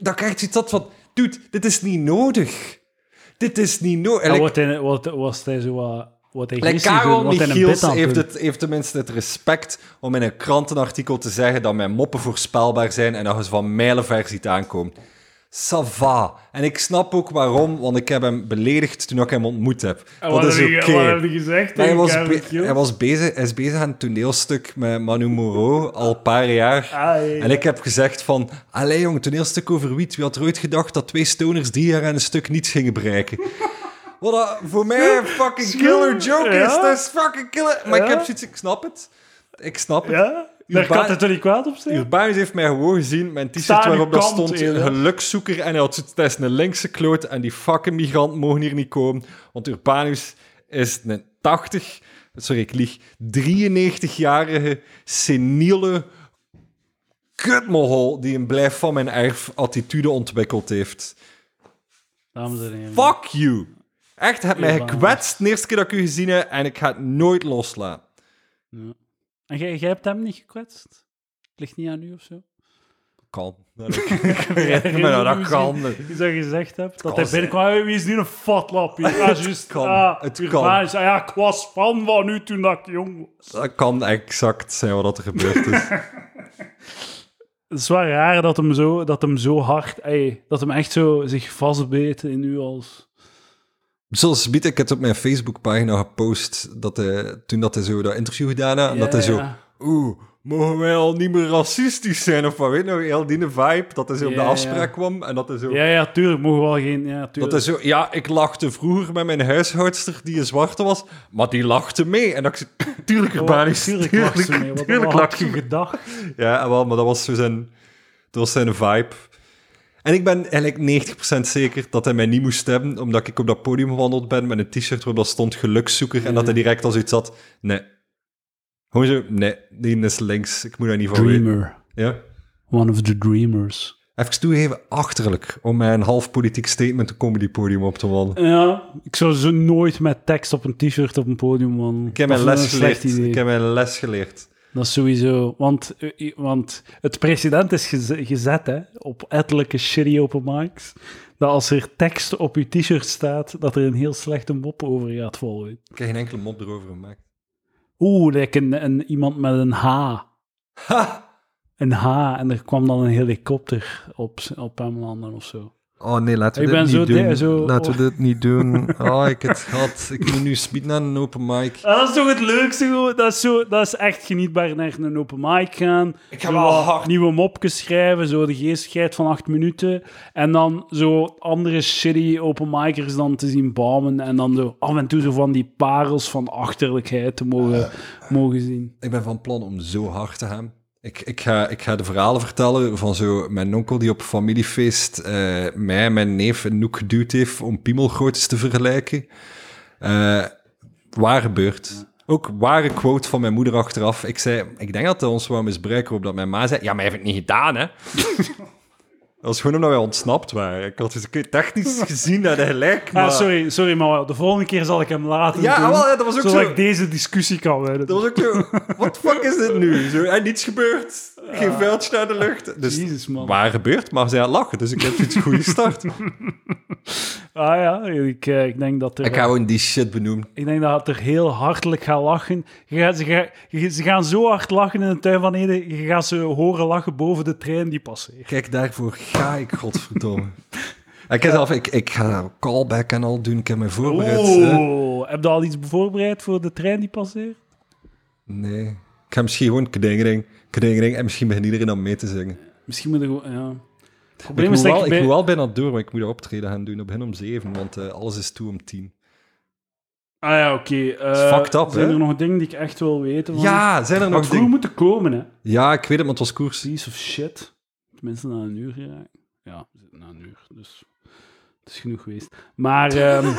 [SPEAKER 1] Dan krijgt je dat van... Dude, dit is niet nodig. Dit is niet nodig.
[SPEAKER 2] En wat, hij, wat was hij zo wat, wat hij
[SPEAKER 1] Like
[SPEAKER 2] gisteren
[SPEAKER 1] Karel
[SPEAKER 2] doet, wat hij een
[SPEAKER 1] Michiels
[SPEAKER 2] bit aan het
[SPEAKER 1] heeft,
[SPEAKER 2] doen.
[SPEAKER 1] het, heeft tenminste het respect om in een krantenartikel te zeggen dat mijn moppen voorspelbaar zijn en dat je ze van mijlenver ziet aankomen. Sava. En ik snap ook waarom, want ik heb hem beledigd toen ik hem ontmoet heb.
[SPEAKER 2] En
[SPEAKER 1] Dat
[SPEAKER 2] wat
[SPEAKER 1] is
[SPEAKER 2] heb je-
[SPEAKER 1] oké.
[SPEAKER 2] Wat heb je gezegd?
[SPEAKER 1] Maar Hij
[SPEAKER 2] tegen
[SPEAKER 1] was,
[SPEAKER 2] Karel
[SPEAKER 1] be-
[SPEAKER 2] Michiels?
[SPEAKER 1] hij, was bezig, hij is bezig aan een toneelstuk met Manu Moreau al een paar jaar.
[SPEAKER 2] Ah, ja, ja.
[SPEAKER 1] En ik heb gezegd van, allee jong, toneelstuk over wiet. Wie had er ooit gedacht dat twee stoners drie jaar aan een stuk niets gingen
[SPEAKER 2] *laughs*
[SPEAKER 1] bereiken? Wat dat voor mij een fucking killer joke is.
[SPEAKER 2] Ja.
[SPEAKER 1] Dat is fucking killer. Maar ik
[SPEAKER 2] Ja.
[SPEAKER 1] heb zoiets, ik snap het. Ik snap het.
[SPEAKER 2] Ja? Daar
[SPEAKER 1] Urban-
[SPEAKER 2] kan het toch niet kwaad op zijn?
[SPEAKER 1] Urbanus heeft mij gewoon gezien mijn
[SPEAKER 2] Sta
[SPEAKER 1] t-shirt
[SPEAKER 2] aan uw
[SPEAKER 1] waarop dat
[SPEAKER 2] kant,
[SPEAKER 1] stond
[SPEAKER 2] Elia.
[SPEAKER 1] gelukszoeker en hij had zoiets, dat is een linkse kloot en die fucking migrant mogen hier niet komen, want Urbanus is een 80, sorry ik lieg, 93-jarige seniele kutmohol die een blijf van mijn erf attitude ontwikkeld heeft.
[SPEAKER 2] Dames en heren.
[SPEAKER 1] Fuck you! Echt, heb mij
[SPEAKER 2] Urbanus.
[SPEAKER 1] gekwetst de eerste keer dat ik u gezien heb en ik ga het nooit loslaten.
[SPEAKER 2] En jij, jij hebt hem niet gekwetst? Ligt niet aan u of *laughs* zo?
[SPEAKER 1] Kan. Dat ik- ik herinner me dat, dat kan.
[SPEAKER 2] Je zou gezegd hebt dat hij
[SPEAKER 1] zijn.
[SPEAKER 2] binnenkwam. "Hey, Wie is nu een fatlap? *laughs* hier?" Ah, juist.
[SPEAKER 1] kan,
[SPEAKER 2] Ah,
[SPEAKER 1] het
[SPEAKER 2] uw
[SPEAKER 1] kan.
[SPEAKER 2] vader zei, ja, ik was fan van u toen dat ik jong was.
[SPEAKER 1] Dat kan exact zijn wat er gebeurd is.
[SPEAKER 2] Het is wel raar dat hem zo, dat hem zo hard... ey, dat hem echt zo zich vastbeet in u als...
[SPEAKER 1] Zoals Biet, ik heb het op mijn Facebookpagina gepost dat hij, toen dat hij zo dat interview gedaan had, en dat hij zo,
[SPEAKER 2] Ja.
[SPEAKER 1] oeh, mogen wij al niet meer racistisch zijn of wat weet nou, heel die vibe, dat hij zo op
[SPEAKER 2] Ja,
[SPEAKER 1] de
[SPEAKER 2] ja.
[SPEAKER 1] afspraak kwam en dat hij zo...
[SPEAKER 2] Ja, ja, tuurlijk. Mogen we wel geen... Ja,
[SPEAKER 1] Dat
[SPEAKER 2] tuurlijk.
[SPEAKER 1] hij zo, ja, ik lachte vroeger met mijn huishoudster die een zwarte was, maar die lachte mee. En dat ik zo, *laughs* tuurlijk,
[SPEAKER 2] Oh,
[SPEAKER 1] Urbanus,
[SPEAKER 2] tuurlijk
[SPEAKER 1] tuurlijk,
[SPEAKER 2] lacht ze mee. Wat
[SPEAKER 1] tuurlijk
[SPEAKER 2] wat had
[SPEAKER 1] lacht
[SPEAKER 2] je
[SPEAKER 1] je.
[SPEAKER 2] gedacht?
[SPEAKER 1] Ja, en wel, maar dat was zo zijn, dat was zijn vibe. En ik ben eigenlijk 90% zeker dat hij mij niet moest hebben, omdat ik op dat podium gewandeld ben met een t-shirt waarop dat stond gelukszoeker en dat
[SPEAKER 2] Mhm.
[SPEAKER 1] hij direct als iets had, nee. Gewoon zo, nee, die is links, ik moet daar niet van weten.
[SPEAKER 2] Dreamer.
[SPEAKER 1] Ja.
[SPEAKER 2] One of the dreamers.
[SPEAKER 1] Even toegeven, achterlijk, om mij een half politiek statement een comedy podium op te wandelen.
[SPEAKER 2] Ja, ik zou zo nooit met tekst op een t-shirt op een podium, man.
[SPEAKER 1] Ik heb mijn
[SPEAKER 2] Dat is
[SPEAKER 1] les
[SPEAKER 2] een slecht
[SPEAKER 1] geleerd.
[SPEAKER 2] idee.
[SPEAKER 1] Ik heb mijn les geleerd.
[SPEAKER 2] Dat is sowieso... Want, eh, want het precedent is geze- gezet, hè. Op ettelijke shitty open mics. Dat als er tekst op je t-shirt staat, dat er een heel slechte mop over gaat volgen.
[SPEAKER 1] Ik heb geen enkele mop erover gemaakt.
[SPEAKER 2] Oeh, like een, een, iemand met een H.
[SPEAKER 1] Ha!
[SPEAKER 2] Een H. En er kwam dan een helikopter op, op hem landen of zo.
[SPEAKER 1] Oh nee, laten
[SPEAKER 2] Ik
[SPEAKER 1] we
[SPEAKER 2] ben
[SPEAKER 1] dit
[SPEAKER 2] zo
[SPEAKER 1] niet doen.
[SPEAKER 2] de- zo-
[SPEAKER 1] laten
[SPEAKER 2] oh.
[SPEAKER 1] we dit niet
[SPEAKER 2] *laughs*
[SPEAKER 1] doen. Oh, ik het gehad. Ik moet nu speed naar een open mic.
[SPEAKER 2] Ah, Dat is toch het leukste gewoon. Dat is, zo, dat is echt genietbaar naar een open mic gaan.
[SPEAKER 1] Ik ga
[SPEAKER 2] Zo
[SPEAKER 1] wel
[SPEAKER 2] wat
[SPEAKER 1] hard.
[SPEAKER 2] Nieuwe mopjes schrijven, zo de geestigheid van acht minuten. En dan zo andere shitty open micers dan te zien bouwen. En dan zo af en toe zo van die parels van achterlijkheid te mogen, mogen zien.
[SPEAKER 1] Ik ben van plan om zo hard te gaan. Ik, ik, ga, ik ga de verhalen vertellen van zo mijn onkel die op familiefeest eh, mij en mijn neef een noek geduwd heeft om piemelgroottes te vergelijken. Eh waar gebeurt. Ook ware quote van mijn moeder achteraf. Ik zei, ik denk dat hij ons wou misbruiken op dat mijn ma zei, ja, maar hij heeft het niet gedaan, hè. *laughs* dat was gewoon omdat wij ontsnapt waren. Ik had dus een keer *laughs* technisch gezien dat hij gelijk, maar...
[SPEAKER 2] Ah, sorry, sorry, maar de volgende keer zal ik hem laten
[SPEAKER 1] Ja,
[SPEAKER 2] doen,
[SPEAKER 1] ah, wel, ja, dat was ook
[SPEAKER 2] zodat
[SPEAKER 1] zo.
[SPEAKER 2] ik deze discussie kan winnen.
[SPEAKER 1] Dat was ook zo, wat fuck is dit nu? Zo, en niets gebeurd. Geen vuiltje naar de lucht. Dus
[SPEAKER 2] Jezus, man.
[SPEAKER 1] waar gebeurt, maar zij aan het lachen. Dus ik heb iets goede start.
[SPEAKER 2] Ah ja, ik, eh, ik denk dat er...
[SPEAKER 1] *laughs* ik ga gewoon die shit benoemen.
[SPEAKER 2] Ik denk dat het er heel hartelijk gaat lachen. Je gaat, ze, ga- je- ze gaan zo hard lachen in de tuin van Ede. Je gaat ze horen lachen boven de trein die passeert.
[SPEAKER 1] Kijk, daarvoor ga ik, godverdomme. ik, heb zelf, ik, ik ga callback en al doen. Ik heb me voorbereid. hè.
[SPEAKER 2] Oh, heb je al iets voorbereid voor de trein die passeert?
[SPEAKER 1] Nee. Ik ga misschien gewoon kedingering, kedingering. En misschien begint iedereen dan mee te zingen.
[SPEAKER 2] Misschien moet er gewoon. Ja.
[SPEAKER 1] Ik
[SPEAKER 2] Het probleem
[SPEAKER 1] moet,
[SPEAKER 2] is dat
[SPEAKER 1] wel,
[SPEAKER 2] ik
[SPEAKER 1] ik
[SPEAKER 2] bij-
[SPEAKER 1] moet wel bijna door, maar ik moet dat optreden gaan doen. Op hen om zeven, want eh, alles is toe om tien.
[SPEAKER 2] Ah ja, oké. eh,
[SPEAKER 1] is fucked up,
[SPEAKER 2] Zijn
[SPEAKER 1] hè?
[SPEAKER 2] er nog dingen die ik echt wil weten? want-
[SPEAKER 1] Ja, zijn er
[SPEAKER 2] maar
[SPEAKER 1] nog
[SPEAKER 2] vroeg
[SPEAKER 1] dingen?
[SPEAKER 2] moeten komen, hè?
[SPEAKER 1] Ja, ik weet het, want het was koers.
[SPEAKER 2] Piece of shit. Tenminste, na een uur geraakt. Ja, we zitten na een uur. Dus het is genoeg geweest. Maar.
[SPEAKER 1] *laughs*
[SPEAKER 2] ehm,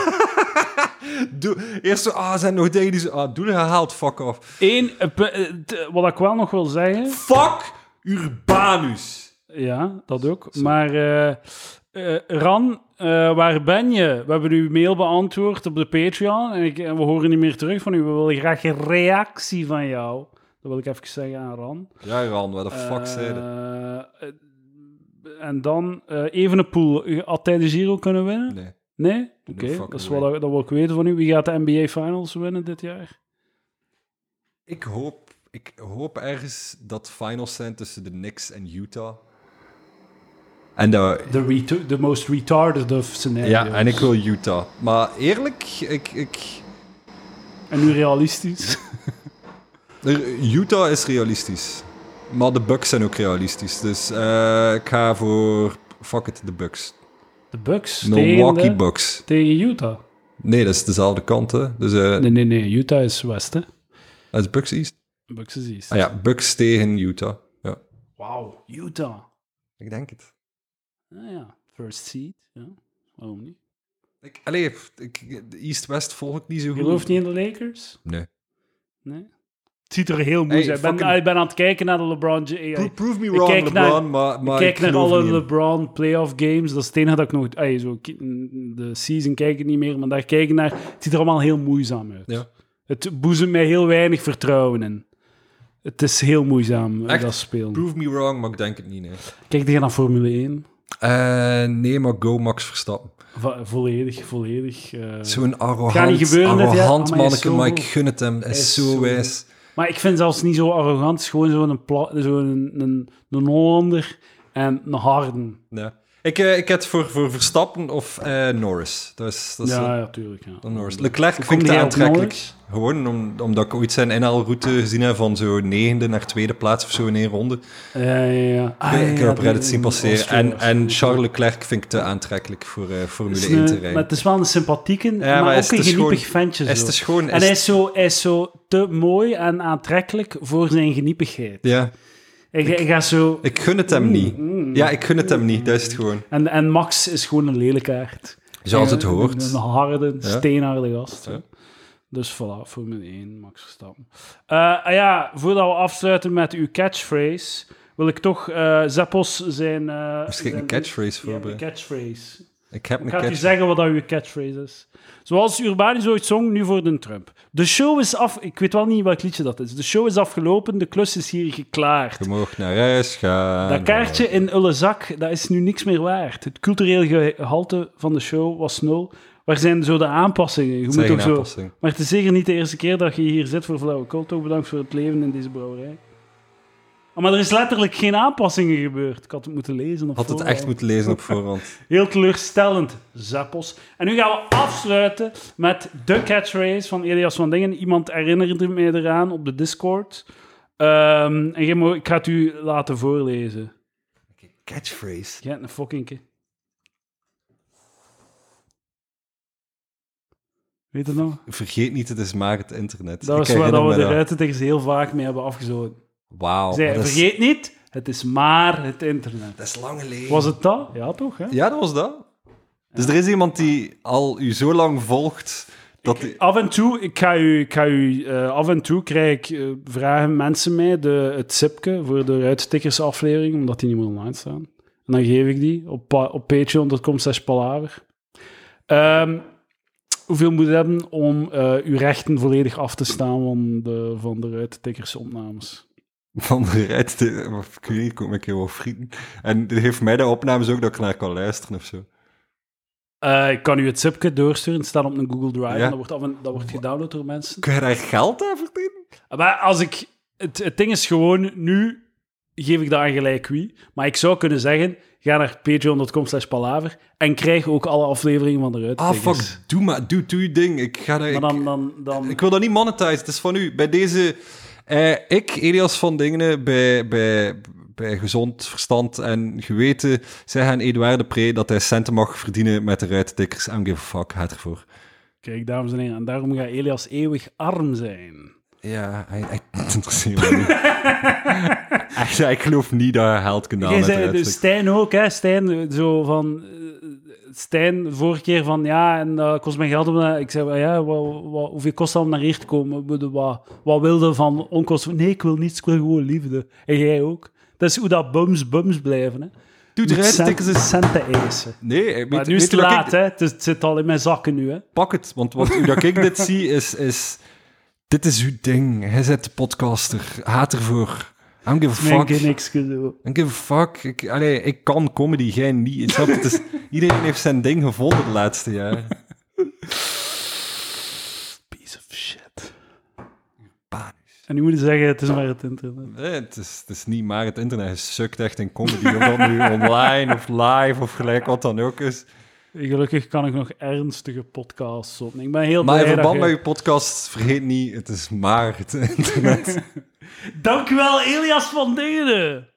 [SPEAKER 1] Doe, eerst zo, ah, zijn er nog dingen die ze... Ah, doelen gehaald, fuck off.
[SPEAKER 2] Eén, eh, pe- eh, t- wat ik wel nog wil zeggen.
[SPEAKER 1] Fuck Urbanus.
[SPEAKER 2] Ja, dat ook. Maar eh, eh, Ran, eh, waar ben je? We hebben uw mail beantwoord op de Patreon en, ik, en we horen niet meer terug van u. We willen graag een reactie van jou. Dat wil ik even zeggen aan Ran.
[SPEAKER 1] Ja, Ran, wat de fuck
[SPEAKER 2] Eh,
[SPEAKER 1] zei dat?
[SPEAKER 2] eh, en dan eh even een pool. Had hij de Giro kunnen winnen?
[SPEAKER 1] Nee.
[SPEAKER 2] Nee? Oké,
[SPEAKER 1] fucking
[SPEAKER 2] dat, is
[SPEAKER 1] way.
[SPEAKER 2] wat ik- dat wil ik weten van u. Wie gaat de NBA Finals winnen dit jaar?
[SPEAKER 1] Ik hoop, ik hoop ergens dat finals zijn tussen de Knicks en Utah. En dat...
[SPEAKER 2] De the most retarded of scenario's.
[SPEAKER 1] Ja, en ik wil Utah. Maar eerlijk, ik... ik
[SPEAKER 2] En nu realistisch. *laughs*
[SPEAKER 1] er- Utah is realistisch. Maar de Bucks zijn ook realistisch. Dus eh, ik ga voor... Fuck it, de Bucks.
[SPEAKER 2] De Bucks
[SPEAKER 1] Milwaukee
[SPEAKER 2] tegen, de-
[SPEAKER 1] Bucks.
[SPEAKER 2] tegen Utah.
[SPEAKER 1] Nee, dat is dezelfde kant, hè. Dus eh
[SPEAKER 2] Nee, nee, nee. Utah is West, hè?
[SPEAKER 1] dat is Bucks East.
[SPEAKER 2] Bucks is East.
[SPEAKER 1] Ah ja, Bucks tegen Utah. Ja.
[SPEAKER 2] Wauw, Utah.
[SPEAKER 1] Ik denk het.
[SPEAKER 2] Ah ja, first seed. Ja. Waarom niet?
[SPEAKER 1] Ik, allee, ik, de East-West volg ik niet zo
[SPEAKER 2] Je
[SPEAKER 1] goed.
[SPEAKER 2] gelooft niet in de Lakers?
[SPEAKER 1] Nee.
[SPEAKER 2] Nee. Het ziet er heel moeilijk
[SPEAKER 1] Hey,
[SPEAKER 2] uit. Ik ben,
[SPEAKER 1] fucking-
[SPEAKER 2] ik ben aan het kijken naar de LeBron James.
[SPEAKER 1] Pro- prove me
[SPEAKER 2] Ik
[SPEAKER 1] wrong,
[SPEAKER 2] kijk
[SPEAKER 1] LeBron,
[SPEAKER 2] naar-
[SPEAKER 1] maar, maar
[SPEAKER 2] kijk naar
[SPEAKER 1] Ah, geloof
[SPEAKER 2] alle
[SPEAKER 1] niet in.
[SPEAKER 2] LeBron playoff games. Dat is het enige dat ik nog... Ay, zo, ki- de season kijk ik niet meer, maar daar kijk ik naar. Het ziet er allemaal heel moeizaam uit.
[SPEAKER 1] Ja.
[SPEAKER 2] Het boezemt mij heel weinig vertrouwen in. Het is heel moeizaam, eh,
[SPEAKER 1] Echt?
[SPEAKER 2] dat spelen.
[SPEAKER 1] Prove me wrong, maar ik denk het niet, nee.
[SPEAKER 2] Kijk tegen naar Formule 1.
[SPEAKER 1] Eh, nee, maar go Max Verstappen.
[SPEAKER 2] Va- volledig, volledig. eh,
[SPEAKER 1] Zo'n arrogant,
[SPEAKER 2] Gaat niet gebeuren dit jaar,
[SPEAKER 1] arrogant
[SPEAKER 2] maar hij is
[SPEAKER 1] manneke,
[SPEAKER 2] zo
[SPEAKER 1] maar ik
[SPEAKER 2] goed.
[SPEAKER 1] gun het hem. Hij is
[SPEAKER 2] is
[SPEAKER 1] zo
[SPEAKER 2] zo
[SPEAKER 1] wijs.
[SPEAKER 2] Maar ik vind zelfs niet zo arrogant. Het is gewoon zo'n pla- zo'n een, een, een Hollander en een Harden.
[SPEAKER 1] Ja. Ik, eh, ik heb het voor, voor Verstappen of eh, Norris. Dat is, dat is
[SPEAKER 2] ja,
[SPEAKER 1] eh,
[SPEAKER 2] ja, tuurlijk. Ja.
[SPEAKER 1] dan Norris. Leclerc vind
[SPEAKER 2] kom
[SPEAKER 1] ik te
[SPEAKER 2] jij op
[SPEAKER 1] aantrekkelijk.
[SPEAKER 2] Norris?
[SPEAKER 1] Gewoon om, omdat ik ooit zijn inhaalroute gezien heb van zo negende naar tweede plaats of zo in één ronde.
[SPEAKER 2] Ja, ja, ja. Ah, ja,
[SPEAKER 1] ik
[SPEAKER 2] ja,
[SPEAKER 1] heb op
[SPEAKER 2] die-
[SPEAKER 1] Reddit zien
[SPEAKER 2] die
[SPEAKER 1] passeren.
[SPEAKER 2] Australiërs.
[SPEAKER 1] En, en Charles Leclerc vind ik te aantrekkelijk voor eh, Formule
[SPEAKER 2] Het is
[SPEAKER 1] 1 te
[SPEAKER 2] een-
[SPEAKER 1] rijden.
[SPEAKER 2] Maar het is wel een sympathieke, maar,
[SPEAKER 1] maar hij is
[SPEAKER 2] ook een
[SPEAKER 1] te
[SPEAKER 2] geniepig
[SPEAKER 1] schoon.
[SPEAKER 2] ventje.
[SPEAKER 1] Hij is
[SPEAKER 2] zo.
[SPEAKER 1] te schoon.
[SPEAKER 2] En
[SPEAKER 1] Is-
[SPEAKER 2] hij is, zo, hij is zo te mooi en aantrekkelijk voor zijn geniepigheid.
[SPEAKER 1] Ja,
[SPEAKER 2] Hij, ga- hij gaat zo...
[SPEAKER 1] ik gun het
[SPEAKER 2] Mm,
[SPEAKER 1] hem niet. Ja, ik gun het hem niet. Dat is het gewoon.
[SPEAKER 2] En, en Max is gewoon een lelijkaard.
[SPEAKER 1] Zoals het
[SPEAKER 2] Een-
[SPEAKER 1] hoort.
[SPEAKER 2] Een harde,
[SPEAKER 1] Ja.
[SPEAKER 2] steenharde gast. hè.
[SPEAKER 1] Ja.
[SPEAKER 2] Dus voilà, Formule 1, Max Verstappen. Eh, ah ja, voordat we afsluiten met uw catchphrase, wil ik toch eh Zeppos zijn... eh
[SPEAKER 1] Misschien
[SPEAKER 2] zijn-
[SPEAKER 1] een catchphrase
[SPEAKER 2] Ja, een
[SPEAKER 1] voorbereid.
[SPEAKER 2] catchphrase.
[SPEAKER 1] Ik heb een
[SPEAKER 2] Ik ga u
[SPEAKER 1] catchphrase.
[SPEAKER 2] zeggen wat dat uw catchphrase is. Zoals Urbanus ooit zong, nu voor de Trump. De show is af... Ik weet wel niet welk liedje dat is. De show is afgelopen, de klus is hier geklaard.
[SPEAKER 1] Je mag naar huis gaan.
[SPEAKER 2] Dat
[SPEAKER 1] eh,
[SPEAKER 2] kaartje in Ullezak, dat is nu niks meer waard. Het cultureel gehalte van de show was nul. Waar zijn zo de aanpassingen? Je
[SPEAKER 1] Zeg
[SPEAKER 2] moet
[SPEAKER 1] een
[SPEAKER 2] ook zo...
[SPEAKER 1] aanpassing.
[SPEAKER 2] Maar het is zeker niet de eerste keer dat je hier zit voor Flauwekul. Toch bedankt voor het leven in deze brouwerij. Ah, maar er is letterlijk geen aanpassingen gebeurd. Ik had het moeten lezen. Op
[SPEAKER 1] Had het
[SPEAKER 2] voorhand.
[SPEAKER 1] echt moeten lezen op voorhand.
[SPEAKER 2] Heel teleurstellend, Zappos. En nu gaan we afsluiten met de catchphrase van Elias van Dingen. Iemand herinnerde mij eraan op de Discord. Ehm, en jij mo- ik ga het u laten voorlezen.
[SPEAKER 1] *laughs* Catchphrase.
[SPEAKER 2] Jij hebt een fucking keer. Weet je het nog?
[SPEAKER 1] Vergeet niet, het is maar het internet.
[SPEAKER 2] Dat
[SPEAKER 1] Ik
[SPEAKER 2] was waar
[SPEAKER 1] herinner
[SPEAKER 2] dat we
[SPEAKER 1] me
[SPEAKER 2] de
[SPEAKER 1] dat.
[SPEAKER 2] ruitentegens heel vaak mee hebben afgezoten.
[SPEAKER 1] Wauw.
[SPEAKER 2] Zij,
[SPEAKER 1] dat, is-
[SPEAKER 2] vergeet niet, het is maar het internet.
[SPEAKER 1] dat is lang geleden.
[SPEAKER 2] Was het dat? Ja, toch? Hè?
[SPEAKER 1] Ja, dat was dat. Dus er is iemand die al u zo lang volgt, dat die... *laughs*
[SPEAKER 2] Af en toe, ik ga u, ik ga u eh, af en toe krijg ik, eh, vragen mensen mij de, het zipje voor de Ruitstickers aflevering, omdat die niet meer online staan. En dan geef ik die op, pa- op patreon.com slash palaver. Ehm, hoeveel moet je hebben om eh, uw rechten volledig af te staan van de, van de Ruitstickers opnames?
[SPEAKER 1] van de rijdt. Ik weet niet, ik kom een keer wel vrienden. En die heeft mij de opnames ook dat ik naar kan luisteren of zo.
[SPEAKER 2] Eh, ik kan u het zipje doorsturen, het staat op een Google Drive
[SPEAKER 1] Ja.
[SPEAKER 2] en dat wordt, af en, dat wordt gedownload door mensen.
[SPEAKER 1] Kun je daar geld aan verdienen?
[SPEAKER 2] Maar als ik... Het, het ding is gewoon, nu geef ik dat aan gelijk wie. Maar ik zou kunnen zeggen, ga naar patreon.com slash palaver en krijg ook alle afleveringen van de
[SPEAKER 1] Ah,
[SPEAKER 2] Ruitstickers.
[SPEAKER 1] fuck, doe maar, doe, doe je ding. Ik ga daar...
[SPEAKER 2] Maar
[SPEAKER 1] ik-
[SPEAKER 2] dan... dan, dan
[SPEAKER 1] Ik wil dat niet monetizen, het is van u. Bij deze, eh, ik, Elias van Dingen, bij, bij, bij gezond verstand en geweten, zeg aan Eduard de Pre dat hij centen mag verdienen met de ruitdikkers. I don't give a fuck, gaat ervoor.
[SPEAKER 2] Kijk, dames en heren, en daarom gaat Elias eeuwig arm zijn.
[SPEAKER 1] Ja, hij, *laughs* hij het interesseert me *laughs* niet. Echt, ik geloof niet dat hij geld kan halen
[SPEAKER 2] Jij
[SPEAKER 1] met de
[SPEAKER 2] zei, dus
[SPEAKER 1] ruitdikkers.
[SPEAKER 2] Stijn ook, hè. Stijn, eh, zo van... eh, Stijn, de vorige keer van, ja, en dat kost mij geld om... naar- Ik zei, wel, ja, wat, wat, hoeveel kost dat om naar hier te komen? Ik bedoel, Wat, wat wilde van onkosten? Nee, ik wil niets, ik wil gewoon liefde. En jij ook. Dat is hoe dat bums bums blijven, hè.
[SPEAKER 1] Doe de
[SPEAKER 2] Met
[SPEAKER 1] ruitdikkers
[SPEAKER 2] cent-
[SPEAKER 1] eens...
[SPEAKER 2] centen eisen.
[SPEAKER 1] Nee, weet,
[SPEAKER 2] Maar nu
[SPEAKER 1] weet
[SPEAKER 2] is het
[SPEAKER 1] je wat
[SPEAKER 2] laat,
[SPEAKER 1] ik-
[SPEAKER 2] hè. Het, is- het zit al in mijn zakken nu, hè.
[SPEAKER 1] Pak het, want wat, hoe dat ik dit zie is, is... Dit is uw ding. Hij zet de podcaster. Haat ervoor. I don't give a
[SPEAKER 2] Mijn
[SPEAKER 1] fuck.
[SPEAKER 2] keer niks gedoe.
[SPEAKER 1] I don't give a fuck. Ik, allee, ik kan comedy, jij niet. Ik snap het, het is- iedereen heeft zijn ding gevonden de laatste jaren.
[SPEAKER 2] Piece of shit. En nu moet je zeggen, het is maar het internet.
[SPEAKER 1] Eh, het, is, het is niet maar het internet. Het sukt echt in comedy. Of dat nu online of live of gelijk wat dan ook is.
[SPEAKER 2] Gelukkig kan ik nog ernstige podcasts opnemen. Ik ben heel
[SPEAKER 1] Maar in
[SPEAKER 2] blij
[SPEAKER 1] verband
[SPEAKER 2] dat
[SPEAKER 1] met
[SPEAKER 2] je-
[SPEAKER 1] uw podcast, vergeet niet, het is maar het internet.
[SPEAKER 2] Dank u wel, Elias van Denen.